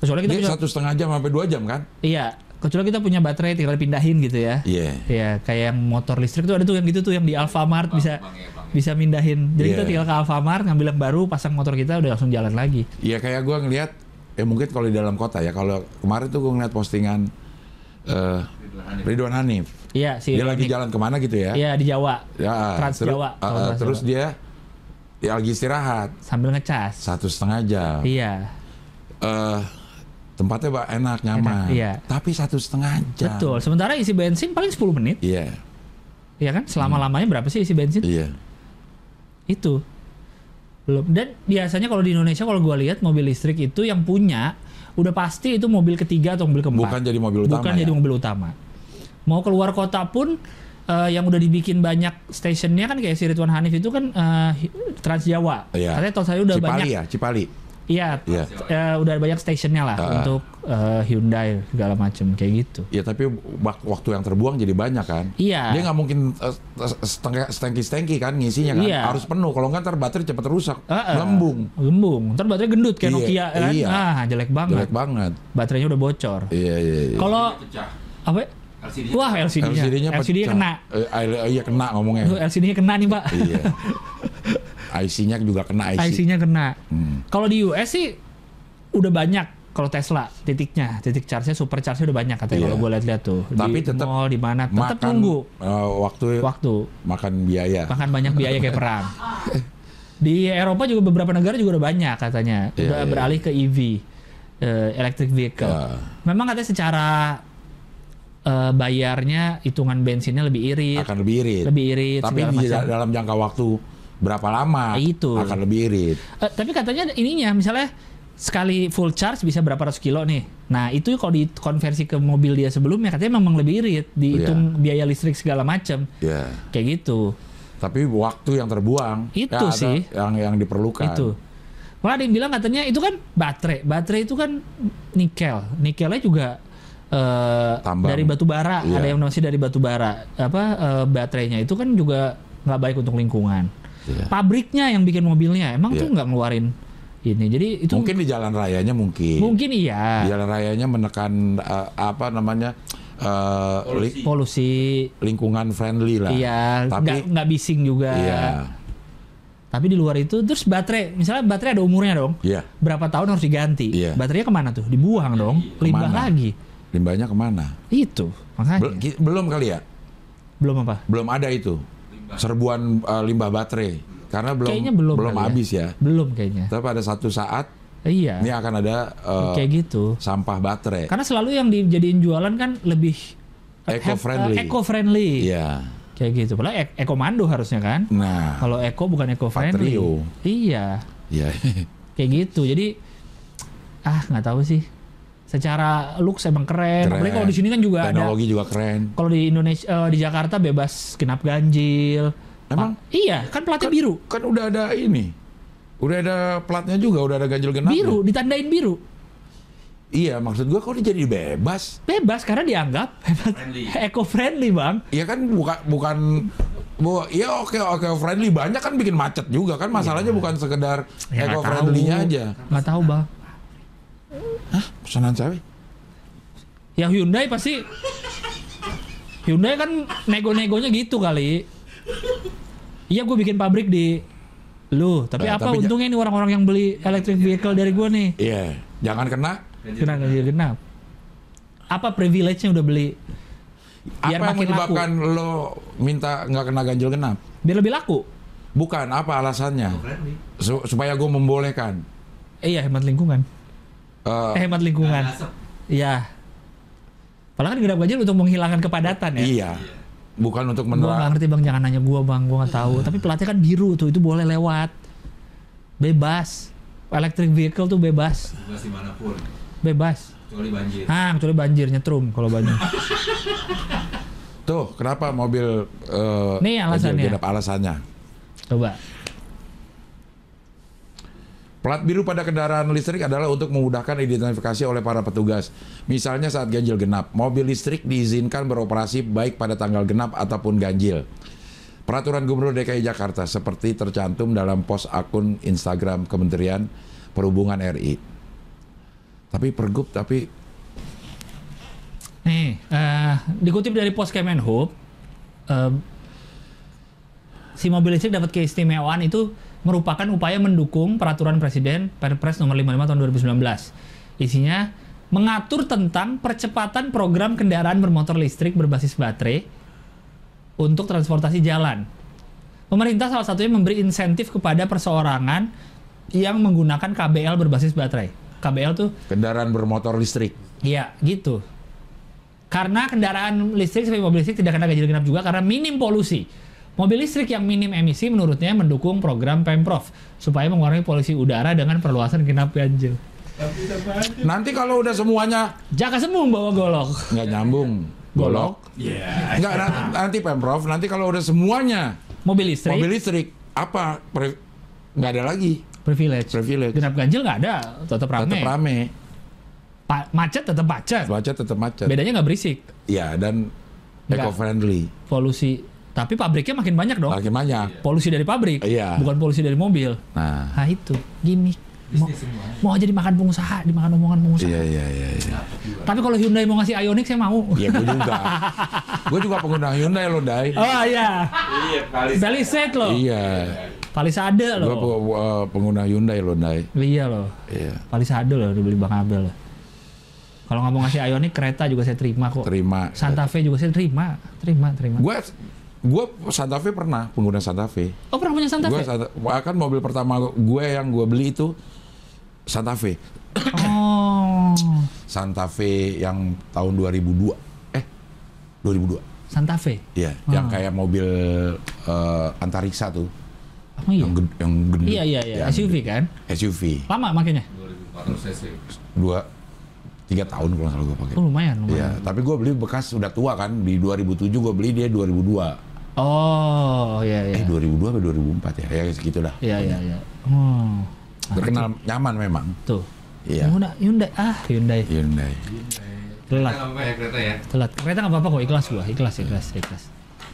Speaker 2: Kecuali kita
Speaker 1: Dia
Speaker 2: punya,
Speaker 1: satu setengah jam sampai dua jam kan?
Speaker 2: iya, kecuali kita punya baterai tinggal pindahin gitu ya.
Speaker 1: Iya.
Speaker 2: Iya, kayak yang motor listrik tuh ada tuh yang gitu tuh yang di Alfamart bisa
Speaker 4: Bang ya, Bang.
Speaker 2: bisa mindahin. Jadi
Speaker 1: Iya.
Speaker 2: kita tinggal ke Alfamart ngambil yang baru, pasang motor kita udah langsung jalan lagi.
Speaker 1: Iya kayak gua ngelihat ya mungkin kalau di dalam kota ya kalau kemarin tuh gua ngeliat postingan eh Ridwan Hanif.
Speaker 2: Iya, si
Speaker 1: Dia lagi
Speaker 2: Ioniq.
Speaker 1: jalan kemana gitu ya?
Speaker 2: Iya, di Jawa.
Speaker 1: Ya,
Speaker 2: Trans
Speaker 1: teru- eh,
Speaker 2: Jawa, kalau
Speaker 1: eh,
Speaker 2: Trans
Speaker 1: terus
Speaker 2: Jawa.
Speaker 1: dia dia lagi istirahat
Speaker 2: Sambil ngecas.
Speaker 1: satu setengah jam.
Speaker 2: Iya.
Speaker 1: Eh, tempatnya Pak, enak nyaman.
Speaker 2: Enak, iya.
Speaker 1: Tapi satu setengah jam.
Speaker 2: Betul. Sementara isi bensin paling 10 menit,
Speaker 1: Iya,
Speaker 2: ya kan? Selama-lamanya berapa sih isi bensin?
Speaker 1: iya.
Speaker 2: Itu. Belum. Dan biasanya kalau di Indonesia kalau gua lihat mobil listrik itu yang punya udah pasti itu mobil ketiga atau mobil keempat.
Speaker 1: Bukan jadi mobil utama.
Speaker 2: Bukan jadi
Speaker 1: ya?
Speaker 2: mobil utama. Mau keluar kota pun eh, yang udah dibikin banyak stationnya kan kayak si Ridwan Hanif itu kan eh, Trans Jawa.
Speaker 1: Iya.
Speaker 2: Katanya tahun saya udah
Speaker 1: Cipali
Speaker 2: banyak.
Speaker 1: ya, Cipali.
Speaker 2: Iya.
Speaker 1: Iya.
Speaker 2: eh, udah banyak stationnya lah
Speaker 1: Ah.
Speaker 2: untuk eh, Hyundai segala macem kayak gitu.
Speaker 1: Ya tapi bak- waktu yang terbuang jadi banyak kan.
Speaker 2: Iya.
Speaker 1: Dia nggak mungkin eh, setengah stengki-stengki kan ngisinya kan.
Speaker 2: Iya.
Speaker 1: Harus penuh. Kalau nggak ntar baterai cepet rusak.
Speaker 2: Heeh.
Speaker 1: Lembung.
Speaker 2: Lembung. Ntar baterainya gendut kayak
Speaker 1: Iya,
Speaker 2: Nokia kan.
Speaker 1: iya.
Speaker 2: Ah, jelek banget.
Speaker 1: Jelek banget.
Speaker 2: Baterainya udah bocor.
Speaker 1: Iya iya. iya.
Speaker 2: Kalau
Speaker 4: Dia pecah.
Speaker 2: apa? ya?
Speaker 4: LCD
Speaker 2: Wah, LCD-nya. LCD-nya,
Speaker 1: pecah.
Speaker 2: kena.
Speaker 1: Eh, I- iya kena ngomongnya.
Speaker 2: Tuh, LCD-nya kena nih, Pak.
Speaker 1: iya. IC-nya juga kena IC.
Speaker 2: IC-nya kena.
Speaker 1: Hmm.
Speaker 2: Kalau di US sih udah banyak kalau Tesla titiknya, titik charge-nya super charge-nya udah banyak katanya
Speaker 1: Iya.
Speaker 2: kalau gue lihat-lihat tuh.
Speaker 1: Tapi
Speaker 2: di
Speaker 1: tetap
Speaker 2: mall di mana tetap
Speaker 1: Makan Iya.
Speaker 2: nunggu
Speaker 1: eh, waktu,
Speaker 2: waktu.
Speaker 1: makan biaya.
Speaker 2: Makan banyak biaya kayak
Speaker 1: *laughs*
Speaker 2: perang. Di Eropa juga beberapa negara juga udah banyak katanya
Speaker 1: Iya,
Speaker 2: udah
Speaker 1: iya.
Speaker 2: beralih ke EV, eh, electric vehicle.
Speaker 1: Ya.
Speaker 2: Memang katanya secara eh, bayarnya hitungan bensinnya lebih irit,
Speaker 1: akan lebih irit.
Speaker 2: lebih irit
Speaker 1: Tapi
Speaker 2: segala
Speaker 1: di
Speaker 2: macam.
Speaker 1: da- dalam jangka waktu berapa lama
Speaker 2: Nah, itu.
Speaker 1: akan lebih irit.
Speaker 2: Eh, tapi katanya ininya misalnya sekali full charge bisa berapa ratus kilo nih. Nah itu kalau dikonversi ke mobil dia sebelumnya katanya memang lebih irit,
Speaker 1: Iya.
Speaker 2: dihitung biaya listrik segala macam
Speaker 1: Ya.
Speaker 2: kayak gitu.
Speaker 1: Tapi waktu yang terbuang
Speaker 2: Itu
Speaker 1: ya, ada
Speaker 2: sih.
Speaker 1: yang yang diperlukan.
Speaker 2: Itu. Malah ada yang bilang katanya itu kan baterai, baterai itu kan nikel, nikelnya juga eh,
Speaker 1: Tambang.
Speaker 2: dari batu bara.
Speaker 1: Iya.
Speaker 2: Ada yang masih dari batu bara. Apa eh, baterainya itu kan juga nggak baik untuk lingkungan.
Speaker 1: Iya.
Speaker 2: Pabriknya yang bikin mobilnya emang
Speaker 1: Iya.
Speaker 2: tuh nggak ngeluarin ini. Jadi itu
Speaker 1: Mungkin di jalan rayanya mungkin.
Speaker 2: mungkin
Speaker 1: Di
Speaker 2: iya.
Speaker 1: jalan rayanya menekan eh, apa namanya? eh, li-
Speaker 4: Polusi.
Speaker 2: polusi
Speaker 1: lingkungan friendly lah.
Speaker 2: iya
Speaker 1: Nah, Tapi
Speaker 2: nggak nggak bising juga
Speaker 1: iya.
Speaker 2: tapi di luar itu terus baterai misalnya baterai ada umurnya dong
Speaker 1: Iya.
Speaker 2: berapa tahun harus diganti
Speaker 1: Iya.
Speaker 2: baterainya kemana tuh dibuang dong limbah
Speaker 1: Kemana?
Speaker 2: lagi
Speaker 1: Limbahnya kemana?
Speaker 2: itu makanya
Speaker 1: Bel- ki- belum kali ya?
Speaker 2: belum apa
Speaker 1: Belum ada itu. Serbuan eh, limbah baterai. Karena belum
Speaker 2: Kayaknya belum kali ya.
Speaker 1: habis ya.
Speaker 2: belum kayaknya
Speaker 1: Tapi pada satu saat
Speaker 2: iya
Speaker 1: ini akan ada Ya, eh,
Speaker 2: kayak gitu
Speaker 1: sampah baterai.
Speaker 2: karena selalu yang dijadiin jualan kan lebih eh,
Speaker 1: Eco-friendly.
Speaker 2: eco friendly
Speaker 1: Iya.
Speaker 2: kayak gitu padahal e- eco mando harusnya kan
Speaker 1: Nah,
Speaker 2: kalau eco bukan eco friendly
Speaker 1: Patrio.
Speaker 2: iya
Speaker 1: ya.
Speaker 2: kayak gitu jadi ah nggak tahu sih secara looks emang keren,
Speaker 1: Keren.
Speaker 2: apalagi kalau di sini kan juga
Speaker 1: Teknologi juga keren.
Speaker 2: ada kalau di Indonesia eh, di Jakarta bebas genap ganjil
Speaker 1: Emang?
Speaker 2: Pa- iya kan platnya biru
Speaker 1: Kan udah ada ini. Udah ada platnya juga, udah ada ganjil genap. ya?
Speaker 2: biru ditandain biru
Speaker 1: Iya, maksud gua kok dia jadi bebas?
Speaker 2: bebas karena dianggap
Speaker 4: Friendly.
Speaker 2: eco friendly bang
Speaker 1: Iya kan bukan bukan bu, iya oke oke friendly banyak kan bikin macet juga kan masalahnya bukan sekedar
Speaker 2: Iya. Ya, nggak
Speaker 1: eco friendly-nya
Speaker 2: tahu.
Speaker 1: aja.
Speaker 2: nggak tahu bang
Speaker 1: Pesanan saya.
Speaker 2: ya Hyundai pasti Hyundai kan nego-negonya gitu kali iya gue bikin pabrik di lu tapi
Speaker 1: Nah,
Speaker 2: apa
Speaker 1: tapi ja-
Speaker 2: untungnya nih orang-orang yang beli electric vehicle dari gue nih
Speaker 1: Iya, jangan kena
Speaker 2: genap ganjil genap Iya, apa privilege-nya udah beli biar
Speaker 1: apa yang
Speaker 2: makin laku
Speaker 1: menyebabkan lo minta nggak kena ganjil genap?
Speaker 2: biar lebih laku
Speaker 1: Bukan apa alasannya? Su- supaya gue membolehkan.
Speaker 2: eh, iya hemat lingkungan
Speaker 1: Eh,
Speaker 2: eh, hemat lingkungan iya padahal kan genap ganjil untuk menghilangkan kepadatan ya
Speaker 1: Iya. Bukan untuk
Speaker 2: Gue gak
Speaker 1: menerang.
Speaker 2: ngerti bang, jangan nanya gue bang, gue gak tahu. Tapi pelatnya kan biru tuh, itu boleh lewat, bebas. Electric vehicle tuh bebas,
Speaker 4: Bebas dimanapun.
Speaker 2: bebas.
Speaker 4: Kecuali banjir.
Speaker 2: Ah, kecuali banjir nyetrum kalau banjir.
Speaker 1: Tuh, kenapa mobil eh,
Speaker 2: Nih alasannya.
Speaker 1: ganjil genap alasannya.
Speaker 2: Coba.
Speaker 1: Plat biru pada kendaraan listrik adalah untuk memudahkan identifikasi oleh para petugas. Misalnya saat ganjil genap, mobil listrik diizinkan beroperasi baik pada tanggal genap ataupun ganjil. Peraturan Gubernur DKI Jakarta seperti tercantum dalam pos akun Instagram Kementerian Perhubungan RI. Tapi pergub tapi
Speaker 2: Nih, eh, dikutip dari pos Kemenhub, eh, si mobil listrik dapat keistimewaan itu merupakan upaya mendukung peraturan Presiden Perpres nomor 55 tahun 2019. Isinya mengatur tentang percepatan program kendaraan bermotor listrik berbasis baterai untuk transportasi jalan. Pemerintah salah satunya memberi insentif kepada perseorangan yang menggunakan KBL berbasis baterai. KBL tuh
Speaker 1: kendaraan bermotor listrik.
Speaker 2: Iya, gitu. Karena kendaraan listrik seperti mobil listrik tidak kena ganjil genap juga karena minim polusi. Mobil listrik yang minim emisi menurutnya mendukung program Pemprov supaya mengurangi polusi udara dengan perluasan genap ganjil.
Speaker 1: Nanti kalau udah semuanya
Speaker 2: Jaka Sembung bawa golok.
Speaker 1: nggak nyambung, golok.
Speaker 3: Iya.
Speaker 1: Nggak nanti, nanti pemprov. Nanti kalau udah semuanya
Speaker 2: Mobil listrik,
Speaker 1: mobil listrik apa pre- nggak ada lagi
Speaker 2: privilege.
Speaker 1: privilege
Speaker 2: Genap ganjil nggak ada, tetap
Speaker 1: tetap
Speaker 2: rame.
Speaker 1: rame
Speaker 2: Pa- macet tetap macet.
Speaker 1: Macet tetap macet.
Speaker 2: Bedanya nggak berisik.
Speaker 1: Ya dan eco
Speaker 2: Nggak. Oh.
Speaker 1: friendly.
Speaker 2: Polusi. Tapi pabriknya makin banyak dong.
Speaker 1: Makin banyak.
Speaker 2: Polusi dari pabrik,
Speaker 1: Iya.
Speaker 2: bukan polusi dari mobil.
Speaker 1: Nah,
Speaker 2: Nah itu gimmick. Mau,
Speaker 4: Bisnis semua.
Speaker 2: mau aja dimakan pengusaha, dimakan omongan pengusaha.
Speaker 1: iya iya iya. iya.
Speaker 2: Tapi kalau Hyundai mau ngasih Ioniq saya mau.
Speaker 1: Ya gue
Speaker 2: *laughs*
Speaker 1: juga. gue juga pengguna Hyundai loh, Dai.
Speaker 2: Oh iya.
Speaker 4: Iya, kali.
Speaker 2: Palisade loh.
Speaker 1: Iya.
Speaker 2: Palisade
Speaker 1: Gue
Speaker 2: loh.
Speaker 1: eh, pengguna Hyundai loh, Dai.
Speaker 2: Iya loh.
Speaker 1: Iya.
Speaker 2: Palisade loh dibeli Bang Abel. loh. Kalau nggak mau ngasih Ioniq kereta juga saya terima kok.
Speaker 1: Terima.
Speaker 2: Oh. Santa Fe juga saya terima, terima, terima.
Speaker 1: Gue gue Santa Fe pernah pengguna Santa Fe.
Speaker 2: oh pernah punya Santa
Speaker 1: Gue
Speaker 2: Fe?
Speaker 1: kan mobil pertama gue yang gue beli itu Santa Fe.
Speaker 2: Oh,
Speaker 1: Santa Fe yang tahun 2002. Eh, 2002.
Speaker 2: Santa Fe.
Speaker 1: Iya,
Speaker 2: Hmm.
Speaker 1: yang kayak mobil eh, antariksa tuh,
Speaker 2: Oh iya.
Speaker 1: yang gede, yang gede.
Speaker 2: Iya iya iya,
Speaker 1: Yang
Speaker 2: SUV kan?
Speaker 1: gede. SUV.
Speaker 2: Lama makanya?
Speaker 4: 2400 cc.
Speaker 1: Dua tiga tahun kalau nggak salah gue pakai.
Speaker 2: Oh lumayan,
Speaker 1: Iya,
Speaker 2: lumayan.
Speaker 1: tapi gue beli bekas udah tua kan di 2007 gue beli dia 2002.
Speaker 2: Oh iya iya.
Speaker 1: Eh 2002 apa 2004 ya? Ya segitu dah.
Speaker 2: Iya iya iya. Hmm. Ah,
Speaker 1: Terkenal nyaman memang.
Speaker 2: Tuh.
Speaker 1: Iya.
Speaker 2: Hyundai, Hyundai, ah Hyundai.
Speaker 1: Hyundai.
Speaker 4: Kita
Speaker 2: Telat,
Speaker 4: nggak apa-apa ya kereta ya.
Speaker 2: telat. Kereta nggak apa-apa kok, ikhlas gua, ikhlas, ikhlas, ikhlas.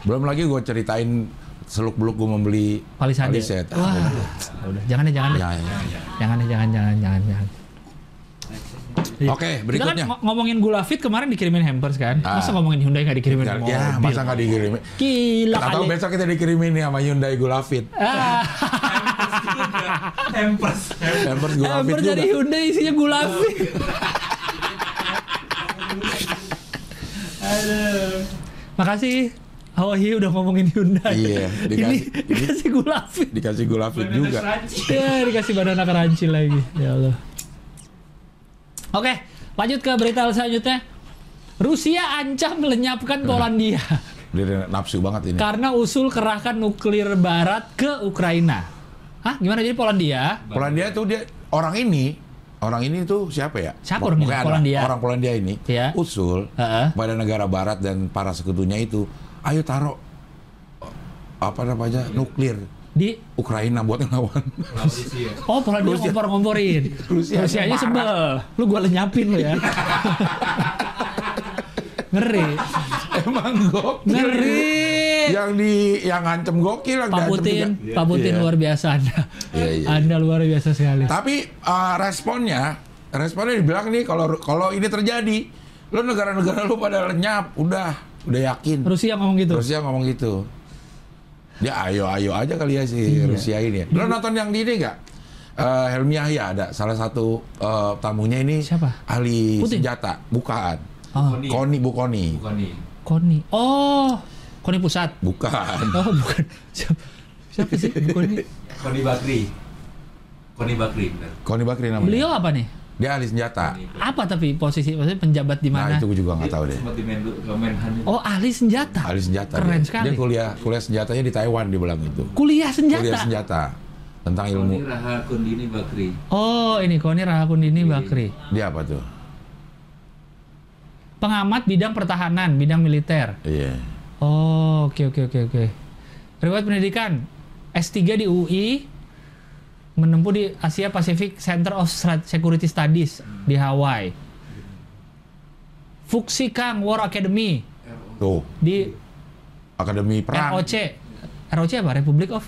Speaker 1: Belum lagi gue ceritain seluk beluk gue membeli
Speaker 2: Palisade.
Speaker 1: Palisade. Ah,
Speaker 2: Wah,
Speaker 1: udah.
Speaker 2: udah. Jangan deh, jangan deh.
Speaker 1: Ya, ya.
Speaker 2: Jangan deh, jangan, jangan, jangan, jangan. Iya.
Speaker 1: Oke,
Speaker 2: Kita kan
Speaker 1: berikutnya.
Speaker 2: ngo- ngomongin Gula Fit kemarin dikirimin hampers kan?
Speaker 1: Ah.
Speaker 2: Masa ngomongin Hyundai nggak dikirimin
Speaker 1: Ya,
Speaker 2: mobil?
Speaker 1: ya, masa nggak dikirimin?
Speaker 2: Gila
Speaker 1: Nggak tahu
Speaker 2: kali.
Speaker 1: besok kita dikirimin nih sama Hyundai Gulafit.
Speaker 2: Ah,
Speaker 4: Tempers.
Speaker 1: Eh, Hampers Gulafit
Speaker 2: hamper dari
Speaker 1: juga. Ah.
Speaker 2: Hyundai isinya Gula Fit. Makasih. Hawaii udah ngomongin Hyundai.
Speaker 1: Iya,
Speaker 2: Ini
Speaker 1: dikasih-
Speaker 2: dikasih Gula Fit.
Speaker 1: Dikasih Gulafit juga.
Speaker 2: Ya, dikasih banana crunchy lagi. Ya Allah. Oke, lanjut ke berita selanjutnya. Rusia ancam melenyapkan
Speaker 1: *laughs*
Speaker 2: Polandia.
Speaker 1: Dia nafsu banget ini.
Speaker 2: karena usul kerahkan nuklir barat ke Ukraina. Hah, gimana jadi Polandia?
Speaker 1: Polandia tuh dia orang ini, orang ini tuh siapa ya?
Speaker 2: Siapa
Speaker 1: Pok-
Speaker 2: orang ini?
Speaker 1: pokoknya ada
Speaker 2: Polandia.
Speaker 1: Orang Polandia ini
Speaker 2: Iya.
Speaker 1: usul
Speaker 2: Heeh.
Speaker 1: pada negara barat dan para sekutunya itu, ayo taruh eh, apa namanya? nuklir
Speaker 2: Di
Speaker 1: Ukraina buat ngelawan.
Speaker 4: Rusia.
Speaker 2: Oh, Polandia
Speaker 1: Rusia. *laughs*
Speaker 2: ngompor-ngomporin.
Speaker 1: Rusianya
Speaker 2: Rusianya
Speaker 1: marah.
Speaker 2: sebel. Lu gua lenyapin lu
Speaker 1: *laughs*
Speaker 2: ya. Ngeri.
Speaker 1: *laughs* Emang gokil.
Speaker 2: Ngeri.
Speaker 1: Yang di yang ngancem gokil yang
Speaker 2: Pak
Speaker 1: diancem
Speaker 2: Putin,
Speaker 1: juga.
Speaker 2: Pak Putin
Speaker 1: Iya.
Speaker 2: luar biasa Anda.
Speaker 1: Iya, iya, iya.
Speaker 2: Anda luar biasa sekali.
Speaker 1: Tapi eh, responnya, responnya dibilang nih kalau kalau ini terjadi, lo negara-negara lu pada lenyap, udah, udah yakin.
Speaker 2: Rusia ngomong gitu.
Speaker 1: Rusia ngomong gitu. Dia ayo-ayo aja kali ya si
Speaker 2: Iya.
Speaker 1: Rusia ini. Lo nonton yang di ini nggak? Eh, Helmi Yahya ada salah satu eh, tamunya ini
Speaker 2: Siapa?
Speaker 1: ahli
Speaker 2: Putin?
Speaker 1: senjata, bukan.
Speaker 2: Oh,
Speaker 4: Koni.
Speaker 1: Koni bu Koni,
Speaker 4: Bukan nih.
Speaker 2: Koni. Oh, Koni pusat. *laughs*
Speaker 1: bukan.
Speaker 2: Oh, bukan. Siapa, siapa
Speaker 1: *laughs*
Speaker 2: sih Koni?
Speaker 4: Koni Bakri. Koni Bakri. benar.
Speaker 1: Koni Bakri namanya.
Speaker 2: Beliau apa nih?
Speaker 1: Dia ahli senjata.
Speaker 4: Koni Bakri.
Speaker 2: apa tapi posisi maksudnya penjabat di
Speaker 1: Nah
Speaker 2: mana?
Speaker 1: itu gue juga Ah. nggak tahu
Speaker 4: Dia
Speaker 1: deh.
Speaker 4: Sempat di Menlu, ke Menhan. itu.
Speaker 2: Oh ahli senjata,
Speaker 1: Ahli senjata.
Speaker 2: Keren
Speaker 1: dia.
Speaker 2: sekali.
Speaker 1: Dia kuliah kuliah senjatanya di Taiwan di bilang itu.
Speaker 2: kuliah senjata.
Speaker 1: Kuliah senjata Oh, iya. tentang ilmu.
Speaker 4: Koni Raha Kondini Bakri.
Speaker 2: Oh ini Koni Rahakundini
Speaker 4: Iya.
Speaker 2: Bakri,
Speaker 1: Dia apa tuh?
Speaker 2: pengamat bidang pertahanan, bidang militer.
Speaker 1: Iya.
Speaker 2: Oh oke oke oke oke. Riwayat pendidikan S3 di UI, menempuh di Asia Pacific Center of Stra- Security Studies di Hawaii. Fuxi Kang War Academy
Speaker 1: Tuh,
Speaker 2: di
Speaker 1: Akademi Perang
Speaker 2: ROC. ROC apa? Republic of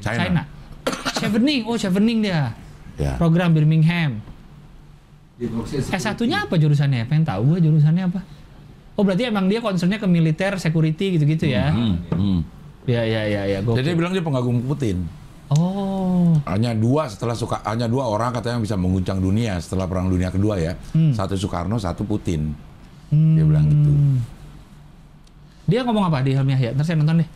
Speaker 2: China.
Speaker 1: Eh,
Speaker 2: *coughs*
Speaker 1: China.
Speaker 2: Chevening, oh Chevening dia.
Speaker 1: Ya.
Speaker 2: program Birmingham.
Speaker 4: Di Proxy
Speaker 2: S1-nya apa jurusannya? Pengen tahu gue jurusannya apa. Oh berarti emang dia concernnya ke militer, security gitu-gitu ya?
Speaker 1: Hmm, hmm.
Speaker 2: Ya ya ya ya.
Speaker 1: Jadi dia
Speaker 2: Gokil.
Speaker 1: bilang dia pengagum Putin.
Speaker 2: Oh
Speaker 1: Hanya dua setelah suka hanya dua orang katanya yang bisa mengguncang dunia setelah perang dunia kedua ya.
Speaker 2: Hmm.
Speaker 1: Satu Soekarno, satu Putin. Dia bilang gitu.
Speaker 2: dia ngomong apa di Helmi Yahya? Ntar saya nonton deh.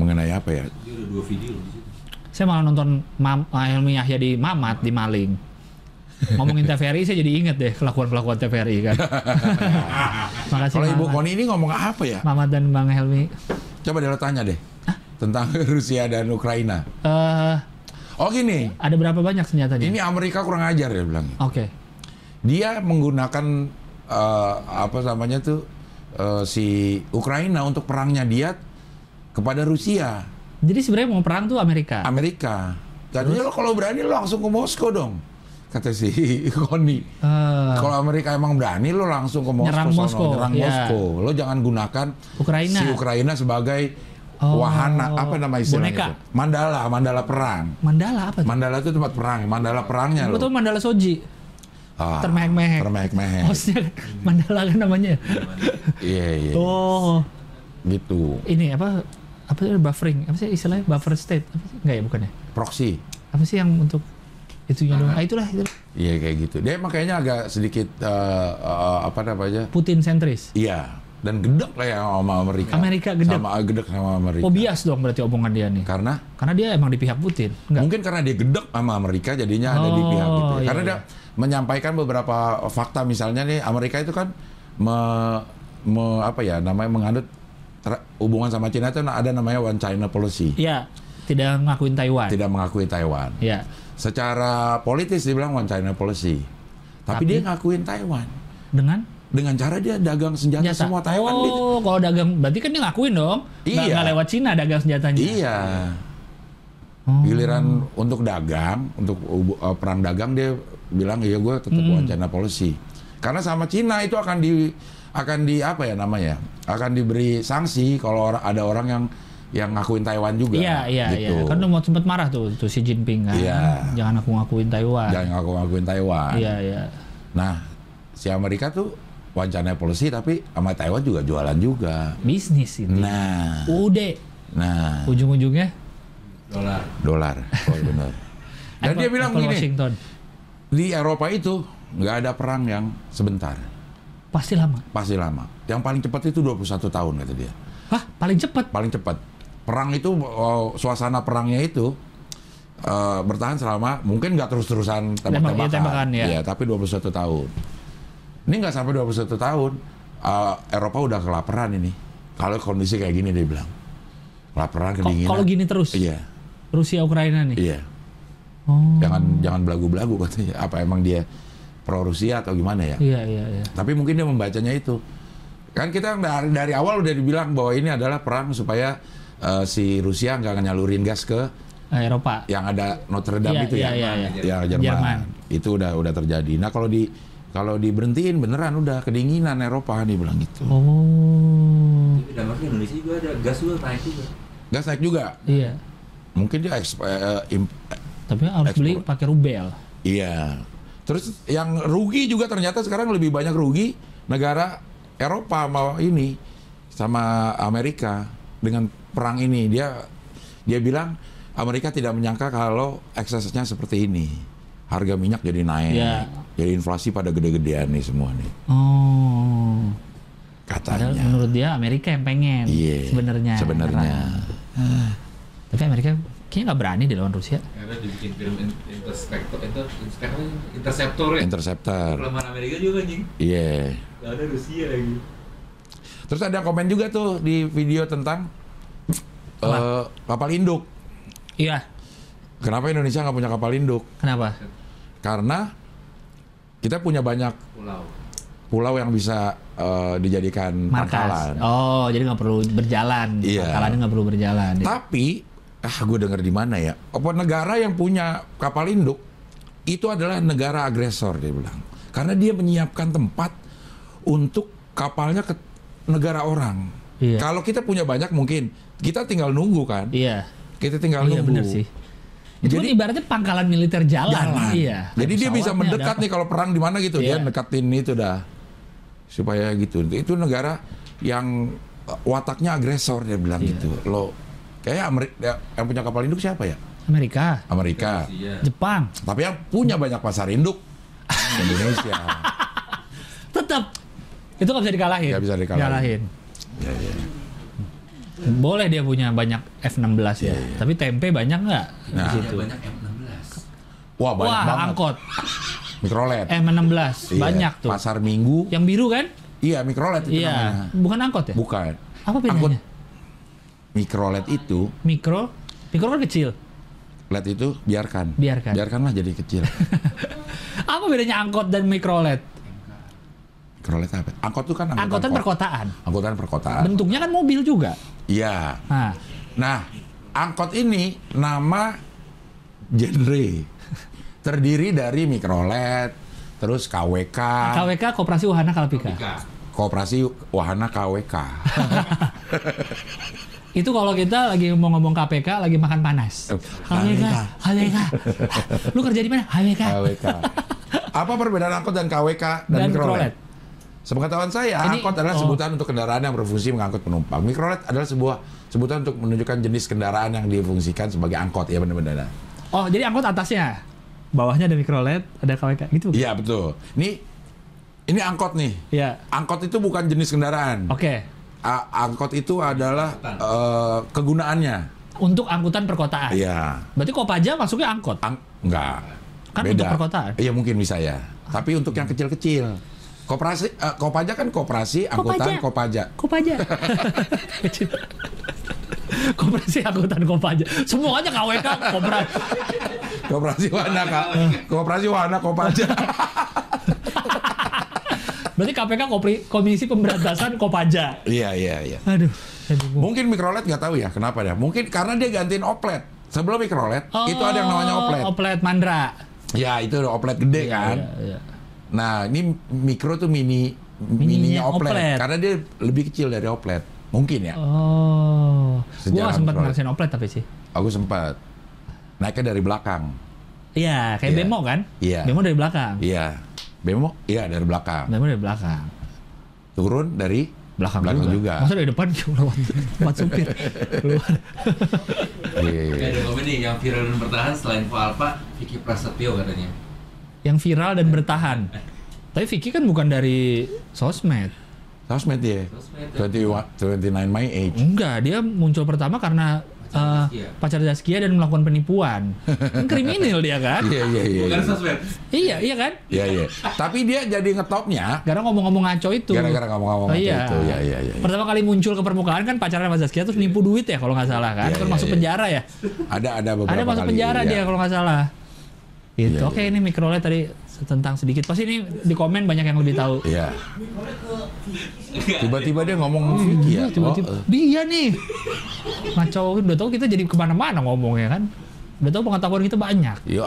Speaker 1: Mengenai apa ya?
Speaker 4: Dia ada dua video di situ.
Speaker 2: Saya malah nonton Mam, ah, Helmi Yahya di Mamat di Maling. Ngomongin TVRI saya jadi inget deh kelakuan kelakuan TVRI
Speaker 1: *laughs*
Speaker 2: kan. Makasih
Speaker 1: Kalau Ibu
Speaker 2: Mamat.
Speaker 1: Koni ini ngomong apa ya?
Speaker 2: Mamat dan Bang Helmi.
Speaker 1: Coba dia tanya deh. Tentang *laughs* Rusia dan Ukraina.
Speaker 2: Eh
Speaker 1: Oh gini,
Speaker 2: ada berapa banyak senjatanya?
Speaker 1: ini Amerika kurang ajar ya, dia bilang.
Speaker 2: Oke.
Speaker 1: Dia menggunakan eh, apa namanya tuh eh, si Ukraina untuk perangnya dia kepada Rusia.
Speaker 2: Jadi sebenarnya mau perang tuh Amerika.
Speaker 1: Amerika. Tadinya lo kalau berani lo langsung ke Moskow dong. kata si *laughs* Koni.
Speaker 2: Eh,
Speaker 1: Kalau Amerika emang berani lo langsung ke Moskow,
Speaker 2: Nyerang
Speaker 1: sono,
Speaker 2: Moskow,
Speaker 1: nyerang
Speaker 2: ya.
Speaker 1: Moskow. Lo jangan gunakan
Speaker 2: Ukraina.
Speaker 1: si Ukraina sebagai
Speaker 2: Oh,
Speaker 1: wahana apa nama istilahnya
Speaker 2: boneka.
Speaker 1: itu? Mandala, mandala perang.
Speaker 2: Mandala apa? tuh?
Speaker 1: Mandala itu tempat perang, mandala perangnya lo.
Speaker 2: Betul Mandala Soji.
Speaker 1: Ah,
Speaker 2: termehek-mehek. Oh.
Speaker 1: Termehek-mehek.
Speaker 2: Hostnya
Speaker 1: Hmm.
Speaker 2: Mandala kan namanya.
Speaker 1: Iya, iya.
Speaker 2: Oh,
Speaker 1: Gitu.
Speaker 2: ini apa? Apa sih buffering? Apa sih istilahnya buffer state? Apa sih? Enggak ya, bukan ya.
Speaker 1: Proxy.
Speaker 2: Apa sih yang untuk itunya doang? Ah, itulah, itulah.
Speaker 1: Iya kayak gitu. Dia emang kayaknya agak sedikit eh, eh, apa namanya?
Speaker 2: Putin sentris.
Speaker 1: Iya. Dan gedek lah ya sama Amerika.
Speaker 2: Amerika gedek.
Speaker 1: Sama eh, gedek sama Amerika.
Speaker 2: Pobias dong berarti omongan dia nih.
Speaker 1: Karena
Speaker 2: Karena dia emang di pihak Putin. Enggak.
Speaker 1: mungkin karena dia gedek sama Amerika jadinya ada di
Speaker 2: Oh,
Speaker 1: pihak gitu. ya.
Speaker 2: iya,
Speaker 1: Karena dia menyampaikan beberapa fakta misalnya nih Amerika itu kan me, me- apa ya namanya menganut tra- hubungan sama Cina itu ada namanya one China policy.
Speaker 2: Iya, tidak ngakuin Taiwan.
Speaker 1: Tidak mengakui Taiwan.
Speaker 2: Iya.
Speaker 1: Secara politis dibilang one China policy. Tapi,
Speaker 2: Tapi-
Speaker 1: dia ngakuin Taiwan
Speaker 2: Dengan
Speaker 1: dengan cara dia dagang senjata,
Speaker 2: senjata.
Speaker 1: semua Taiwan dia-
Speaker 2: oh, kalau dagang berarti kan dia ngakuin dong. Nggak-
Speaker 1: Iya.
Speaker 2: Nggak lewat Cina dagang senjatanya.
Speaker 1: Iya.
Speaker 2: Oh.
Speaker 1: Giliran untuk dagang, untuk ubu- eh, perang dagang dia bilang iya gue tetap
Speaker 2: Hmm.
Speaker 1: one China policy. Karena sama Cina itu akan di akan di apa ya namanya? Akan diberi sanksi kalau orang- ada orang yang yang ngakuin Taiwan juga.
Speaker 2: Iya, iya,
Speaker 1: gitu.
Speaker 2: iya. Kan lu mau sempat marah tuh tuh si Jinping kan.
Speaker 1: Iya.
Speaker 2: Jangan aku ngakuin Taiwan.
Speaker 1: Jangan ngaku ngakuin Taiwan.
Speaker 2: Iya, iya.
Speaker 1: Nah, si Amerika tuh one China policy tapi sama Taiwan juga jualan juga.
Speaker 2: Bisnis itu.
Speaker 1: Nah,
Speaker 2: Ude
Speaker 1: nah
Speaker 2: ujung-ujungnya
Speaker 4: dolar
Speaker 1: dolar, oh,
Speaker 2: *laughs*
Speaker 1: benar. Dan
Speaker 2: Apple-
Speaker 1: dia bilang
Speaker 2: Apple
Speaker 1: begini,
Speaker 2: Washington.
Speaker 1: di Eropa itu nggak ada perang yang sebentar
Speaker 2: Pasti lama.
Speaker 1: pasti lama yang paling cepat itu 21 tahun kata dia
Speaker 2: Hah, paling cepet.
Speaker 1: paling cepat perang itu oh, suasana perangnya itu eh, bertahan selama mungkin nggak terus-terusan
Speaker 2: Tembak- iya,
Speaker 1: tembak-tembakan
Speaker 2: tembakan, ya.
Speaker 1: Iya, tapi 21 tahun ini nggak sampai 21 tahun eh, Eropa udah kelaparan ini kalau kondisi kayak gini dia bilang kelaparan
Speaker 2: Ko-
Speaker 1: kedinginan
Speaker 2: Kalau gini terus
Speaker 1: iya
Speaker 2: Rusia Ukraina nih.
Speaker 1: iya
Speaker 2: Oh.
Speaker 1: jangan jangan belagu-belagu katanya apa emang dia pro Rusia atau gimana ya
Speaker 2: Iya, iya, iya.
Speaker 1: Tapi mungkin dia membacanya itu. Kan kita dari, dari awal udah dibilang bahwa ini adalah perang supaya eh, si Rusia nggak nyalurin gas ke
Speaker 2: Ah, Eropa.
Speaker 1: yang ada Notre Dame
Speaker 2: Iya,
Speaker 1: itu
Speaker 2: iya,
Speaker 1: ya.
Speaker 2: iya, iya.
Speaker 1: Ya, Jerman.
Speaker 2: Jerman.
Speaker 1: Itu udah udah terjadi. Nah, kalau di kalau diberhentiin beneran udah kedinginan Eropa dia bilang gitu.
Speaker 2: Oh.
Speaker 4: tapi dampaknya Indonesia juga ada gas juga naik juga
Speaker 1: Gas naik juga.
Speaker 2: Iya.
Speaker 1: Mungkin dia eks- eh, imp- eh,
Speaker 2: Tapi harus
Speaker 1: Ekspor.
Speaker 2: beli pakai rubel.
Speaker 1: iya. Terus yang rugi juga ternyata sekarang lebih banyak rugi negara Eropa mau ini sama Amerika dengan perang ini dia dia bilang Amerika tidak menyangka kalau eksesnya seperti ini harga minyak jadi naik
Speaker 2: Iya.
Speaker 1: jadi inflasi pada gede-gedean nih semua nih
Speaker 2: Oh. Padahal
Speaker 1: katanya
Speaker 2: menurut dia Amerika yang pengen
Speaker 1: iya
Speaker 2: sebenarnya.
Speaker 1: sebenarnya
Speaker 2: Nah, Tapi Amerika kayaknya nggak berani deh lawan Rusia.
Speaker 4: karena dibikin film in- interceptor itu interceptor interceptor ya
Speaker 1: interceptor
Speaker 4: kelemahan Amerika juga anjing
Speaker 1: iya
Speaker 4: nggak ada Rusia lagi
Speaker 1: Terus ada komen juga tuh di video tentang eh, kapal induk.
Speaker 2: Iya.
Speaker 1: Kenapa Indonesia nggak punya kapal induk?
Speaker 2: Kenapa?
Speaker 1: Karena kita punya banyak
Speaker 4: pulau
Speaker 1: pulau yang bisa eh, dijadikan
Speaker 2: Markas.
Speaker 1: pangkalan.
Speaker 2: Oh, jadi nggak perlu berjalan.
Speaker 1: Iya.
Speaker 2: Pangkalannya nggak perlu berjalan.
Speaker 1: Tapi ah gue denger di mana ya? Apa negara yang punya kapal induk itu adalah negara agresor dia bilang. Karena dia menyiapkan tempat untuk kapalnya ke negara orang.
Speaker 2: Iya.
Speaker 1: Kalau kita punya banyak mungkin kita tinggal nunggu kan.
Speaker 2: Iya.
Speaker 1: Kita tinggal
Speaker 2: Iya
Speaker 1: nunggu.
Speaker 2: benar sih. Itu
Speaker 1: Jadi-
Speaker 2: kan ibaratnya pangkalan militer jalan.
Speaker 1: jalan.
Speaker 2: Iya.
Speaker 1: Jadi
Speaker 2: Ada
Speaker 1: dia bisa
Speaker 2: pesawatnya,
Speaker 1: mendekat
Speaker 2: ada
Speaker 1: nih kalau perang di mana gitu dia
Speaker 2: Iya.
Speaker 1: dekatin itu dah supaya gitu. Itu negara yang eh, wataknya agresor dia bilang
Speaker 2: Iya.
Speaker 1: gitu. Lo kayak Amerika yang punya kapal induk siapa ya?
Speaker 2: apa. Amerika,
Speaker 1: Amerika.
Speaker 4: Rusia
Speaker 2: Jepang,
Speaker 1: Tapi yang punya banyak pasar
Speaker 2: *laughs*
Speaker 1: induk Indonesia.
Speaker 2: tetap itu nggak bisa dikalahin.
Speaker 1: Nggak bisa dikalahin. Ya, ya.
Speaker 2: Boleh dia punya banyak F16 ya,
Speaker 1: Iya, iya.
Speaker 2: tapi tempe banyak nggak
Speaker 1: Nah.
Speaker 2: di situ?
Speaker 4: banyak M16
Speaker 1: Wah banyak
Speaker 2: Wah,
Speaker 1: banget.
Speaker 2: angkot
Speaker 1: Mikrolet.
Speaker 2: M16
Speaker 1: Iya.
Speaker 2: banyak tuh.
Speaker 1: Pasar Minggu.
Speaker 2: Yang biru kan?
Speaker 1: Iya mikrolet itu
Speaker 2: Iya,
Speaker 1: namanya.
Speaker 2: bukan angkot ya?
Speaker 1: Bukan.
Speaker 2: Apa bedanya?
Speaker 1: mikrolet itu
Speaker 2: Mikro, mikro kan kecil.
Speaker 1: LED itu biarkan.
Speaker 2: Biarkan.
Speaker 1: Biarkanlah jadi kecil.
Speaker 2: Apa bedanya angkot dan mikro LED?
Speaker 1: Mikrolet apa? Angkot itu kan angkutan,
Speaker 2: Angkotan
Speaker 1: kota.
Speaker 2: perkotaan.
Speaker 1: Angkutan perkotaan.
Speaker 2: Bentuknya kan mobil juga.
Speaker 1: Iya.
Speaker 2: Nah,
Speaker 1: Nah, angkot ini nama genre. terdiri dari mikrolet, terus KWK,
Speaker 2: KWK Koperasi Wahana
Speaker 1: Nah,
Speaker 2: Kalpika.
Speaker 4: Ika.
Speaker 1: Koperasi Wahana
Speaker 2: *laughs*
Speaker 1: KWK.
Speaker 2: Itu kalau kita lagi mau ngomong KPK lagi makan panas.
Speaker 1: Eh,
Speaker 2: KWK,
Speaker 1: *laughs*
Speaker 2: KWK. Lu kerja di mana? KWK.
Speaker 1: KWK. Apa perbedaan angkot dan KWK dan, E
Speaker 2: Dan E
Speaker 1: mikrolet?
Speaker 2: mikrolet.
Speaker 1: Sepengetahuan saya,
Speaker 2: Ini-
Speaker 1: angkot adalah
Speaker 2: oh.
Speaker 1: sebutan untuk kendaraan yang berfungsi mengangkut penumpang. Mikrolet adalah sebuah sebutan untuk menunjukkan jenis kendaraan yang difungsikan sebagai angkot ya benar-benar.
Speaker 2: Oh, jadi angkot atasnya. Bawahnya ada mikrolet, ada KWK gitu. bukan?
Speaker 1: Iya betul. Ini ini angkot nih.
Speaker 2: Iya.
Speaker 1: Angkot itu bukan jenis kendaraan.
Speaker 2: Oke.
Speaker 1: A- angkot itu adalah eh, kegunaannya.
Speaker 2: Untuk angkutan perkotaan.
Speaker 1: Iya.
Speaker 2: Berarti Kopaja masuknya angkot.
Speaker 1: Ang enggak.
Speaker 2: Kan untuk perkotaan.
Speaker 1: Iya mungkin bisa ya. Tapi untuk yang kecil-kecil. Koperasi eh, Kopaja kan koperasi angkutan Kopaja.
Speaker 2: *laughs* Kopaja. Kecil. Koperasi angkutan Kopaja. Semuanya KWK, Koperasi.
Speaker 1: Koperasi Wana Kak. Koperasi Wana
Speaker 2: *laughs*
Speaker 1: Kopaja.
Speaker 2: Berarti KPK Kopri- Komisi Pemberantasan Kopaja.
Speaker 1: Iya iya iya.
Speaker 2: Aduh, saya bingung.
Speaker 1: Mungkin mikrolet nggak tahu ya kenapa ya. Mungkin karena dia gantiin oplet. Sebelum mikrolet
Speaker 2: Oh,
Speaker 1: itu ada yang namanya oplet.
Speaker 2: Oplet Mandra.
Speaker 1: ya itu oplet gede kan.
Speaker 2: Iya, iya.
Speaker 1: Nah, ini mikro tuh mini mininya
Speaker 2: Mininya
Speaker 1: oplet.
Speaker 2: oplet.
Speaker 1: karena dia lebih kecil dari oplet. Mungkin ya.
Speaker 2: Oh.
Speaker 1: Sejarah
Speaker 2: gua gak sempat
Speaker 1: mikrolet.
Speaker 2: ngerasain oplet tapi sih.
Speaker 1: Aku sempat naiknya dari belakang.
Speaker 2: Iya, kayak
Speaker 1: Iya.
Speaker 2: bemo kan?
Speaker 1: Iya.
Speaker 2: Bemo dari belakang.
Speaker 1: Iya. Bemo? Iya, dari belakang.
Speaker 2: Bemo dari belakang.
Speaker 1: Turun dari
Speaker 2: Nah. Belakang,
Speaker 1: belakang
Speaker 2: juga.
Speaker 1: juga.
Speaker 2: Masa dari depan lewat *laughs* lewat supir. Keluar.
Speaker 1: Iya, iya,
Speaker 4: Oke,
Speaker 1: iya.
Speaker 4: ada komen nih yang viral dan bertahan selain Valpa, Vicky Prasetyo katanya.
Speaker 2: Yang viral dan bertahan. Tapi Vicky kan bukan dari sosmed.
Speaker 1: Sosmed ya.
Speaker 4: Sosmed, ya.
Speaker 1: 21 29 my age.
Speaker 2: Enggak, dia muncul pertama karena eh,
Speaker 4: Pacar Zaskia.
Speaker 2: pacar Zaskia dan melakukan
Speaker 1: *laughs*
Speaker 2: penipuan. Kan kriminal dia kan?
Speaker 1: Iya, iya, iya.
Speaker 3: Bukan
Speaker 1: iya.
Speaker 3: sosmed.
Speaker 2: iya, iya kan?
Speaker 1: Iya, iya. Tapi dia jadi ngetopnya
Speaker 2: Karena ngomong-ngomong ngaco itu.
Speaker 1: gara-gara ngomong-ngomong
Speaker 2: Oh,
Speaker 1: waktu
Speaker 2: iya.
Speaker 1: itu. Iya, iya, iya. iya.
Speaker 2: Pertama kali muncul ke permukaan kan pacarnya Mas Zaskia terus nipu duit ya kalau nggak salah kan?
Speaker 1: Iya,
Speaker 2: terus
Speaker 1: iya,
Speaker 2: masuk
Speaker 1: iya.
Speaker 2: penjara ya?
Speaker 1: Ada ada beberapa
Speaker 2: Ada masuk
Speaker 1: kali,
Speaker 2: penjara
Speaker 1: iya.
Speaker 2: dia kalau nggak salah. Gitu.
Speaker 1: Iya,
Speaker 2: Oke,
Speaker 1: iya.
Speaker 2: ini mikrolet tadi tentang sedikit. Pasti ini di komen banyak yang lebih tahu.
Speaker 1: Iya. Tiba-tiba dia ngomong Vicky ya.
Speaker 2: Iya, tiba-tiba.
Speaker 1: Oh, eh.
Speaker 2: Dia nih. Ngacauin. Udah tahu kita jadi kemana-mana ngomongnya kan. Udah tahu pengetahuan kita banyak.
Speaker 1: Iya.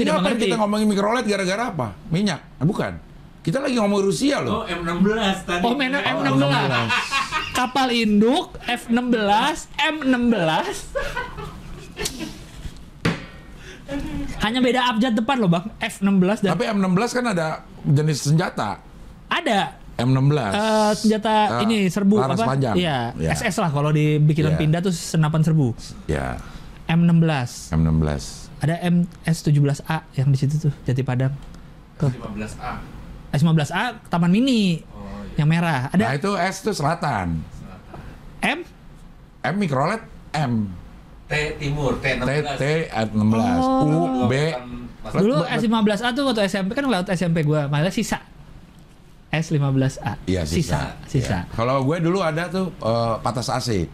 Speaker 1: Ini
Speaker 2: tidak
Speaker 1: apa
Speaker 2: mengerti.
Speaker 1: kita ngomongin mikrolet gara-gara apa? Minyak? Ah, Bukan. Kita lagi ngomongin Rusia
Speaker 3: Oh,
Speaker 1: loh.
Speaker 3: M16 tadi.
Speaker 2: Oh, mainan M16. Kapal induk F16, M16. Hanya beda abjad depan loh, Bang. F16 dan
Speaker 1: Tapi M16 kan ada jenis senjata.
Speaker 2: ada
Speaker 1: M16.
Speaker 2: eh, senjata
Speaker 1: Eh,
Speaker 2: ini serbu
Speaker 1: laras
Speaker 2: apa?
Speaker 1: panjang.
Speaker 2: Iya,
Speaker 1: Ya.
Speaker 2: SS lah kalau di bikinan
Speaker 1: Iya.
Speaker 2: pindah tuh senapan serbu.
Speaker 1: Ya,
Speaker 2: M16.
Speaker 1: M16.
Speaker 2: Ada MS17A yang di situ tuh, Jati Padang.
Speaker 4: 15A.
Speaker 2: S15A Taman Mini
Speaker 4: Oh, iya.
Speaker 2: yang merah.
Speaker 1: Nah,
Speaker 2: Ada
Speaker 1: itu S itu selatan.
Speaker 2: M
Speaker 1: M mikrolet M.
Speaker 4: T timur, T16.
Speaker 1: T T at 16.
Speaker 2: Oh.
Speaker 1: U B.
Speaker 4: Bukan-
Speaker 2: Dulu
Speaker 1: Let- let-
Speaker 2: S15A tuh waktu SMP kan lewat SMP gua, malah sisa. S15A.
Speaker 1: Iya, sisa.
Speaker 2: Sisa. sisa.
Speaker 1: Ya. Kalau gue dulu ada tuh eh, patas AC.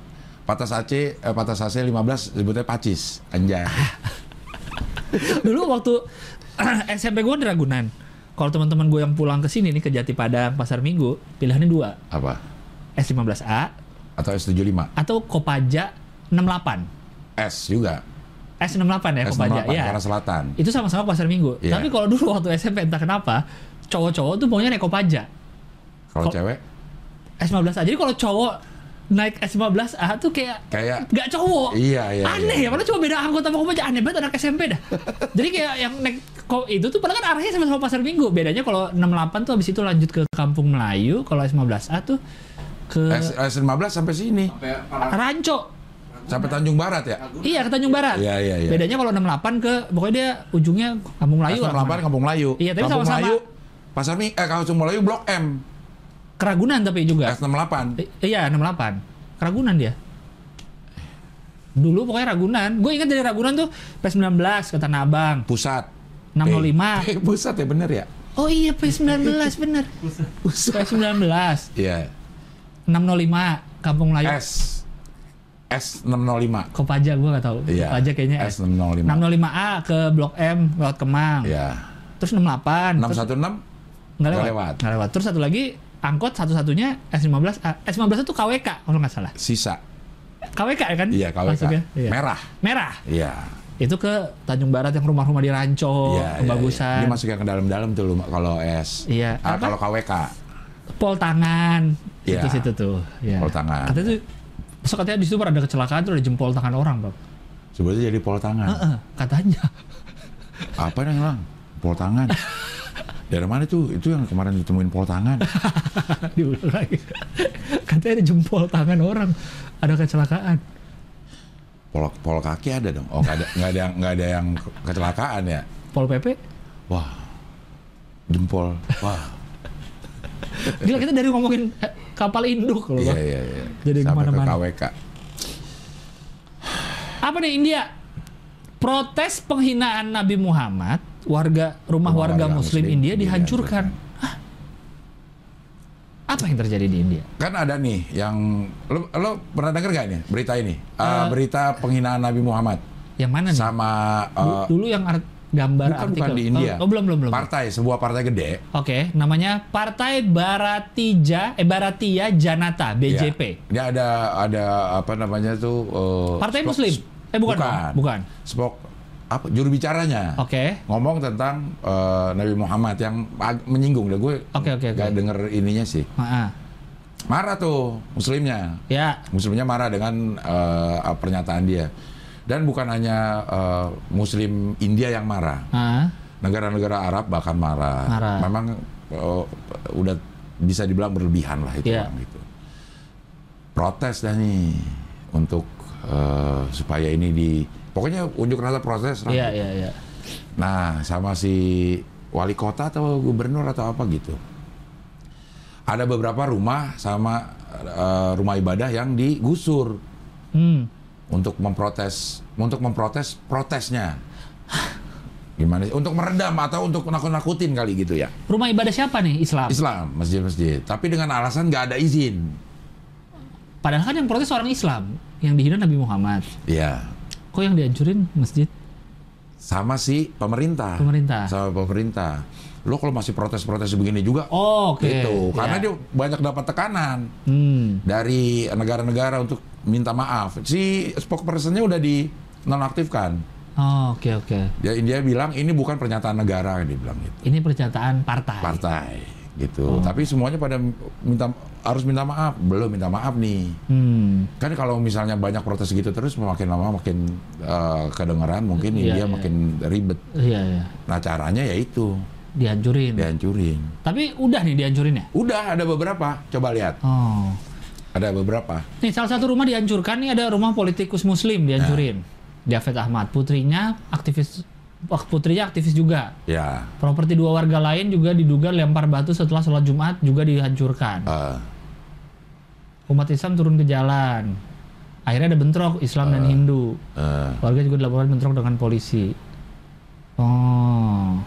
Speaker 1: Patas AC, eh, patas AC 15 sebutnya pacis. Anjay.
Speaker 2: Ah. Dulu waktu *clears throat* eh, SMP gua di Ragunan. Kalau teman-teman gua yang pulang ke sini nih ke Jati Padang, Pasar Minggu, pilihannya dua,
Speaker 1: Apa?
Speaker 2: S15A
Speaker 1: Atau S75.
Speaker 2: atau Kopaja 68.
Speaker 1: S juga.
Speaker 2: S68 ya
Speaker 1: S
Speaker 2: Kopaja, ya.
Speaker 1: karena selatan.
Speaker 2: Itu sama-sama Pasar Minggu.
Speaker 1: Iya.
Speaker 2: Tapi kalau dulu waktu SMP entah kenapa, cowok-cowok tuh maunya naik Kopaja.
Speaker 1: Kalau
Speaker 2: Kok-
Speaker 1: cewek
Speaker 2: S15A. Jadi kalau cowok naik S15A tuh kayak
Speaker 1: kayak
Speaker 2: nggak cowok.
Speaker 1: Iya, iya,
Speaker 2: Aneh
Speaker 1: iya.
Speaker 2: ya, padahal cuma beda angkot sama kopaja aneh banget anak SMP dah. *laughs* Jadi kayak yang naik ko itu tuh padahal kan arahnya sama-sama pasar Minggu. Bedanya kalau 68 tuh habis itu lanjut ke Kampung Melayu, kalau S15A tuh ke
Speaker 1: S, S15 sampai sini,
Speaker 4: Sampai parah.
Speaker 2: Ranco.
Speaker 1: sampai Tanjung Barat ya.
Speaker 2: Iya, ke Tanjung Barat.
Speaker 1: Iya, iya, iya.
Speaker 2: Bedanya kalau 68 ke pokoknya dia ujungnya Kampung Melayu lah.
Speaker 1: S68 Kampung Melayu.
Speaker 2: Iya, tapi
Speaker 1: Kampung
Speaker 2: sama-sama.
Speaker 1: Melayu, Pasar Ming, eh Kampung Melayu Blok M.
Speaker 2: Keragunan tapi juga.
Speaker 1: S68.
Speaker 2: I- iya, 68. Keragunan dia. Dulu pokoknya Ragunan. Gue ingat dari Ragunan tuh P19 ke Tanah Abang,
Speaker 1: Pusat.
Speaker 2: 605.
Speaker 1: Eh, pusat ya bener ya?
Speaker 2: Oh iya P19
Speaker 1: *laughs*
Speaker 2: bener. P19
Speaker 1: Iya.
Speaker 2: 605 Kampung Melayu.
Speaker 1: S. S605.
Speaker 2: Kopaja gua nggak tahu.
Speaker 1: Iya.
Speaker 2: Kopaja kayaknya S.
Speaker 1: S605.
Speaker 2: 605A ke Blok M lewat Kemang.
Speaker 1: Iya.
Speaker 2: Terus 68. Terus
Speaker 1: 616
Speaker 2: nggak
Speaker 1: nggak
Speaker 2: lewat.
Speaker 1: lewat.
Speaker 2: Nggak lewat. Terus satu lagi angkot satu-satunya S15A. S15 itu KWK kalau nggak salah.
Speaker 1: sisa.
Speaker 2: KWK ya kan?
Speaker 1: Iya, KWK.
Speaker 2: Masuknya? Iya.
Speaker 1: Merah.
Speaker 2: Merah.
Speaker 1: Iya.
Speaker 2: Itu ke Tanjung Barat yang rumah-rumah di
Speaker 1: Iya, iya,
Speaker 2: Ranco,
Speaker 1: iya.
Speaker 2: Oh, kebagusan.
Speaker 1: Ini masukin ke dalam-dalam tuh lu kalau S.
Speaker 2: Iya.
Speaker 1: Ah,
Speaker 2: Apa?
Speaker 1: kalau KWK.
Speaker 2: pol tangan
Speaker 1: Iya.
Speaker 2: itu situ tuh ya.
Speaker 1: Pol tangan.
Speaker 2: katanya tuh besok katanya di situ pernah ada kecelakaan tuh ada jempol tangan orang bang
Speaker 1: Sebetulnya jadi pol tangan.
Speaker 2: Heeh, katanya
Speaker 1: Apa yang hilang? Pol tangan. Dari mana tuh? Itu yang kemarin ditemuin pol tangan.
Speaker 2: diulang lagi katanya ada jempol tangan orang ada kecelakaan
Speaker 1: Pol, pol kaki ada dong. Oh, nggak ada nggak ada yang nggak ada yang kecelakaan ya.
Speaker 2: pol pp
Speaker 1: Wah. Jempol. Wah.
Speaker 2: gila kita dari ngomongin eh, kapal induk loh
Speaker 1: Iya
Speaker 2: bang
Speaker 1: iya iya.
Speaker 2: Jadi
Speaker 1: Sampai ke
Speaker 2: kemana-mana.
Speaker 1: KWK.
Speaker 2: apa nih India protes penghinaan Nabi Muhammad warga
Speaker 1: Rumah
Speaker 2: rumah, warga,
Speaker 1: warga
Speaker 2: Muslim,
Speaker 1: Muslim
Speaker 2: India
Speaker 1: dihancurkan.
Speaker 2: dihancurkan Hah? apa yang terjadi di India
Speaker 1: Kan ada nih yang lo, lo pernah denger gak nih berita ini? Eh,
Speaker 2: Eh,
Speaker 1: berita penghinaan Nabi Muhammad
Speaker 2: yang mana nih
Speaker 1: sama
Speaker 2: Du-
Speaker 1: eh,
Speaker 2: dulu yang art- gambar
Speaker 1: bukan
Speaker 2: artikel
Speaker 1: bukan di India.
Speaker 2: Oh, oh, belum belum belum
Speaker 1: partai sebuah partai gede
Speaker 2: Oke, namanya Partai Baratija eh Bharatiya Janata BJP.
Speaker 1: Ya, dia ada ada apa namanya tuh eh,
Speaker 2: Partai
Speaker 1: spok-
Speaker 2: Muslim. Eh bukan,
Speaker 1: bukan.
Speaker 2: dong, bukan.
Speaker 1: Spok apa juru bicaranya.
Speaker 2: Oke.
Speaker 1: Ngomong tentang eh, Nabi Muhammad yang ag- menyinggung deh gue.
Speaker 2: Oke, oke, oke.
Speaker 1: nggak denger ininya sih.
Speaker 2: Heeh.
Speaker 1: Marah tuh muslimnya.
Speaker 2: Ya,
Speaker 1: Muslimnya marah dengan eh, pernyataan dia. Dan bukan hanya eh, muslim India yang marah.
Speaker 2: heeh.
Speaker 1: Negara-negara Arab bahkan marah.
Speaker 2: Marah.
Speaker 1: Memang eh, udah bisa dibilang berlebihan lah itu
Speaker 2: Iya.
Speaker 1: Bang, gitu. Protes dah nih untuk eh, supaya ini di pokoknya unjuk rasa protes lah.
Speaker 2: Iya, iya, iya.
Speaker 1: Nah, sama si wali kota atau gubernur atau apa gitu. Ada beberapa rumah sama eh, rumah ibadah yang digusur
Speaker 2: Hmm.
Speaker 1: untuk memprotes untuk memprotes protesnya. Gimana sih? Untuk meredam atau untuk nakut-nakutin kali gitu ya.
Speaker 2: Rumah ibadah siapa nih? Islam.
Speaker 1: Islam, masjid-masjid. Tapi dengan alasan nggak ada izin.
Speaker 2: Padahal kan yang protes orang Islam, yang dihina Nabi Muhammad.
Speaker 1: Iya.
Speaker 2: Kok yang dihancurin masjid?
Speaker 1: Sama si pemerintah.
Speaker 2: Pemerintah.
Speaker 1: Sama pemerintah. Lo kalau masih protes-protes begini juga,
Speaker 2: Oh, oke.
Speaker 1: gitu. Karena dia
Speaker 2: Ya.
Speaker 1: banyak dapat tekanan.
Speaker 2: Hmm.
Speaker 1: dari negara-negara untuk minta maaf. Si spokespersonnya udah di nonaktifkan.
Speaker 2: Oh, oke, oke.
Speaker 1: Ya India bilang ini bukan pernyataan negara dia bilang gitu.
Speaker 2: Ini pernyataan partai.
Speaker 1: Partai
Speaker 2: Oh.
Speaker 1: gitu. Tapi semuanya pada minta harus minta maaf, belum minta maaf nih.
Speaker 2: Hmm.
Speaker 1: Kan kalau misalnya banyak protes gitu terus makin lama makin eh, kedengeran mungkin
Speaker 2: Iya,
Speaker 1: India
Speaker 2: iya.
Speaker 1: makin ribet.
Speaker 2: Iya, iya.
Speaker 1: Nah caranya ya itu
Speaker 2: Hmm. Dihancurin.
Speaker 1: dihancurin.
Speaker 2: Tapi udah nih dihancurin ya?
Speaker 1: Udah ada beberapa, coba lihat.
Speaker 2: Oh.
Speaker 1: Ada beberapa.
Speaker 2: Nih salah satu rumah dihancurkan nih ada rumah politikus muslim dihancurin.
Speaker 1: Ya.
Speaker 2: Diafet Ahmad, putrinya aktivis wah, putrinya aktivis juga.
Speaker 1: Ya.
Speaker 2: Properti dua warga lain juga diduga lempar batu setelah sholat Jumat juga dihancurkan.
Speaker 1: eh,
Speaker 2: Umat Islam turun ke jalan. Akhirnya ada bentrok Islam dan Hindu.
Speaker 1: eh.
Speaker 2: Warga juga dilaporkan bentrok dengan polisi. Oh,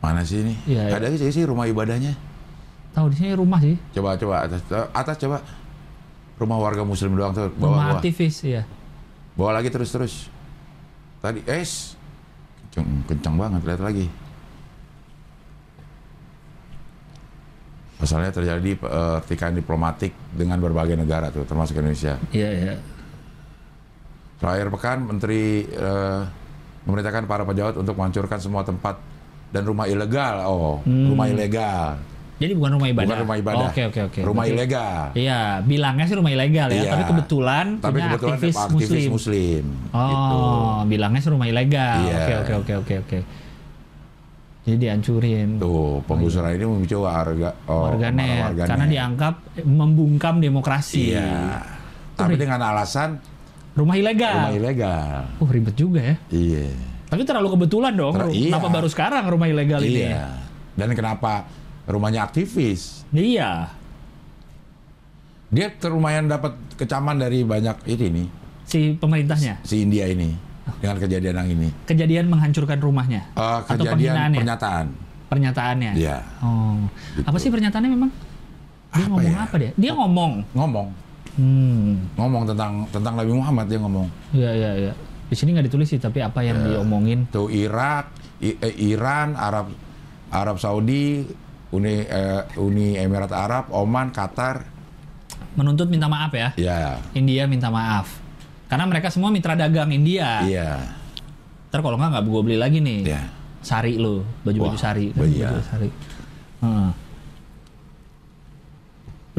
Speaker 1: mana sih ini?
Speaker 2: Iya, iya.
Speaker 1: Ada sih sih rumah ibadahnya.
Speaker 2: tahu di sini rumah sih,
Speaker 1: Coba coba atas atas coba rumah warga muslim doang tuh
Speaker 2: rumah
Speaker 1: bawa bawa,
Speaker 2: aktivis ya.
Speaker 1: bawa lagi terus terus tadi es kenceng kenceng banget lihat lagi pasalnya terjadi eh, pertikaian diplomatik dengan berbagai negara tuh termasuk Indonesia
Speaker 2: Iya ya.
Speaker 1: terakhir pekan menteri eh, memerintahkan para pejabat untuk menghancurkan semua tempat dan rumah ilegal oh
Speaker 2: Hmm.
Speaker 1: rumah ilegal
Speaker 2: Jadi bukan rumah ibadah.
Speaker 1: bukan rumah ibadah
Speaker 2: Oke oke oke.
Speaker 1: rumah
Speaker 2: Berarti-
Speaker 1: ilegal
Speaker 2: Iya, bilangnya sih rumah ilegal ya,
Speaker 1: Iya.
Speaker 2: tapi kebetulan
Speaker 1: tapi
Speaker 2: punya
Speaker 1: kebetulan
Speaker 2: aktivis,
Speaker 1: ada aktivis
Speaker 2: muslim.
Speaker 1: muslim,
Speaker 2: Oh,
Speaker 1: gitu.
Speaker 2: bilangnya sih rumah ilegal.
Speaker 1: Iya.
Speaker 2: Oke, oke, oke, oke, oke. Jadi dihancurin
Speaker 1: Tuh, penggusuran ini memicu warga oh,
Speaker 2: warganet,
Speaker 1: marah warganet.
Speaker 2: karena dianggap membungkam demokrasi.
Speaker 1: Iya. Tapi dengan alasan
Speaker 2: Rumah ilegal.
Speaker 1: rumah ilegal.
Speaker 2: Uh, ribet juga ya.
Speaker 1: Iya.
Speaker 2: Tapi terlalu kebetulan dong.
Speaker 1: Ter- iya.
Speaker 2: Kenapa baru sekarang rumah ilegal ini?
Speaker 1: Iya. Dan kenapa rumahnya aktivis?
Speaker 2: Iya.
Speaker 1: Dia terlumayan dapat kecaman dari banyak ini nih,
Speaker 2: Si pemerintahnya.
Speaker 1: si India ini dengan kejadian yang ini.
Speaker 2: Kejadian menghancurkan rumahnya
Speaker 1: Eh,
Speaker 2: atau
Speaker 1: kejadian
Speaker 2: penghinaan ya?
Speaker 1: pernyataan.
Speaker 2: pernyataannya.
Speaker 1: Iya. Gitu.
Speaker 2: Oh. Apa sih pernyataannya memang? Dia
Speaker 1: Apa
Speaker 2: ngomong
Speaker 1: ya?
Speaker 2: apa dia? Dia ngomong.
Speaker 1: Ngomong,
Speaker 2: Hmm.
Speaker 1: ngomong tentang tentang Nabi Muhammad dia ngomong.
Speaker 2: Iya iya iya. Di sini nggak ditulis sih, tapi apa
Speaker 1: Eh.
Speaker 2: yang diomongin?
Speaker 1: tuh Irak, I- eh, Iran, Arab Arab Saudi, Uni eh, Uni Emirat Arab, Oman, Qatar,
Speaker 2: Menuntut minta maaf ya.
Speaker 1: ya
Speaker 2: India minta maaf. Karena mereka semua mitra dagang India.
Speaker 1: Iya.
Speaker 2: Ntar kalau nggak nggak gue beli lagi nih.
Speaker 1: Iya.
Speaker 2: Sari lo, baju-baju
Speaker 1: Wah,
Speaker 2: sari.
Speaker 1: iya.
Speaker 2: kan, Baju-baju sari. Heeh.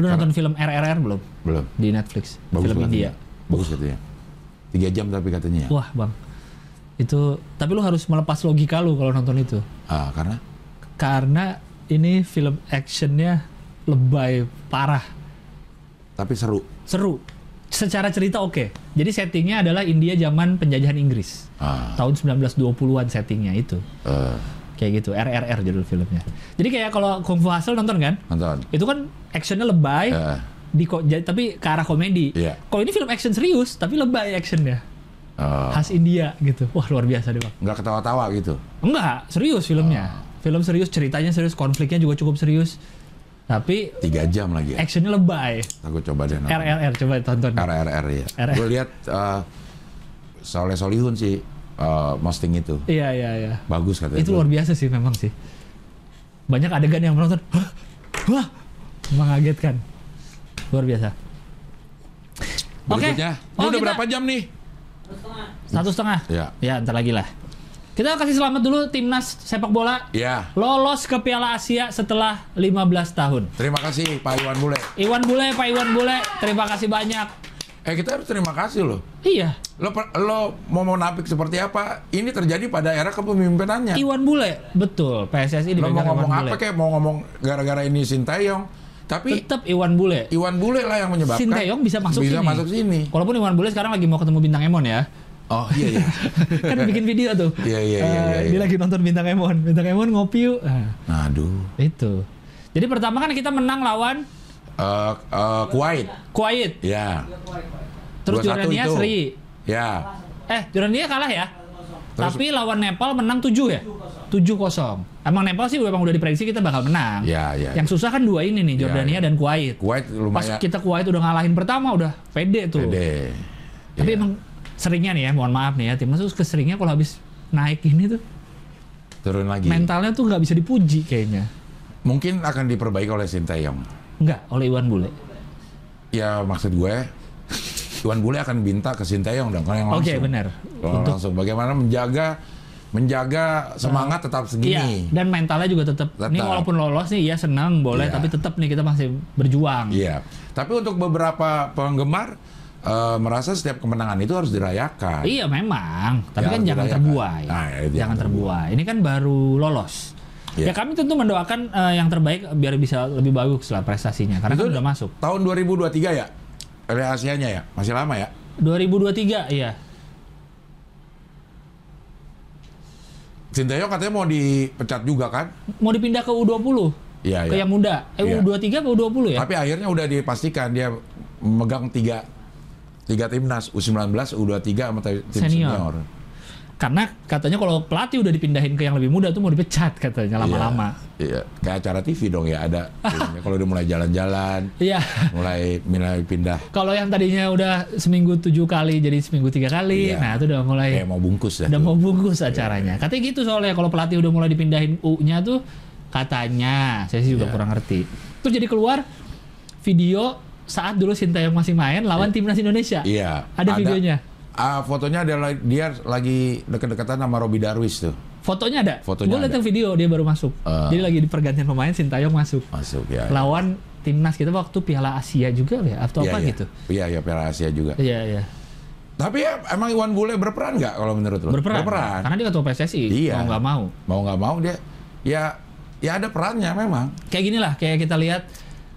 Speaker 2: Lu udah nonton film RRR belum
Speaker 1: Belum.
Speaker 2: di Netflix?
Speaker 1: Bagus
Speaker 2: film
Speaker 1: banget. iya.
Speaker 2: India.
Speaker 1: Bagus katanya. Tiga jam tapi katanya. ya.
Speaker 2: Wah bang, itu tapi lu harus melepas logika lu kalau nonton itu.
Speaker 1: Ah, karena
Speaker 2: Karena ini film actionnya lebay parah,
Speaker 1: tapi seru.
Speaker 2: seru. Secara cerita oke. Jadi settingnya adalah India zaman penjajahan Inggris.
Speaker 1: Ah,
Speaker 2: Tahun 1920-an settingnya itu.
Speaker 1: eh,
Speaker 2: Kayak gitu, RRR judul filmnya. Jadi kayak kalau Kung Fu Hustle nonton kan?
Speaker 1: nonton.
Speaker 2: Itu kan actionnya lebay,
Speaker 1: Eh,
Speaker 2: di ko- ja- tapi ke arah komedi.
Speaker 1: Iya.
Speaker 2: Kalau ini film action serius, tapi lebay actionnya.
Speaker 1: eh,
Speaker 2: Khas India gitu. Wah luar biasa deh bang.
Speaker 1: nggak ketawa-tawa gitu.
Speaker 2: Enggak, serius filmnya. Film serius, ceritanya serius, konfliknya juga cukup serius. Tapi
Speaker 1: Tiga jam lagi. Ya. Nah.
Speaker 2: actionnya lebay.
Speaker 1: Aku coba deh. nonton.
Speaker 2: RRR coba tonton.
Speaker 1: RRR ya.
Speaker 2: RRR.
Speaker 1: Gue lihat eh Soleh Solihun sih eh, posting itu.
Speaker 2: Iya, iya, iya.
Speaker 1: Bagus katanya.
Speaker 2: Itu luar biasa sih memang sih. Banyak adegan yang menonton, *gasps* "Hah? Wah!" mengagetkan. Luar biasa. Oke.
Speaker 1: Berikutnya. Ini
Speaker 2: Oh,
Speaker 1: udah
Speaker 2: kita-
Speaker 1: berapa jam nih?
Speaker 2: Satu setengah.
Speaker 1: Ya.
Speaker 2: Ya, ntar lagi lah. Kita kasih selamat dulu timnas sepak bola
Speaker 1: Ya.
Speaker 2: lolos ke Piala Asia setelah 15 tahun.
Speaker 1: Terima kasih Pak Iwan Bule.
Speaker 2: Iwan Bule, Pak Iwan Bule, terima kasih banyak.
Speaker 1: Eh kita harus terima kasih loh.
Speaker 2: Iya,
Speaker 1: Lo, per- lo mau munafik seperti apa? Ini terjadi pada era kepemimpinannya.
Speaker 2: Iwan Bule, betul. PSSI
Speaker 1: Ya. Lo mau
Speaker 2: dipegang Iwan
Speaker 1: ngomong
Speaker 2: Bule.
Speaker 1: apa kayak mau ngomong gara-gara ini Sintayong, tapi
Speaker 2: Tetap Iwan Bule.
Speaker 1: Iwan Bule lah yang menyebabkan
Speaker 2: Sinteyong bisa masuk
Speaker 1: Iya, bisa
Speaker 2: sini.
Speaker 1: masuk sini.
Speaker 2: Walaupun Iwan Bule sekarang lagi mau ketemu Bintang Emon
Speaker 1: *laughs*
Speaker 2: ya.
Speaker 1: Oh
Speaker 2: *laughs*
Speaker 1: iya iya.
Speaker 2: Kan bikin video tuh.
Speaker 1: Iya, iya,
Speaker 2: Eh,
Speaker 1: iya, iya,
Speaker 2: Dia
Speaker 1: iya.
Speaker 2: lagi nonton Bintang Emon. Bintang Emon ngopi yuk. Ah,
Speaker 1: Aduh.
Speaker 2: itu. Jadi pertama kan kita menang lawan
Speaker 1: Eh, eh, Kuwait.
Speaker 2: Kuwait.
Speaker 1: Ya.
Speaker 2: Terus
Speaker 1: 2-1
Speaker 2: Jordania
Speaker 1: itu.
Speaker 2: seri.
Speaker 1: Ya.
Speaker 2: Eh, Jordania kalah ya?
Speaker 1: Terus-
Speaker 2: Tapi lawan Nepal menang 7 ya? 7-0. Emang Nepal sih memang udah diprediksi kita bakal menang.
Speaker 1: Ya, ya,
Speaker 2: Yang susah kan dua ini nih,
Speaker 1: Ya,
Speaker 2: Jordania
Speaker 1: ya.
Speaker 2: dan Kuwait.
Speaker 1: Kuwait
Speaker 2: Pas
Speaker 1: lumayan.
Speaker 2: kita Kuwait udah ngalahin pertama udah pede tuh.
Speaker 1: Dede.
Speaker 2: Tapi
Speaker 1: Iya.
Speaker 2: emang seringnya nih ya, mohon maaf nih ya, timnas tuh keseringnya kalau habis naik ini tuh
Speaker 1: turun lagi.
Speaker 2: mentalnya tuh nggak bisa dipuji kayaknya.
Speaker 1: Mungkin akan diperbaiki oleh Sintayong.
Speaker 2: Nggak oleh Iwan Bule.
Speaker 1: Ya maksud gue Iwan Bule akan minta ke Sintayong dong kalau yang langsung.
Speaker 2: Oke benar.
Speaker 1: Kalau
Speaker 2: Untuk
Speaker 1: langsung bagaimana menjaga menjaga semangat tetap
Speaker 2: iya
Speaker 1: segini.
Speaker 2: dan mentalnya juga tetap. Ini
Speaker 1: Tetap.
Speaker 2: walaupun lolos nih ya senang boleh,
Speaker 1: Iya.
Speaker 2: tapi tetap nih kita masih berjuang.
Speaker 1: Iya. Tapi untuk beberapa penggemar eh, merasa setiap kemenangan itu harus dirayakan.
Speaker 2: Iya memang,
Speaker 1: Ya,
Speaker 2: tapi kan
Speaker 1: harus
Speaker 2: jangan
Speaker 1: dirayakan.
Speaker 2: terbuai.
Speaker 1: Nah, ya, itu
Speaker 2: jangan
Speaker 1: jangan
Speaker 2: terbuai. Ini kan baru lolos.
Speaker 1: Iya.
Speaker 2: Ya kami tentu mendoakan eh, yang terbaik biar bisa lebih bagus lah prestasinya karena
Speaker 1: Itu
Speaker 2: kan udah masuk.
Speaker 1: Tahun 2023 ya? Oleh Asianya ya? Masih lama ya?
Speaker 2: 2023 iya.
Speaker 1: Sintayong katanya mau dipecat juga kan?
Speaker 2: Mau dipindah ke U20
Speaker 1: Iya,
Speaker 2: ke
Speaker 1: iya.
Speaker 2: yang muda. Eh
Speaker 1: Iya.
Speaker 2: U23 atau U20 ya?
Speaker 1: Tapi akhirnya udah dipastikan dia memegang tiga tiga timnas U19, U23 sama tim senior.
Speaker 2: Senior. Karena katanya kalau pelatih udah dipindahin ke yang lebih muda tuh mau dipecat katanya lama-lama.
Speaker 1: Iya, kayak acara TV dong ya
Speaker 2: *laughs*
Speaker 1: ada. timnya. Kalau udah mulai jalan-jalan,
Speaker 2: Iya. *laughs*
Speaker 1: mulai mulai pindah
Speaker 2: Kalau yang tadinya udah seminggu tujuh kali jadi seminggu tiga kali,
Speaker 1: Iya.
Speaker 2: nah itu udah mulai
Speaker 1: kayak mau bungkus ya.
Speaker 2: udah mau bungkus
Speaker 1: iya.
Speaker 2: acaranya. Katanya gitu soalnya kalau pelatih udah mulai dipindahin U-nya tuh katanya, saya sih juga
Speaker 1: Iya.
Speaker 2: kurang ngerti. Terus jadi keluar video saat dulu Sintayong masih main lawan timnas Indonesia.
Speaker 1: Iya.
Speaker 2: Ada videonya?
Speaker 1: Ah, fotonya adalah dia lagi deket-deketan sama Robi Darwis tuh.
Speaker 2: Fotonya ada.
Speaker 1: Fotonya
Speaker 2: Gue liat
Speaker 1: ada.
Speaker 2: yang video dia baru masuk.
Speaker 1: Eh.
Speaker 2: Jadi lagi di pergantian pemain Sintayong masuk.
Speaker 1: Masuk ya.
Speaker 2: Lawan timnas kita waktu Piala Asia juga ya atau
Speaker 1: Iya,
Speaker 2: apa
Speaker 1: iya.
Speaker 2: gitu.
Speaker 1: Iya, iya Piala Asia juga.
Speaker 2: Iya, iya.
Speaker 1: Tapi ya, emang Iwan Bule berperan nggak kalau menurut lo?
Speaker 2: Berperan. Karena dia ketua PSSI,
Speaker 1: Iya.
Speaker 2: mau nggak mau.
Speaker 1: Mau nggak mau dia ya ya ada perannya memang.
Speaker 2: Kayak gini lah, kayak kita lihat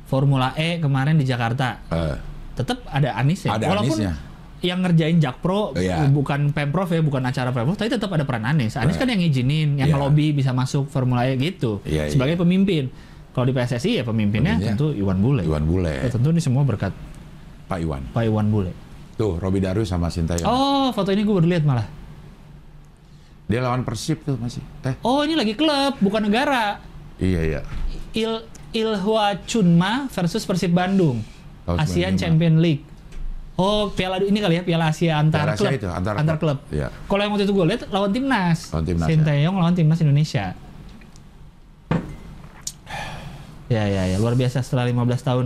Speaker 2: Formula E kemarin di Jakarta.
Speaker 1: Eh,
Speaker 2: Tetap ada Anis ya.
Speaker 1: Ada
Speaker 2: Walaupun
Speaker 1: Anisnya.
Speaker 2: yang ngerjain Jakpro
Speaker 1: Iya.
Speaker 2: bukan Pemprov ya, bukan acara Pemprov, tapi tetap ada peran Anis. Anis kan yang ngizinin, yang
Speaker 1: Iya.
Speaker 2: lobby bisa masuk Formula E gitu.
Speaker 1: Iya, iya.
Speaker 2: sebagai pemimpin. Kalau di PSSI ya pemimpinnya
Speaker 1: Pemimpinnya
Speaker 2: tentu Iwan Bule.
Speaker 1: Iwan Bule.
Speaker 2: Ya, tentu ini semua berkat
Speaker 1: Pak Iwan.
Speaker 2: Pak Iwan Bule.
Speaker 1: Tuh, Robi Darwis sama Sintayong.
Speaker 2: Oh, foto ini gue baru lihat malah.
Speaker 1: Dia lawan Persib tuh masih. Eh,
Speaker 2: Oh, ini lagi klub, bukan negara.
Speaker 1: iya iya.
Speaker 2: Il Ilhwa Chunma versus Persib Bandung.
Speaker 1: Tahun 95.
Speaker 2: ASEAN Champion League. Oh, piala ini kali ya Piala Asia antar
Speaker 1: Piala Asia
Speaker 2: klub.
Speaker 1: itu, antar klub.
Speaker 2: klub.
Speaker 1: Iya.
Speaker 2: Kalau yang waktu itu gue lihat lawan timnas.
Speaker 1: Lawan timnas, ya.
Speaker 2: Sinteyong lawan timnas Indonesia. Ya ya ya luar biasa setelah 15 tahun.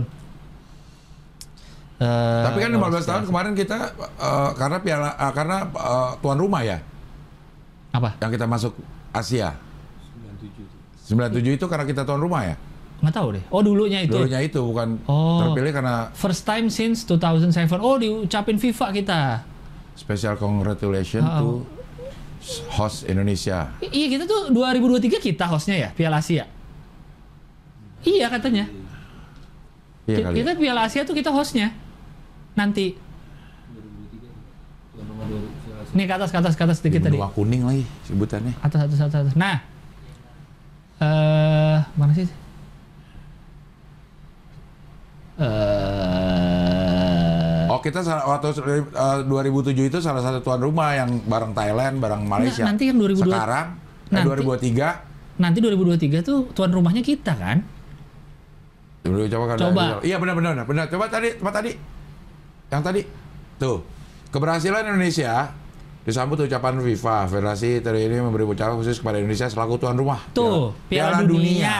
Speaker 2: eh,
Speaker 1: Tapi kan 15 tahun
Speaker 2: lolos.
Speaker 1: kemarin kita eh, karena piala eh, karena eh, tuan rumah ya
Speaker 2: Apa?
Speaker 1: yang kita masuk Asia. 97 itu karena kita tuan rumah ya.
Speaker 2: Nggak tahu deh. Oh dulunya itu.
Speaker 1: Dulunya itu bukan
Speaker 2: Oh.
Speaker 1: terpilih karena
Speaker 2: First time since 2007. Oh diucapin FIFA kita.
Speaker 1: special congratulation
Speaker 2: Ah.
Speaker 1: to host Indonesia.
Speaker 2: I- iya kita tuh 2023 kita hostnya ya Piala Asia. Iya katanya.
Speaker 1: Iya
Speaker 2: Ki-
Speaker 1: kali.
Speaker 2: kita Piala Asia tuh kita hostnya. Nanti.
Speaker 4: Tuan rumah dua Piala Asia.
Speaker 2: Nih ke atas ke atas ke atas sedikit tadi.
Speaker 1: Benua kuning lagi sebutannya.
Speaker 2: Atas atas atas. atas. Nah. Eh mana sih? Eh
Speaker 1: Oh kita salah- waktu eh, 2007 itu salah satu tuan rumah yang bareng Thailand, bareng Malaysia.
Speaker 2: Nah, nanti yang 2002
Speaker 1: Sekarang eh,
Speaker 2: Nanti-
Speaker 1: 2003
Speaker 2: nanti 2023 tuh tuan rumahnya kita kan?
Speaker 1: dulu coba kan.
Speaker 2: Coba.
Speaker 1: Iya benar benar benar, benar. Coba tadi tempat tadi. Yang tadi. Tuh. Keberhasilan Indonesia disambut ucapan FIFA. Federasi hari ini memberi ucapan khusus kepada Indonesia selaku tuan rumah. Ya,
Speaker 2: Tuh, Piala, Dunia.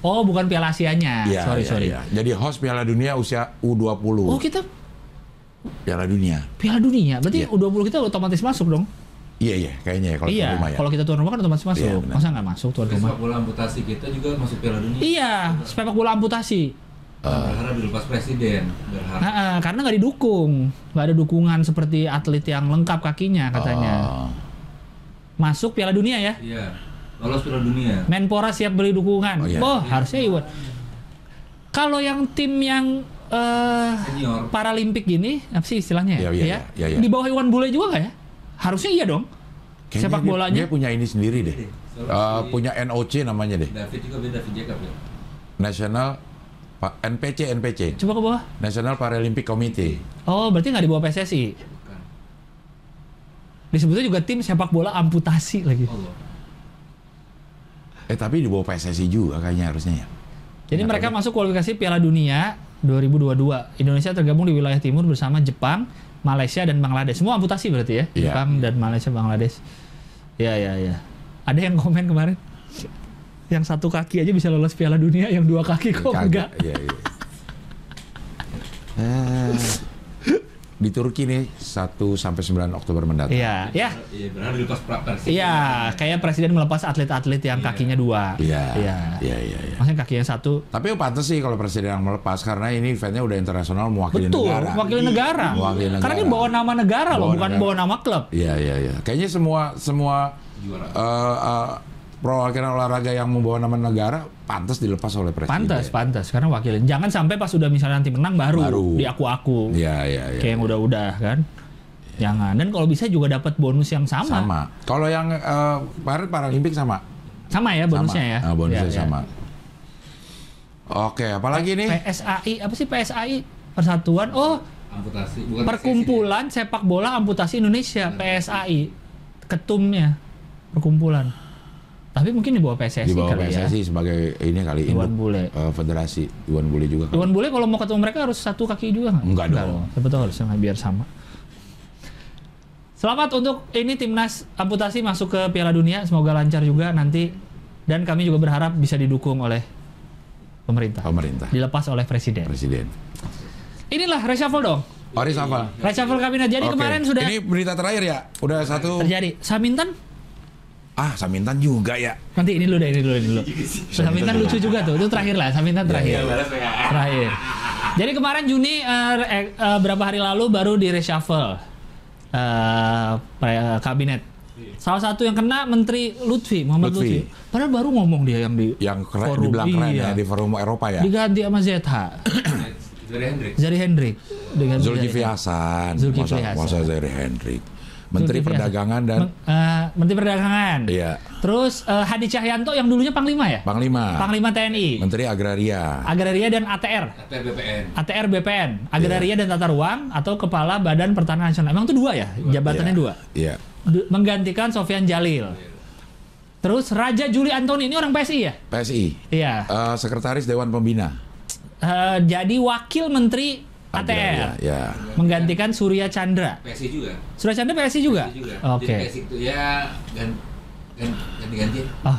Speaker 2: Oh, bukan Piala Asianya.
Speaker 1: Iya,
Speaker 2: sorry,
Speaker 1: iya,
Speaker 2: sorry.
Speaker 1: iya. Jadi host Piala Dunia usia U20.
Speaker 2: Oh, kita
Speaker 1: Piala Dunia.
Speaker 2: Piala Dunia. Berarti
Speaker 1: Iya.
Speaker 2: U20 kita otomatis masuk dong.
Speaker 1: Iya iya, kayaknya ya kalau
Speaker 2: iya.
Speaker 1: tuan rumah ya.
Speaker 2: Kalau kita tuan rumah kan otomatis masuk.
Speaker 1: Iya, benar.
Speaker 2: Masa nggak masuk tuan
Speaker 4: Terus
Speaker 2: rumah?
Speaker 4: sepak bola amputasi kita juga masuk Piala Dunia.
Speaker 2: Iya, sepak bola amputasi.
Speaker 1: Ah.
Speaker 4: Berharap dilepas presiden. Berharap.
Speaker 2: Nah, eh, karena nggak didukung, nggak ada dukungan seperti atlet yang lengkap kakinya katanya.
Speaker 1: Oh.
Speaker 2: Masuk Piala Dunia ya.
Speaker 4: Iya. Lolos Piala Dunia.
Speaker 2: Menpora siap beli
Speaker 1: Oh,
Speaker 2: dukungan.
Speaker 1: iya.
Speaker 2: Oh, harusnya Iwan. Kalau yang tim yang eh
Speaker 4: Senior.
Speaker 2: Paralimpik gini, apa sih istilahnya
Speaker 1: Iya,
Speaker 2: ya?
Speaker 1: iya, iya, iya.
Speaker 2: Di bawah Iwan Bule juga nggak ya? Harusnya iya dong.
Speaker 1: Kayaknya
Speaker 2: Sepak
Speaker 1: dia-
Speaker 2: bolanya.
Speaker 1: dia punya ini sendiri deh.
Speaker 4: Soalnya
Speaker 1: Eh,
Speaker 4: si
Speaker 1: punya NOC namanya deh.
Speaker 4: David juga beda David Jacob ya.
Speaker 1: National Pa- NPC NPC.
Speaker 2: Coba ke bawah.
Speaker 1: National Paralympic Committee.
Speaker 2: Oh, berarti nggak di bawah PSSI.
Speaker 4: Bukan.
Speaker 2: Disebutnya juga tim sepak bola amputasi lagi.
Speaker 4: Allah.
Speaker 1: Eh tapi di bawah PSSI juga kayaknya harusnya ya.
Speaker 2: Jadi mereka masuk kualifikasi Piala Dunia 2022. Indonesia tergabung di wilayah timur bersama Jepang, Malaysia dan Bangladesh. Semua amputasi berarti ya?
Speaker 1: Iya.
Speaker 2: Jepang dan Malaysia, Bangladesh. Ya, ya, ya. Ada yang komen kemarin yang satu kaki aja bisa lolos Piala Dunia, yang dua kaki kok
Speaker 1: Kagak.
Speaker 2: enggak?
Speaker 1: Iya, iya. Eh, di Turki nih 1 sampai 9 Oktober mendatang.
Speaker 2: Iya, ya.
Speaker 4: Iya, berharap dilepas pra presiden.
Speaker 2: Iya, kayak presiden melepas atlet-atlet yang
Speaker 4: Iya.
Speaker 2: kakinya dua.
Speaker 1: Iya.
Speaker 2: Iya.
Speaker 1: Iya, iya, iya.
Speaker 2: Maksudnya kakinya satu.
Speaker 1: Tapi ya pantas sih kalau presiden yang melepas karena ini eventnya udah internasional mewakili
Speaker 2: Betul,
Speaker 1: negara.
Speaker 2: wakil negara.
Speaker 1: Wakil negara.
Speaker 2: Karena dia bawa nama negara loh,
Speaker 1: Bawa
Speaker 2: bukan
Speaker 1: negara.
Speaker 2: bawa nama klub.
Speaker 1: Iya iya iya. Kayaknya semua semua
Speaker 4: Juara.
Speaker 1: eh, eh, perwakilan olahraga yang membawa nama negara pantas dilepas oleh presiden.
Speaker 2: Pantas, pantas. Karena wakil. Jangan sampai pas udah misalnya nanti menang baru,
Speaker 1: ya. Baru.
Speaker 2: di aku-aku.
Speaker 1: Iya iya iya.
Speaker 2: Kayak yang udah-udah kan. Jangan. Dan kalau bisa juga dapat bonus yang sama.
Speaker 1: Sama. Kalau yang eh, kemarin Paralimpik sama.
Speaker 2: Sama ya
Speaker 1: Sama.
Speaker 2: bonusnya ya.
Speaker 1: Ah, bonusnya
Speaker 2: Ya, ya.
Speaker 1: sama. Oke, apalagi
Speaker 2: Eh.
Speaker 1: nih?
Speaker 2: PSAI, apa sih PSAI? Persatuan oh
Speaker 4: Amputasi. Bukan
Speaker 2: Perkumpulan Sepak Bola Amputasi Indonesia PSAI. Ketumnya perkumpulan. Tapi mungkin di bawah
Speaker 1: Di
Speaker 2: PSSI
Speaker 1: bawah
Speaker 2: kali ya.
Speaker 1: PSSI sebagai ini kali
Speaker 2: Iwan
Speaker 1: induk,
Speaker 2: Bule.
Speaker 1: eh, federasi Iwan Bule juga. kan? kali.
Speaker 2: Iwan Bule kalau mau ketemu mereka harus satu kaki juga nggak?
Speaker 1: Enggak dong.
Speaker 2: Siapa tahu harus sama biar sama. Selamat untuk ini timnas amputasi masuk ke Piala Dunia. Semoga lancar juga nanti. Dan kami juga berharap bisa didukung oleh pemerintah.
Speaker 1: Pemerintah.
Speaker 2: Dilepas oleh presiden.
Speaker 1: Presiden.
Speaker 2: Inilah reshuffle dong.
Speaker 1: Oris apa?
Speaker 2: Reshuffle kabinet. Jadi
Speaker 1: Oke.
Speaker 2: kemarin sudah
Speaker 1: Ini berita terakhir ya. Udah satu.
Speaker 2: terjadi. Samintan
Speaker 1: Ah, Samintan juga ya.
Speaker 2: nanti ini dulu deh, ini dulu ini
Speaker 1: *laughs*
Speaker 2: dulu. Samintan lucu juga tuh. Itu terakhir lah, Samintan
Speaker 1: Iya,
Speaker 2: terakhir. Terakhir. Jadi kemarin Juni eh, eh, eh, berapa hari lalu baru di reshuffle eh, pre- kabinet. Salah satu yang kena Menteri Lutfi Muhammad
Speaker 1: Iya.
Speaker 2: Lutfi.
Speaker 1: Lutfi.
Speaker 2: Padahal baru ngomong dia yang di
Speaker 1: Yang keren,
Speaker 2: forum.
Speaker 1: dibilang keren
Speaker 2: Iya.
Speaker 1: ya di forum Eropa ya.
Speaker 2: Diganti sama ZH.
Speaker 1: *coughs*
Speaker 4: Dari Hendrik.
Speaker 2: Zari Hendrik dengan
Speaker 1: Zulkifli
Speaker 2: Zari-
Speaker 1: Hasan,
Speaker 2: ya, iya. Zulkifli
Speaker 1: masa,
Speaker 2: Hasan.
Speaker 1: masa Zahir Hendrik, Menteri
Speaker 2: Zulkifli Hasan.
Speaker 1: Perdagangan dan
Speaker 2: Meng- eh, Menteri Perdagangan.
Speaker 1: Iya.
Speaker 2: Terus eh, Hadi Cahyanto yang dulunya Panglima ya?
Speaker 1: Panglima,
Speaker 2: Panglima TNI.
Speaker 1: Menteri Agraria,
Speaker 2: Agraria dan ATR.
Speaker 4: Atau BPN.
Speaker 2: ATR BPN, Agraria dan Tata Ruang atau Kepala Badan Pertanahan Nasional. Emang itu dua ya? Jabatannya
Speaker 1: Iya.
Speaker 2: dua.
Speaker 1: Iya,
Speaker 2: Du- menggantikan Sofian Jalil. Terus Raja Juli Antoni ini orang PSI ya?
Speaker 1: PSI,
Speaker 2: Iya.
Speaker 1: Eh, Sekretaris Dewan Pembina
Speaker 2: Eh, jadi wakil menteri
Speaker 1: Agraria,
Speaker 2: ATR
Speaker 1: ya.
Speaker 2: menggantikan Surya Chandra.
Speaker 4: PSI juga.
Speaker 2: Surya Chandra PSI juga.
Speaker 4: PSI juga.
Speaker 2: Oke.
Speaker 4: Jadi PSI itu ya gan- gan- ganti-ganti.
Speaker 2: Oh.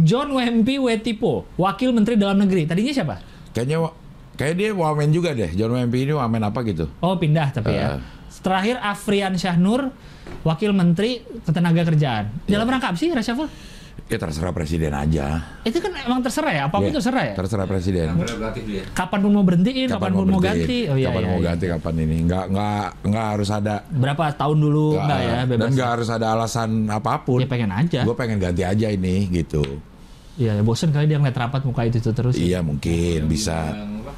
Speaker 2: John Wempi Wetipo, wakil menteri dalam negeri. Tadinya siapa?
Speaker 1: Kayaknya wa- Kayak dia wamen juga deh, John Wempi ini wamen apa gitu.
Speaker 2: Oh pindah tapi
Speaker 1: Eh.
Speaker 2: ya. Terakhir Afrian Syahnur, Wakil Menteri Ketenagakerjaan. Dalam rangka apa sih reshuffle?
Speaker 1: Ya terserah presiden aja.
Speaker 2: Itu kan emang terserah ya, apapun
Speaker 1: Ya,
Speaker 2: terserah ya.
Speaker 1: Terserah presiden.
Speaker 4: Yang berablatif dia.
Speaker 2: Kapan pun mau berhentiin, kapan, pun
Speaker 1: berhentiin,
Speaker 2: mau ganti. Oh iya,
Speaker 1: kapan
Speaker 2: iya,
Speaker 1: mau
Speaker 2: iya.
Speaker 1: ganti, kapan ini. Nggak nggak nggak harus ada
Speaker 2: Berapa tahun dulu enggak ya,
Speaker 1: dan
Speaker 2: bebas. Iya,
Speaker 1: nggak harus ada alasan apapun.
Speaker 2: Dia pengen aja.
Speaker 1: Gue pengen ganti aja ini gitu.
Speaker 2: Iya, ya, bosen kali dia ngeliat rapat muka itu, itu terus.
Speaker 1: Iya mungkin bisa.
Speaker 4: Yang apa?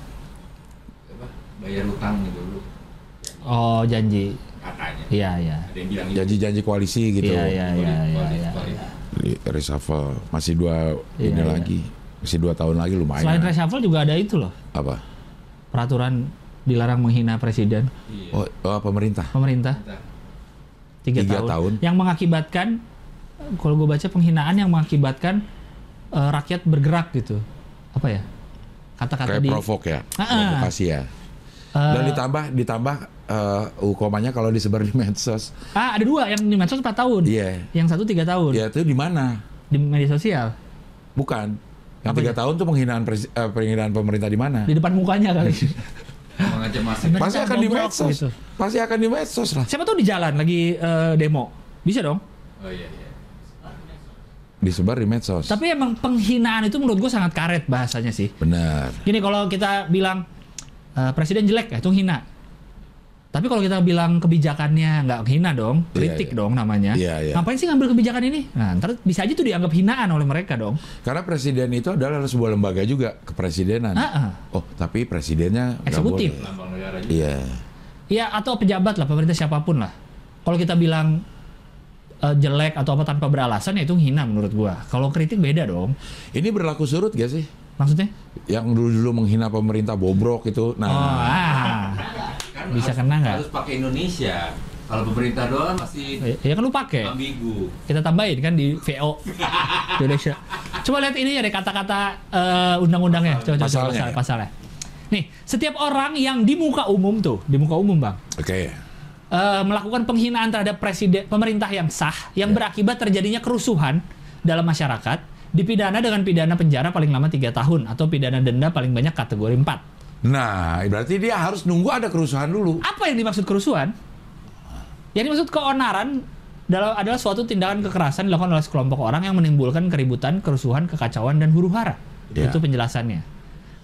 Speaker 4: Apa? Bayar utang gitu dulu
Speaker 2: Oh, janji.
Speaker 4: katanya.
Speaker 2: Iya, iya.
Speaker 4: Ada yang bilang gitu.
Speaker 1: Janji-janji koalisi gitu.
Speaker 2: Iya, iya, iya, iya,
Speaker 4: Kuali-
Speaker 2: iya.
Speaker 4: kuali-
Speaker 1: Di- Reshuffle masih dua
Speaker 2: Iya,
Speaker 1: ini
Speaker 2: iya.
Speaker 1: lagi. Masih dua tahun lagi
Speaker 2: Selain
Speaker 1: lumayan.
Speaker 2: reshuffle juga ada itu loh.
Speaker 1: Apa?
Speaker 2: Peraturan dilarang menghina presiden,
Speaker 4: Iya.
Speaker 1: Oh, oh, pemerintah.
Speaker 2: pemerintah.
Speaker 4: Entah.
Speaker 2: tiga,
Speaker 1: Tiga
Speaker 2: tahun.
Speaker 1: tahun.
Speaker 2: yang mengakibatkan eh, kalau gue baca penghinaan yang mengakibatkan eh, rakyat bergerak gitu apa ya kata-kata
Speaker 1: Kayak
Speaker 2: di
Speaker 1: provok ya,
Speaker 2: Ah, ah.
Speaker 1: provokasi ya.
Speaker 2: eh,
Speaker 1: Dan ditambah ditambah eh, hukumannya kalau disebar di medsos.
Speaker 2: ah ada dua yang di medsos 4 tahun
Speaker 1: Iya.
Speaker 2: yang satu tiga tahun
Speaker 1: Ya itu di mana?
Speaker 2: di media sosial
Speaker 1: Bukan. Yang
Speaker 2: Apa ya?
Speaker 1: tiga tahun tuh penghinaan presi- eh, penghinaan pemerintah di mana?
Speaker 2: di depan mukanya kali
Speaker 1: Iya.
Speaker 4: Mengajak masif.
Speaker 2: Bener.
Speaker 1: Pasti akan di
Speaker 2: Goblok
Speaker 1: medsos.
Speaker 2: gitu.
Speaker 1: Pasti akan di medsos lah.
Speaker 2: siapa tuh di jalan lagi eh, demo bisa dong
Speaker 4: Oh iya iya.
Speaker 1: Disebar di medsos.
Speaker 2: tapi emang penghinaan itu menurut gue sangat karet bahasanya sih
Speaker 1: Benar.
Speaker 2: gini kalau kita bilang eh, presiden jelek ya itu hina tapi kalau kita bilang kebijakannya nggak hina dong
Speaker 1: Iya,
Speaker 2: kritik
Speaker 1: iya.
Speaker 2: dong namanya
Speaker 1: Iya, iya.
Speaker 2: ngapain sih ngambil kebijakan ini nah ntar bisa aja tuh dianggap hinaan oleh mereka dong
Speaker 1: Karena presiden itu adalah sebuah lembaga juga kepresidenan.
Speaker 2: Ah, ah.
Speaker 1: Oh, tapi presidennya nggak
Speaker 2: Eksekutif.
Speaker 1: boleh.
Speaker 4: Lambang negara juga.
Speaker 1: Iya.
Speaker 2: ya atau pejabat lah pemerintah siapapun lah kalau kita bilang eh, jelek atau apa tanpa beralasan ya itu hina menurut gua kalau kritik beda dong
Speaker 1: Ini berlaku surut gak sih?
Speaker 2: maksudnya
Speaker 1: Yang dulu-dulu menghina pemerintah bobrok itu.
Speaker 2: oh
Speaker 1: Nah,
Speaker 2: ah
Speaker 4: Kan
Speaker 2: Bisa
Speaker 4: harus-
Speaker 2: kena nggak?
Speaker 4: Harus pakai Indonesia. Kalau pemerintah doang masih
Speaker 2: ya kan lu pakai
Speaker 4: ambigu.
Speaker 2: kita tambahin kan di VO di Indonesia. Coba lihat ini ya deh kata-kata eh, undang-undangnya. Coba, coba, coba
Speaker 1: Pasalnya
Speaker 2: pasal,
Speaker 1: ya.
Speaker 2: pasalnya. Nih, setiap orang yang di muka umum tuh, di muka umum Bang,
Speaker 1: oke.
Speaker 2: eh, melakukan penghinaan terhadap presiden pemerintah yang sah yang
Speaker 1: Ya.
Speaker 2: berakibat terjadinya kerusuhan dalam masyarakat dipidana dengan pidana penjara paling lama tiga tahun atau pidana denda paling banyak kategori 4.
Speaker 1: Nah, berarti dia harus nunggu ada kerusuhan dulu.
Speaker 2: Apa yang dimaksud kerusuhan? Yang dimaksud keonaran dalam adalah suatu tindakan kekerasan dilakukan oleh sekelompok orang yang menimbulkan keributan, kerusuhan, kekacauan dan huru-hara.
Speaker 1: Ya.
Speaker 2: Itu penjelasannya.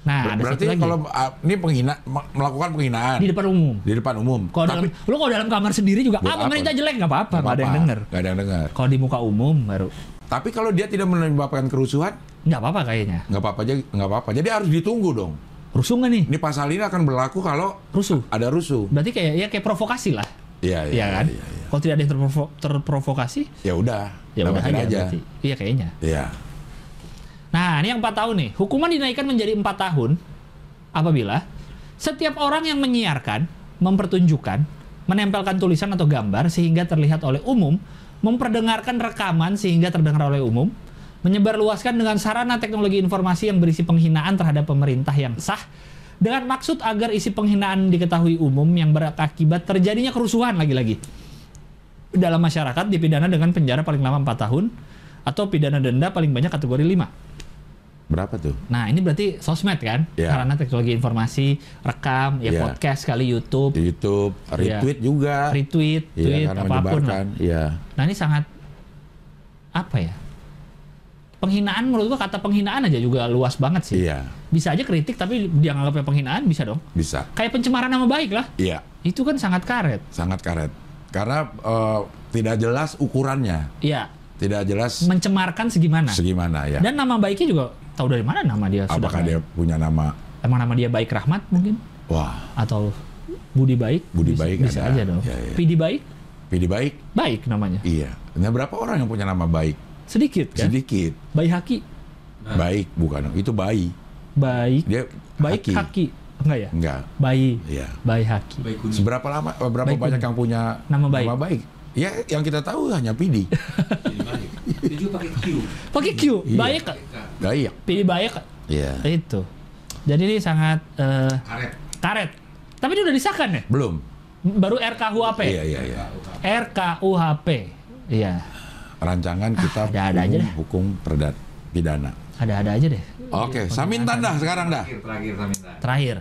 Speaker 2: Nah, ada
Speaker 1: berarti
Speaker 2: satu lagi
Speaker 1: kalau ah, ini penghina me- melakukan penghinaan
Speaker 2: di depan umum.
Speaker 1: di depan umum.
Speaker 2: Kalau dalam,
Speaker 1: Tapi
Speaker 2: lu kalau dalam kamar sendiri juga
Speaker 1: Buat
Speaker 2: ah pemerintah jelek nggak apa-apa, nggak ada yang
Speaker 1: apa-apa,
Speaker 2: denger.
Speaker 1: nggak ada yang dengar.
Speaker 2: Kalau di muka umum baru
Speaker 1: Tapi kalau dia tidak menyebabkan kerusuhan,
Speaker 2: nggak apa-apa kayaknya.
Speaker 1: nggak apa-apa aja, nggak apa-apa. Jadi harus ditunggu dong.
Speaker 2: Rusuh nggak nih?
Speaker 1: Ini pasal ini akan berlaku kalau
Speaker 2: Rusuh.
Speaker 1: ada rusuh.
Speaker 2: Berarti kayak ya kayak provokasi lah,
Speaker 1: Iya,
Speaker 2: ya kan?
Speaker 1: iya, iya.
Speaker 2: Kalau tidak ada yang terprovo- terprovokasi,
Speaker 1: Ya udah,
Speaker 2: ya udah
Speaker 1: namatin
Speaker 2: aja. berarti. Iya kayaknya.
Speaker 1: Iya.
Speaker 2: Nah, ini yang 4 tahun nih. Hukuman dinaikkan menjadi 4 tahun apabila setiap orang yang menyiarkan, mempertunjukkan, menempelkan tulisan atau gambar sehingga terlihat oleh umum, memperdengarkan rekaman sehingga terdengar oleh umum, menyebarluaskan dengan sarana teknologi informasi yang berisi penghinaan terhadap pemerintah yang sah dengan maksud agar isi penghinaan diketahui umum yang berakibat terjadinya kerusuhan lagi-lagi dalam masyarakat dipidana dengan penjara paling lama 4 tahun atau pidana denda paling banyak kategori 5.
Speaker 1: Berapa tuh?
Speaker 2: Nah, ini berarti sosmed kan?
Speaker 1: Ya.
Speaker 2: Sarana teknologi informasi, rekam, ya
Speaker 1: Ya.
Speaker 2: podcast kali YouTube,
Speaker 1: YouTube,
Speaker 2: Iya.
Speaker 1: retweet juga.
Speaker 2: retweet, tweet,
Speaker 1: karena
Speaker 2: apapun lah.
Speaker 1: menyebarkan. Iya.
Speaker 2: Nah, ini sangat apa ya? Penghinaan menurut gua kata penghinaan aja juga luas banget sih.
Speaker 1: Iya,
Speaker 2: Bisa aja kritik tapi dianggapnya penghinaan bisa dong.
Speaker 1: bisa.
Speaker 2: Kayak pencemaran nama baik lah.
Speaker 1: Iya,
Speaker 2: Itu kan sangat karet.
Speaker 1: sangat karet. Karena eh, tidak jelas ukurannya,
Speaker 2: Iya,
Speaker 1: tidak jelas
Speaker 2: mencemarkan segimana.
Speaker 1: segimana ya.
Speaker 2: Dan nama baiknya juga tahu dari mana nama dia sudah
Speaker 1: Apakah
Speaker 2: baik.
Speaker 1: dia punya nama?
Speaker 2: Emang nama dia Baik Rahmat mungkin
Speaker 1: Wah,
Speaker 2: atau Budi Baik?
Speaker 1: Budi
Speaker 2: bisa,
Speaker 1: Baik
Speaker 2: bisa
Speaker 1: ada.
Speaker 2: aja dong.
Speaker 1: Ya, ya.
Speaker 2: Pidi Baik?
Speaker 1: pilih baik.
Speaker 2: Baik namanya.
Speaker 1: Iya. Nah, berapa orang yang punya nama baik?
Speaker 2: sedikit kan
Speaker 1: Sedikit.
Speaker 2: bayi haki
Speaker 4: Nah,
Speaker 1: Baik bukan? Itu bayi.
Speaker 2: baik
Speaker 1: Dia
Speaker 2: baik haki. enggak ya
Speaker 1: Enggak.
Speaker 2: bayi
Speaker 1: Iya.
Speaker 2: bayi haki
Speaker 4: baik kuning.
Speaker 1: Seberapa lama eh, berapa
Speaker 2: Baik
Speaker 1: banyak
Speaker 2: kuning.
Speaker 1: yang punya
Speaker 2: Nama baik.
Speaker 1: Ya, yang kita tahu hanya Pidi.
Speaker 2: *laughs*
Speaker 4: Jadi baik. Dia juga pakai Q.
Speaker 2: pakai Q
Speaker 1: Iya.
Speaker 2: baik
Speaker 1: Baik.
Speaker 2: pilih baik
Speaker 1: Iya.
Speaker 2: itu jadi ini sangat eh,
Speaker 4: Karet.
Speaker 2: karet tapi ini udah disahkan ya
Speaker 1: Belum.
Speaker 2: baru RKUHP
Speaker 1: Iya, iya, iya.
Speaker 2: RKUHP iya
Speaker 1: Rancangan kita
Speaker 2: Ah, ada-ada aja
Speaker 1: hukum,
Speaker 2: dah.
Speaker 1: hukum perdat pidana.
Speaker 2: Ada-ada aja deh.
Speaker 1: Oke,
Speaker 2: Iya,
Speaker 1: Samintan dah sekarang dah.
Speaker 4: Terakhir, terakhir Samintan.
Speaker 2: Terakhir.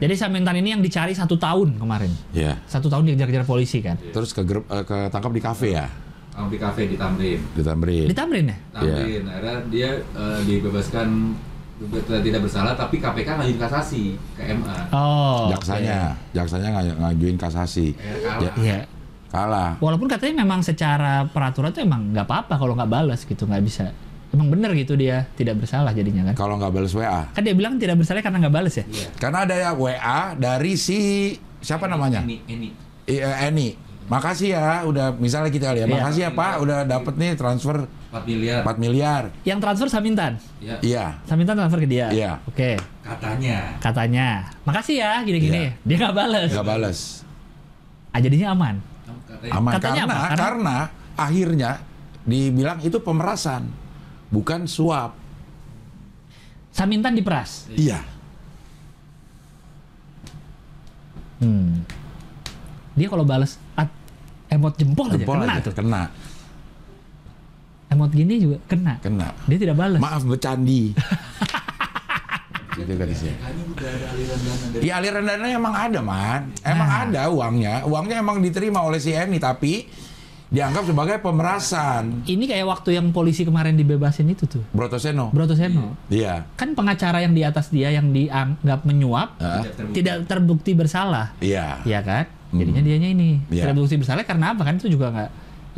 Speaker 2: Jadi Samintan ini yang dicari satu tahun kemarin.
Speaker 1: Ya.
Speaker 2: Satu tahun dikejar-kejar polisi kan.
Speaker 1: Terus ke grup eh, ketangkap di kafe ya,
Speaker 4: Kamu di kafe di Tamrin.
Speaker 1: di Tamrin.
Speaker 2: Ditamrin ya?
Speaker 4: Tamrin, akhirnya dia eh, dibebaskan betul tidak bersalah, tapi KPK ngajuin kasasi ke MA.
Speaker 2: Oh.
Speaker 1: Jaksanya, jaksanya ngay- ngajuin kasasi.
Speaker 4: Akhirnya kalah.
Speaker 1: Ya,
Speaker 2: oke. Iya.
Speaker 1: kalah.
Speaker 2: Walaupun katanya memang secara peraturan tuh emang nggak apa-apa kalau nggak balas gitu, nggak bisa. Emang bener gitu dia tidak bersalah jadinya kan?
Speaker 1: Kalau nggak balas WA.
Speaker 2: Kan dia bilang tidak bersalah karena nggak balas ya.
Speaker 4: Iya.
Speaker 1: Karena ada ya WA dari si siapa namanya?
Speaker 4: Ini, ini.
Speaker 1: I- eh, Eni. Makasih ya udah misalnya kita lihat.
Speaker 2: Iya.
Speaker 1: Makasih ya Pak udah dapet nih transfer
Speaker 4: 4 miliar.
Speaker 1: 4 miliar.
Speaker 2: Yang transfer Samintan,
Speaker 4: Ya,
Speaker 1: Iya.
Speaker 2: Samintan transfer ke dia.
Speaker 1: Iya.
Speaker 2: Oke.
Speaker 4: katanya.
Speaker 2: Katanya, makasih ya gini-gini. Dia nggak balas.
Speaker 1: Iya. Nggak balas.
Speaker 2: Ah, jadinya aman.
Speaker 4: Katanya.
Speaker 1: Aman
Speaker 2: Katanya
Speaker 1: karena,
Speaker 2: apa?
Speaker 1: karena akhirnya dibilang itu pemerasan bukan suap.
Speaker 2: Samintan diperas.
Speaker 1: Iya.
Speaker 2: Hmm. Dia kalau balas at- emot jempol,
Speaker 1: Iya. Jempol
Speaker 2: aja Oh, iya, kena
Speaker 1: aja.
Speaker 2: tuh.
Speaker 1: Kena.
Speaker 2: Emot gini juga kena.
Speaker 1: Kena.
Speaker 2: Dia tidak balas.
Speaker 1: Maaf
Speaker 2: *laughs*
Speaker 1: bercandi. gitu kan isinya.
Speaker 4: Katanya udah ada aliran dana dari
Speaker 2: Iya.
Speaker 1: Di aliran dana emang ada, Man. Emang
Speaker 2: Nah.
Speaker 1: ada uangnya. Uangnya emang diterima oleh si Eni, tapi dianggap sebagai pemerasan.
Speaker 2: Ini kayak waktu yang polisi kemarin dibebasin itu tuh.
Speaker 1: Broto Seno.
Speaker 2: Broto Seno.
Speaker 1: Iya.
Speaker 2: Kan pengacara yang di atas dia yang dianggap menyuap
Speaker 1: Hah?
Speaker 4: tidak terbukti.
Speaker 2: tidak terbukti bersalah.
Speaker 1: Iya.
Speaker 2: Iya kan? Jadinya dianya ini
Speaker 1: Iya.
Speaker 2: tidak terbukti bersalah karena apa kan itu juga nggak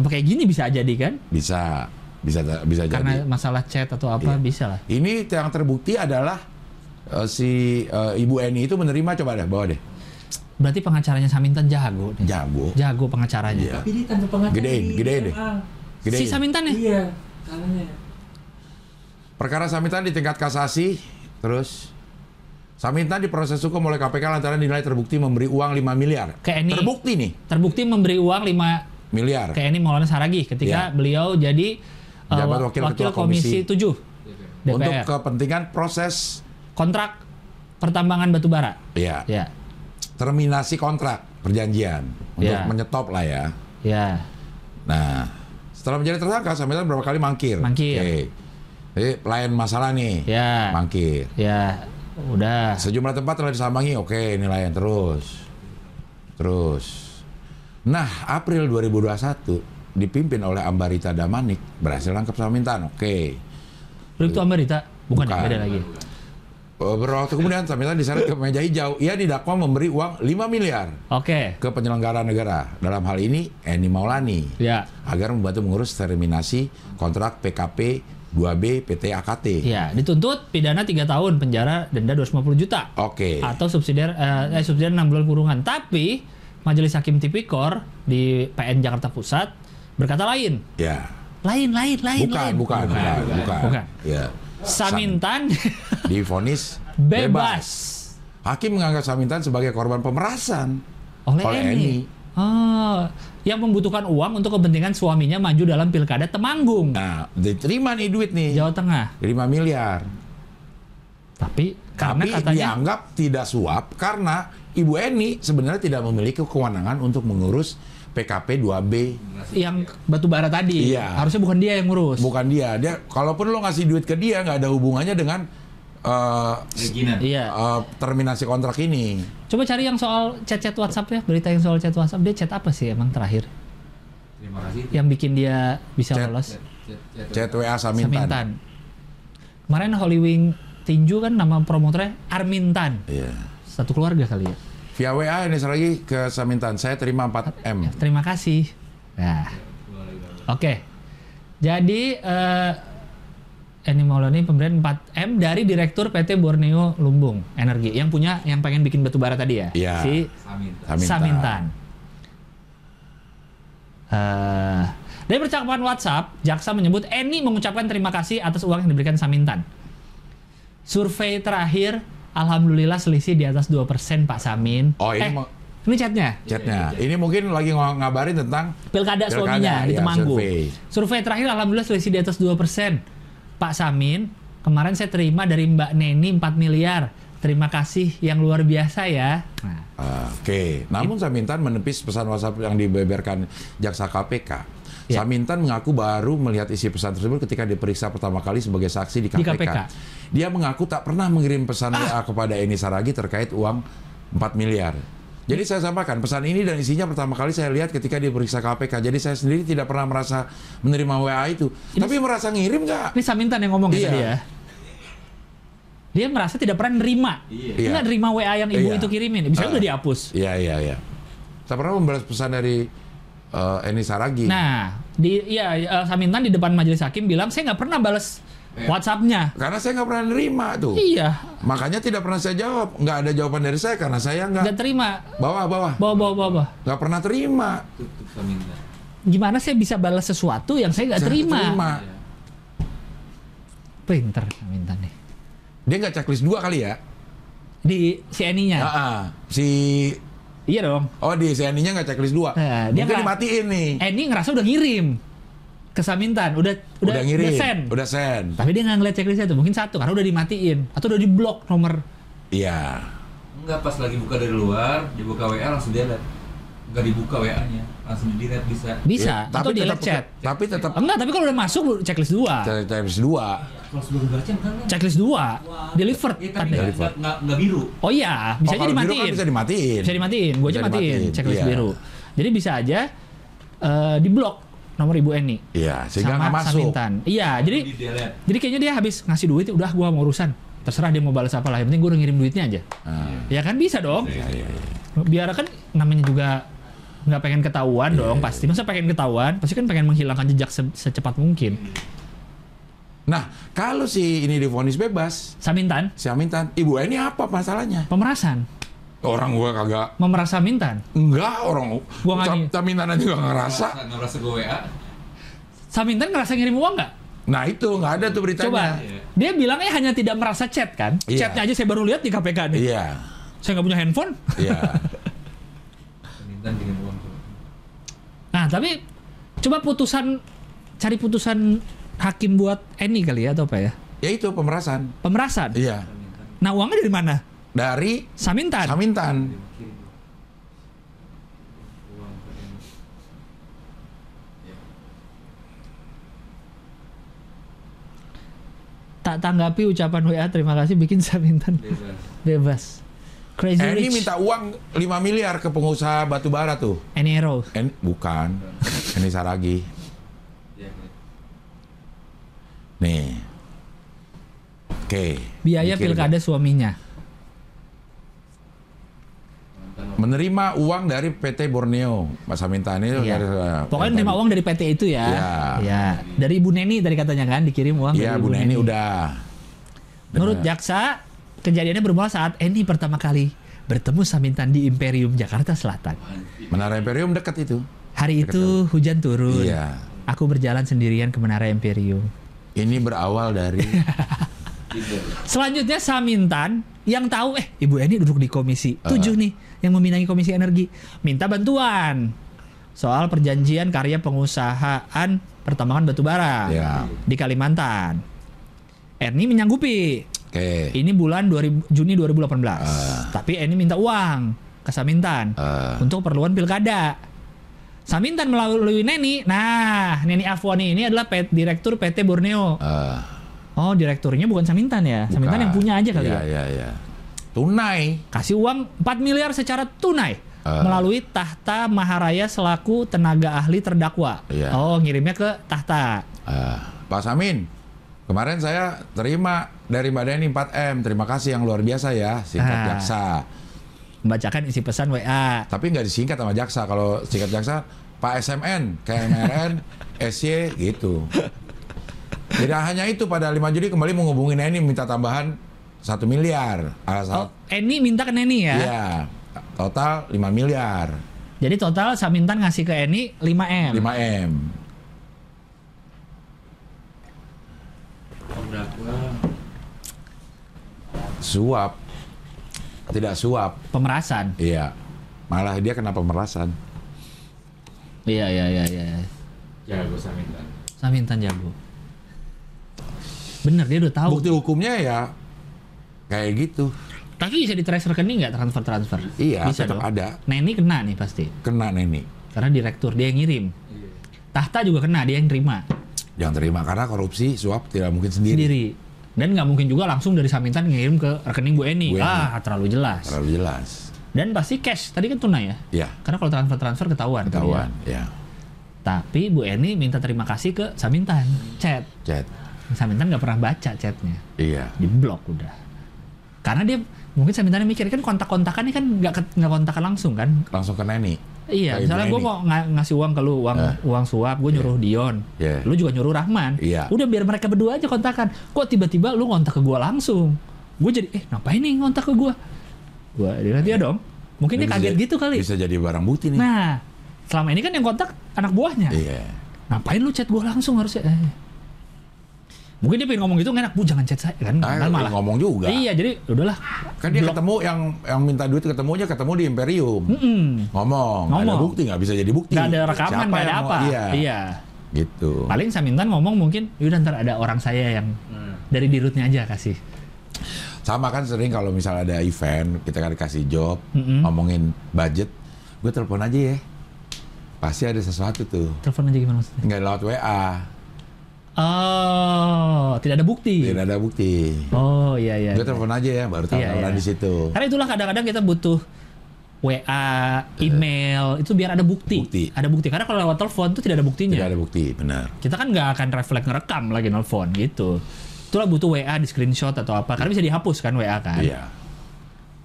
Speaker 2: apa kayak gini bisa jadi kan?
Speaker 1: Bisa bisa bisa
Speaker 2: Karena
Speaker 1: jadi.
Speaker 2: masalah chat atau apa
Speaker 1: Iya.
Speaker 2: bisa lah.
Speaker 1: Ini yang terbukti adalah eh, si eh, Ibu Eni itu menerima coba deh, bawa deh.
Speaker 2: Berarti pengacaranya Samintan jago nih.
Speaker 1: Jago.
Speaker 2: Jago pengacaranya.
Speaker 1: Iya.
Speaker 4: Tapi dia tanda pengacara.
Speaker 1: Gedein,
Speaker 4: di
Speaker 1: gedein
Speaker 4: SMA.
Speaker 1: deh. Gede. gitu.
Speaker 2: Si Samintan ya?
Speaker 4: Iya, katanya.
Speaker 1: Perkara Samintan di tingkat kasasi, terus Samintan diproses hukum oleh KPK lantaran dinilai terbukti memberi uang 5 miliar.
Speaker 2: Ke Eni.
Speaker 1: Terbukti nih,
Speaker 2: Terbukti memberi uang 5
Speaker 1: miliar.
Speaker 2: kayak ini Maulana Saragih
Speaker 1: Iya.
Speaker 2: ketika beliau jadi uh,
Speaker 1: Jabat
Speaker 2: wa-
Speaker 1: wakil ketua
Speaker 2: wakil,
Speaker 1: komisi.
Speaker 2: komisi, 7 DPR.
Speaker 1: Untuk kepentingan proses
Speaker 2: kontrak pertambangan batubara.
Speaker 1: ya
Speaker 2: Ya.
Speaker 1: terminasi kontrak perjanjian untuk
Speaker 2: Ya.
Speaker 1: menyetop lah ya.
Speaker 2: Ya.
Speaker 1: Nah, setelah menjadi tersangka Samintan berapa kali mangkir?
Speaker 2: Mangkir.
Speaker 1: Oke. Jadi lain masalah nih.
Speaker 2: Ya.
Speaker 1: Mangkir.
Speaker 2: Ya, udah.
Speaker 1: Sejumlah tempat telah disambangi, oke nilainya terus. Terus. Nah, April 2021 dipimpin oleh Ambarita Damanik berhasil nangkep Samintan, oke.
Speaker 2: Bribtu Ambarita bukan, ya,
Speaker 1: Bukan.
Speaker 2: beda lagi.
Speaker 1: Beberapa waktu kemudian Samintan diseret ke meja hijau. Ia didakwa memberi uang 5 miliar
Speaker 2: Oke.
Speaker 1: ke penyelenggara negara. Dalam hal ini Eni Maulani
Speaker 2: Ya.
Speaker 1: agar membantu mengurus terminasi kontrak PKP 2B PT AKT.
Speaker 2: Ya, dituntut pidana 3 tahun penjara denda 250 juta
Speaker 1: Oke.
Speaker 2: atau subsidiar eh, eh, subsidiar 6 bulan kurungan. Tapi Majelis Hakim Tipikor di PN Jakarta Pusat berkata lain.
Speaker 1: Ya.
Speaker 2: Lain, lain, lain,
Speaker 1: Bukan,
Speaker 2: lain.
Speaker 1: bukan, bukan, bukan.
Speaker 2: Bukan.
Speaker 1: Ya.
Speaker 2: Samintan
Speaker 1: Divonis
Speaker 2: *laughs* bebas.
Speaker 1: Hakim menganggap Samintan sebagai korban pemerasan
Speaker 2: oleh, Eni. Oh, yang membutuhkan uang untuk kepentingan suaminya maju dalam pilkada Temanggung,
Speaker 1: Nah, diterima nih duit nih.
Speaker 2: Jawa Tengah.
Speaker 1: 5 miliar.
Speaker 2: Tapi karena
Speaker 1: Tapi
Speaker 2: katanya
Speaker 1: dianggap tidak suap karena Ibu Eni sebenarnya tidak memiliki kewenangan untuk mengurus PKP 2B.
Speaker 2: yang batu bara tadi,
Speaker 1: Iya.
Speaker 2: harusnya bukan dia yang ngurus.
Speaker 1: Bukan dia. Dia kalaupun lo ngasih duit ke dia nggak ada hubungannya dengan eh,
Speaker 4: Reginan.
Speaker 2: Iya.
Speaker 1: eh, terminasi kontrak ini.
Speaker 2: Coba cari yang soal chat-chat WhatsApp ya, berita yang soal chat WhatsApp. Dia chat apa sih emang terakhir?
Speaker 4: Terima kasih.
Speaker 2: Yang bikin dia bisa
Speaker 1: Chat-
Speaker 2: lolos?
Speaker 4: Chat- chat- chat-
Speaker 1: Chat WA Samintan.
Speaker 2: Samintan. Kemarin Holy Wing Tinju kan nama promotornya Armintan.
Speaker 1: Iya.
Speaker 2: Satu keluarga kali ya.
Speaker 1: Via WA ini lagi ke Samintan. Saya terima 4 M.
Speaker 2: Ya, terima kasih. Nah, oke. Jadi eh Eni Maulani pemberian 4 M dari Direktur PT Borneo Lumbung Energi yang punya yang pengen bikin batu bara tadi ya,
Speaker 1: Iya.
Speaker 2: si
Speaker 4: Samintan.
Speaker 1: Samintan.
Speaker 2: Samintan. Eh, dari percakapan WhatsApp, jaksa menyebut Eni mengucapkan terima kasih atas uang yang diberikan Samintan. Survei terakhir, alhamdulillah selisih di atas 2% Pak Samin.
Speaker 1: Oh, ini
Speaker 2: Eh,
Speaker 1: mau-
Speaker 2: ini chatnya.
Speaker 1: Chatnya. Ini mungkin lagi ng- ngabarin tentang Pilkada,
Speaker 2: Pilkada, suaminya di
Speaker 1: iya,
Speaker 2: Temanggung.
Speaker 1: survei.
Speaker 2: Survei terakhir alhamdulillah selisih di atas 2%. Pak Samin, kemarin saya terima dari Mbak Neni 4 miliar. Terima kasih yang luar biasa ya. Nah, Iya.
Speaker 1: Oke, namun Samintan menepis pesan WhatsApp yang dibeberkan jaksa KPK.
Speaker 2: Ya.
Speaker 1: Samintan mengaku baru melihat isi pesan tersebut ketika diperiksa pertama kali sebagai saksi di KPK.
Speaker 2: Di KPK.
Speaker 1: Dia mengaku tak pernah mengirim pesan WA
Speaker 2: Ah!
Speaker 1: kepada Eni Saragi terkait uang 4 miliar. Jadi saya sampaikan pesan ini dan isinya pertama kali saya lihat ketika diperiksa KPK. Jadi saya sendiri tidak pernah merasa menerima WA itu. Tapi merasa ngirim nggak?
Speaker 2: Ini Samintan yang ngomong
Speaker 1: Iya.
Speaker 2: gitu dia. Dia merasa tidak pernah nerima.
Speaker 4: Iya.
Speaker 2: Dia nggak nerima WA yang ibu
Speaker 1: Iya.
Speaker 2: itu kirimin. Misalnya
Speaker 1: Ah.
Speaker 2: udah dihapus.
Speaker 1: Iya iya iya. Tak pernah membalas pesan dari eh, Eni Saragi.
Speaker 2: Nah, di ya eh, Samintan di depan majelis hakim bilang saya nggak pernah balas
Speaker 4: Iya.
Speaker 2: WhatsApp-nya.
Speaker 1: Karena saya nggak pernah nerima tuh.
Speaker 2: Iya,
Speaker 1: Makanya tidak pernah saya jawab. Nggak ada jawaban dari saya karena saya
Speaker 2: nggak
Speaker 1: nggak
Speaker 2: terima.
Speaker 1: bawa bawa.
Speaker 2: Bawa bawa bawa. bawa.
Speaker 1: Nggak pernah terima.
Speaker 4: tutup Samintan.
Speaker 2: Gimana saya bisa balas sesuatu yang saya nggak
Speaker 1: Saya
Speaker 2: terima?
Speaker 4: Ya.
Speaker 2: Pinter Samintan nih.
Speaker 1: Dia nggak checklist dua kali ya?
Speaker 2: Di si
Speaker 1: Ah,
Speaker 2: Eninya.
Speaker 1: ah. Si
Speaker 2: Iya dong.
Speaker 1: oh di si Aninya nggak checklist dua.
Speaker 2: Eh,
Speaker 1: Mungkin
Speaker 2: dia nggak- Eh,
Speaker 1: dimatiin nih.
Speaker 2: Eni ngerasa udah ngirim ke Samintan, udah udah,
Speaker 1: udah ngirim.
Speaker 2: udah send.
Speaker 1: Udah send.
Speaker 2: Tapi dia nggak ngeliat checklistnya tuh, mungkin satu karena udah dimatiin atau udah diblok nomor.
Speaker 1: Iya.
Speaker 4: Enggak pas lagi buka dari luar, dibuka WA langsung dia lihat. Enggak dibuka WA-nya, langsung di delete bisa.
Speaker 2: Bisa,
Speaker 1: Ya,
Speaker 2: atau dia
Speaker 1: tetap-
Speaker 2: liat chat.
Speaker 1: Tapi tetap
Speaker 2: Enggak, tapi kalau udah masuk lu checklist dua.
Speaker 1: check- checklist dua.
Speaker 4: Kalau sebelum baca enggak kan?
Speaker 2: Checklist dua, delivered
Speaker 4: Iya, tapi
Speaker 2: tanda.
Speaker 4: enggak, enggak, enggak, enggak biru.
Speaker 2: Oh iya,
Speaker 1: Oh,
Speaker 2: bisa aja
Speaker 1: kalau biru
Speaker 2: dimatiin.
Speaker 1: Kan bisa dimatiin.
Speaker 2: Bisa dimatiin, gue aja
Speaker 1: Bisa
Speaker 2: matiin
Speaker 1: dimatiin,
Speaker 2: checklist
Speaker 1: iya.
Speaker 2: biru. Jadi bisa aja eh, diblok nomor ibu Eni
Speaker 1: Iya, sehingga
Speaker 2: sama
Speaker 1: nggak masuk.
Speaker 2: Samintan. Iya, jadi
Speaker 4: Di delete.
Speaker 2: Jadi kayaknya dia habis ngasih duit, udah gua mau urusan. Terserah dia mau balas apa lah, yang penting gua udah ngirim duitnya aja.
Speaker 1: Ah,
Speaker 2: Ya kan bisa dong.
Speaker 1: iya, iya, iya.
Speaker 2: Biar kan namanya juga nggak pengen ketahuan
Speaker 1: Iya,
Speaker 2: dong pasti. Masa pengen ketahuan, pasti kan pengen menghilangkan jejak se- secepat mungkin.
Speaker 1: Nah, kalau si ini divonis bebas,
Speaker 2: Samintan,
Speaker 1: si Amintan, ibu ini apa masalahnya?
Speaker 2: pemerasan,
Speaker 1: Orang gua kagak
Speaker 2: memeras Samintan.
Speaker 1: enggak orang
Speaker 2: Gua nggak
Speaker 1: Sam-
Speaker 2: nyi-
Speaker 1: Samintan aja nggak ngerasa.
Speaker 4: Enggak merasa gue WA.
Speaker 2: Samintan ngerasa ngirim uang nggak?
Speaker 1: Nah itu nggak ada tuh beritanya.
Speaker 2: Coba. Dia bilangnya hanya tidak merasa chat kan?
Speaker 1: Iya.
Speaker 2: Chatnya aja saya baru lihat di KPK nih.
Speaker 1: Iya,
Speaker 2: Saya nggak punya handphone. *laughs*
Speaker 1: iya.
Speaker 4: Samintan kirim uang tuh.
Speaker 2: Nah tapi coba putusan cari putusan hakim buat Eni kali ya atau apa ya?
Speaker 1: ya itu pemerasan.
Speaker 2: Pemerasan.
Speaker 1: Iya.
Speaker 2: Nah uangnya dari mana?
Speaker 1: Dari
Speaker 2: Samintan.
Speaker 1: Samintan.
Speaker 4: Kirim uang ke Emi.
Speaker 2: tak tanggapi ucapan WA terima kasih bikin Samintan
Speaker 4: Bebas.
Speaker 2: bebas. Crazy
Speaker 1: Eni
Speaker 2: Rich.
Speaker 1: minta uang 5 miliar ke pengusaha batu bara tuh.
Speaker 2: Eni Arrow.
Speaker 1: En bukan. Eni Saragi.
Speaker 4: Ya, klik.
Speaker 1: Nih. Oke.
Speaker 2: Biaya
Speaker 1: Mikir
Speaker 2: pilkada suaminya.
Speaker 1: deh.
Speaker 4: mantan waktu
Speaker 1: Menerima uang dari PT Borneo. Mas Samintan ini
Speaker 2: Iya.
Speaker 1: dari- eh,
Speaker 2: Pokoknya terima uang dari PT itu ya.
Speaker 1: Iya.
Speaker 2: Iya. Dari Ibu Neni tadi katanya kan dikirim uang
Speaker 1: Iya,
Speaker 2: dari
Speaker 1: Bu
Speaker 2: Ibu
Speaker 1: Neni udah.
Speaker 2: Menurut
Speaker 1: Bener.
Speaker 2: jaksa, kejadiannya bermula saat Eni pertama kali bertemu Samintan di Imperium Jakarta Selatan.
Speaker 1: Menara Imperium dekat itu.
Speaker 2: Hari itu hujan turun.
Speaker 1: Iya.
Speaker 2: Aku berjalan sendirian ke Menara Imperium.
Speaker 1: Ini berawal
Speaker 2: *laughs*
Speaker 1: dari
Speaker 4: Tinder.
Speaker 2: Selanjutnya Samintan yang tahu eh Ibu Eni duduk di komisi 7 nih yang meminangi komisi energi minta bantuan soal perjanjian karya pengusahaan pertambangan batubara
Speaker 1: ya.
Speaker 2: di Kalimantan. Eni menyanggupi.
Speaker 1: Oke. eh,
Speaker 2: Ini bulan 2000 Juni 2018. Tapi Eni minta uang ke Samintan
Speaker 1: Ah.
Speaker 2: untuk perluan pilkada. Samintan melalui Neni. Nah, Neni Afwani ini adalah pet- direktur PT Borneo.
Speaker 1: Eh,
Speaker 2: Oh, direkturnya bukan Samintan ya. Samintan
Speaker 1: bukan.
Speaker 2: yang punya aja kali
Speaker 1: Iya,
Speaker 2: ya.
Speaker 1: Iya, iya. Tunai.
Speaker 2: Kasih uang 4 miliar secara tunai
Speaker 1: Ah.
Speaker 2: melalui Tahta Maharaya selaku tenaga ahli terdakwa.
Speaker 1: Iya.
Speaker 2: Oh, ngirimnya ke Tahta.
Speaker 1: Ah, Pak Samin, kemarin saya terima dari Mbak Deni 4M. Terima kasih yang luar biasa ya, singkat
Speaker 2: Ah.
Speaker 1: jaksa.
Speaker 2: Membacakan isi pesan WA.
Speaker 1: Tapi nggak disingkat sama jaksa. Kalau singkat jaksa, Pak SMN, KMRN, *laughs* SY gitu. Tidak hanya itu, pada 5 Juli kembali menghubungi Neni minta tambahan 1 miliar.
Speaker 2: Oh,
Speaker 1: Alasan,
Speaker 2: Eni minta ke Neni ya.
Speaker 1: Iya, total 5 miliar.
Speaker 2: Jadi total Samintan ngasih ke Eni 5M.
Speaker 1: 5M.
Speaker 4: Om Dakwa.
Speaker 1: Suap. Tidak suap.
Speaker 2: Pemerasan.
Speaker 1: Iya. Malah dia kena pemerasan.
Speaker 2: Iya, iya, iya, iya.
Speaker 4: Jago Samintan.
Speaker 2: Samintan jago. Bener, dia udah tahu.
Speaker 1: Bukti hukumnya ya kayak gitu.
Speaker 2: Tapi bisa di trace rekening nggak transfer-transfer?
Speaker 1: Iya,
Speaker 2: bisa
Speaker 1: tetap
Speaker 2: dong.
Speaker 1: ada.
Speaker 2: Neni kena nih pasti.
Speaker 1: Kena Neni.
Speaker 2: Karena direktur dia yang ngirim.
Speaker 4: Iya.
Speaker 2: Tahta juga kena, dia yang terima
Speaker 1: Iya. Jangan terima karena korupsi suap tidak mungkin sendiri.
Speaker 2: sendiri. Dan nggak mungkin juga langsung dari Samintan ngirim ke rekening Bu Eni.
Speaker 1: Bu Eni.
Speaker 2: Ah, terlalu jelas.
Speaker 1: Terlalu jelas.
Speaker 2: Dan pasti cash. Tadi kan tunai ya.
Speaker 1: Ya,
Speaker 2: Karena kalau transfer-transfer ketahuan. tadi
Speaker 1: ketahuan. Ya,
Speaker 2: ya. Tapi Bu Eni minta terima kasih ke Samintan. Chat.
Speaker 1: Iya, chat.
Speaker 2: Samintan nggak pernah baca chatnya.
Speaker 1: Iya.
Speaker 2: Di blok udah. Karena dia mungkin Samintan mikir kan kontak-kontakan ini kan nggak ke- nggak kontakan langsung kan.
Speaker 1: Langsung ke Neni.
Speaker 2: Iya,
Speaker 1: Kayak
Speaker 2: misalnya
Speaker 1: Bu
Speaker 2: gue
Speaker 1: Eni.
Speaker 2: mau nga- ngasih uang ke lu, uang
Speaker 1: Eh.
Speaker 2: uang suap, gue nyuruh Dion,
Speaker 1: Iya.
Speaker 2: lu juga nyuruh Rahman.
Speaker 1: Iya.
Speaker 2: Udah biar mereka berdua aja kontakan. Kok tiba-tiba lu ngontak ke gue langsung? Gue jadi, eh ngapain nih ngontak ke gue? Gue dia dia dong. Mungkin dia
Speaker 1: Ini
Speaker 2: kaget
Speaker 1: bisa-
Speaker 2: gitu kali.
Speaker 1: Bisa jadi barang bukti nih.
Speaker 2: Nah, selama ini kan yang kontak anak buahnya.
Speaker 1: Iya.
Speaker 2: Ngapain lu chat gue langsung harusnya? Eh. Mungkin dia pengen ngomong gitu nggak enak, bu jangan chat saya kan,
Speaker 1: Ah,
Speaker 2: kan malah.
Speaker 1: ngomong juga.
Speaker 2: Iya, jadi udahlah.
Speaker 1: Kan dia
Speaker 2: Blok. Hmm.
Speaker 1: ketemu yang yang minta duit ketemunya ketemu di Imperium.
Speaker 2: Mm-mm.
Speaker 1: Ngomong, nggak
Speaker 2: Ngomong.
Speaker 1: ada bukti nggak bisa jadi bukti.
Speaker 2: Nggak ada rekaman,
Speaker 1: Siapa
Speaker 2: nggak ada
Speaker 1: yang
Speaker 2: apa.
Speaker 1: mau- Iya.
Speaker 2: iya.
Speaker 1: Gitu.
Speaker 2: Paling Samintan ngomong mungkin, yaudah ntar ada orang saya yang
Speaker 4: Nah,
Speaker 2: dari dirutnya aja kasih.
Speaker 1: Sama kan sering kalau misalnya ada event, kita kan dikasih job,
Speaker 2: Mm-mm.
Speaker 1: ngomongin budget, gue telepon aja ya. Pasti ada sesuatu tuh.
Speaker 2: Telepon aja gimana maksudnya?
Speaker 1: Nggak lewat WA,
Speaker 2: Oh, tidak ada bukti.
Speaker 1: tidak ada bukti.
Speaker 2: Oh iya iya.
Speaker 1: Gue telepon aja ya, baru tahu
Speaker 2: Iya,
Speaker 1: orang
Speaker 2: iya.
Speaker 1: di situ.
Speaker 2: Karena itulah kadang-kadang kita butuh WA, email itu biar ada bukti.
Speaker 1: Bukti.
Speaker 2: Ada bukti. Karena kalau lewat telepon itu tidak ada buktinya.
Speaker 1: Tidak ada bukti, benar.
Speaker 2: Kita kan nggak akan refleks ngerekam lagi nelfon gitu. Itulah butuh WA di screenshot atau apa. Karena bisa dihapus kan WA kan.
Speaker 1: Iya.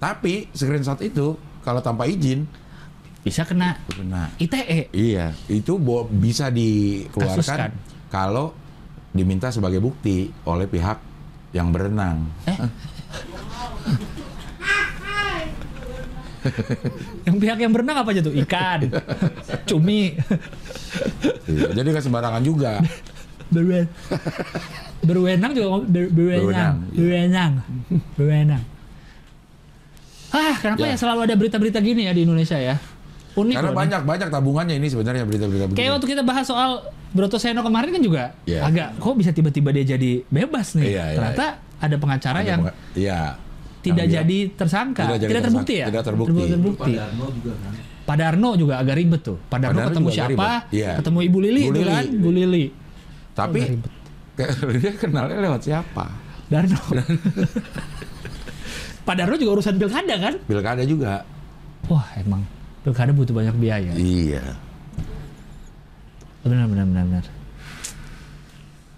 Speaker 1: Tapi screenshot itu kalau tanpa izin,
Speaker 2: Bisa kena E.
Speaker 1: benar.
Speaker 2: ITE.
Speaker 1: Iya, itu bo- bisa
Speaker 2: Kasuskan.
Speaker 1: dikeluarkan kalau diminta sebagai bukti oleh pihak yang berenang.
Speaker 2: Yang pihak yang berenang apa aja tuh? Ikan, cumi,
Speaker 1: Iya, Jadi nggak sembarangan
Speaker 2: *laughs*
Speaker 1: juga.
Speaker 2: berwen berwenang juga ngom- ber- berwenang
Speaker 1: Berwenang, iya.
Speaker 2: berwenang berwenang ah kenapa ya,
Speaker 1: Ya.
Speaker 2: selalu ada berita-berita gini ya di Indonesia ya unik
Speaker 1: Karena
Speaker 2: loh nih.
Speaker 1: banyak banyak tabungannya ini sebenarnya berita-berita begini.
Speaker 2: kayak waktu kita bahas soal Broto Seno kemarin kan juga
Speaker 1: Iya.
Speaker 2: agak kok bisa tiba-tiba dia jadi bebas nih
Speaker 1: Iya, iya,
Speaker 2: ternyata ada pengacara
Speaker 1: Ada
Speaker 2: yang
Speaker 1: penga- iya.
Speaker 2: tidak
Speaker 1: Yang
Speaker 2: jadi tersangka
Speaker 1: Tidak jadi
Speaker 2: terbukti
Speaker 1: tersangka,
Speaker 2: ya
Speaker 1: tidak terbukti.
Speaker 2: terbukti.
Speaker 4: Padarno juga kan.
Speaker 2: Padarno juga agak ribet tuh Padarno
Speaker 1: Padarno
Speaker 2: ketemu
Speaker 1: juga agak
Speaker 2: siapa
Speaker 1: ribet. Iya.
Speaker 2: ketemu Ibu Lili
Speaker 1: Bu
Speaker 2: itu
Speaker 1: Lili.
Speaker 2: kan Bu Lili
Speaker 1: bilang, Tapi
Speaker 2: agak Oh,
Speaker 1: *laughs*
Speaker 2: ribet.
Speaker 1: dia kenalnya lewat siapa?
Speaker 2: *laughs* Darno. Padarno juga urusan pilkada kan?
Speaker 1: Pilkada juga.
Speaker 2: Wah emang pilkada butuh banyak biaya.
Speaker 1: Iya.
Speaker 2: Benar benar benar benar.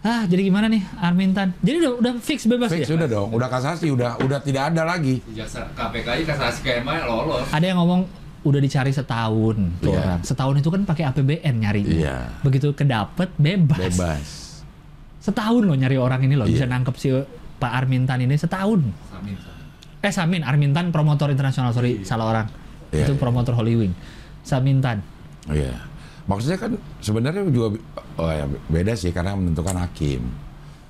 Speaker 2: Ah jadi gimana nih Armintan? Jadi udah, udah fix bebas
Speaker 1: Fix
Speaker 2: ya?
Speaker 1: sudah dong, udah kasasi, udah udah tidak ada lagi.
Speaker 4: Jaksa KPK aja kasasi kayak main lolos.
Speaker 2: Ada yang ngomong udah dicari setahun tuh
Speaker 1: Iya.
Speaker 2: orang. Setahun itu kan pakai APBN nyari.
Speaker 1: Iya.
Speaker 2: Begitu kedapet bebas.
Speaker 1: Bebas.
Speaker 2: Setahun loh nyari orang ini loh
Speaker 1: Iya.
Speaker 2: bisa nangkep si Pak Armintan ini setahun.
Speaker 4: Samin. Samin.
Speaker 2: Eh Samin Armintan promotor internasional sorry salah orang.
Speaker 1: Iya,
Speaker 2: itu
Speaker 1: iya.
Speaker 2: promotor Hollywood. Samintan.
Speaker 1: Iya. Maksudnya kan sebenarnya juga oh ya, beda sih karena menentukan hakim.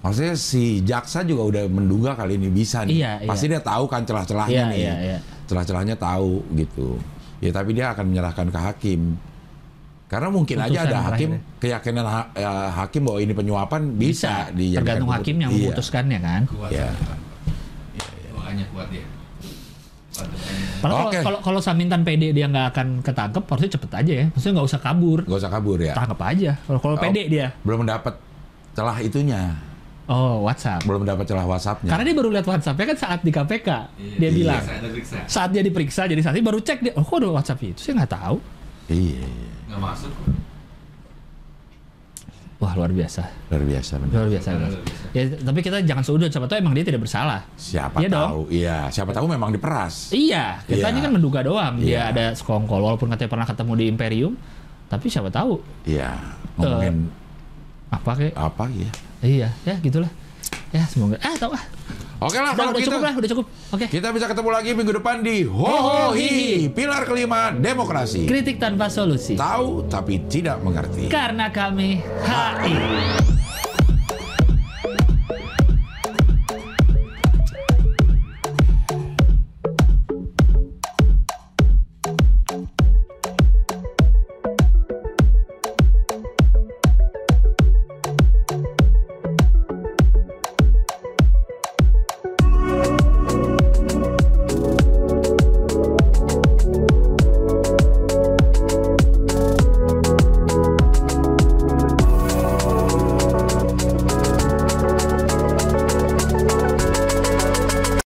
Speaker 1: Maksudnya si jaksa juga udah menduga kali ini bisa nih.
Speaker 2: Iya, iya.
Speaker 1: Pasti dia tahu kan celah-celahnya
Speaker 2: Iya,
Speaker 1: nih.
Speaker 2: iya, iya.
Speaker 1: Celah-celahnya tahu gitu. Ya tapi dia akan menyerahkan ke hakim. Karena mungkin aja
Speaker 2: Putusan
Speaker 1: ada hakim
Speaker 2: terakhir
Speaker 1: keyakinan ha- ya, hakim bahwa ini penyuapan
Speaker 2: bisa,
Speaker 1: bisa, dijadikan
Speaker 2: tergantung
Speaker 1: keput-
Speaker 2: hakim yang
Speaker 1: Iya.
Speaker 2: memutuskannya kan
Speaker 4: Kuat.
Speaker 1: Iya.
Speaker 4: Doanya kuat dia. Kuat doanya.
Speaker 2: Padahal kalau-
Speaker 1: Oke.
Speaker 2: kalau kalau Samintan PD dia nggak akan ketangkep harusnya cepet aja ya maksudnya nggak usah kabur
Speaker 1: Gak usah kabur ya.
Speaker 2: tangkep aja kalau kalau
Speaker 1: Oh.
Speaker 2: PD dia
Speaker 1: Belum mendapat celah itunya,
Speaker 2: oh WhatsApp
Speaker 1: belum mendapat celah WhatsApp-nya.
Speaker 2: karena dia baru lihat WhatsApp-nya kan saat di KPK
Speaker 4: Iya,
Speaker 2: dia
Speaker 4: iya.
Speaker 2: bilang
Speaker 4: Periksa, ada periksa.
Speaker 2: saat dia diperiksa jadi saksi baru cek dia oh kok ada WhatsApp itu sih nggak tahu
Speaker 1: Iya, iya.
Speaker 4: Nggak masuk.
Speaker 2: wah luar biasa
Speaker 1: luar biasa benar.
Speaker 2: luar biasa, luar biasa. ya tapi kita jangan sudut siapa tahu emang dia tidak bersalah
Speaker 1: Siapa
Speaker 2: Iya dong.
Speaker 1: tahu? Iya, siapa tahu memang diperas.
Speaker 2: Iya,
Speaker 1: Iya.
Speaker 2: kita ini kan menduga doang
Speaker 1: Iya.
Speaker 2: dia ada sekongkol walaupun katanya pernah ketemu di Imperium, tapi siapa tahu
Speaker 1: Iya, ngomongin
Speaker 2: apa kayak
Speaker 1: apa ya?
Speaker 2: Iya, ya gitulah. Ya semoga. Ah, tau ah.
Speaker 1: Oke lah
Speaker 2: Udah,
Speaker 1: kalau
Speaker 2: udah
Speaker 1: gitu.
Speaker 2: cukup lah, udah cukup. Oke.
Speaker 1: Kita bisa ketemu lagi minggu depan di Ho Ho Hi, pilar kelima demokrasi.
Speaker 2: Kritik tanpa solusi.
Speaker 1: Tahu tapi tidak mengerti.
Speaker 2: Karena kami HI.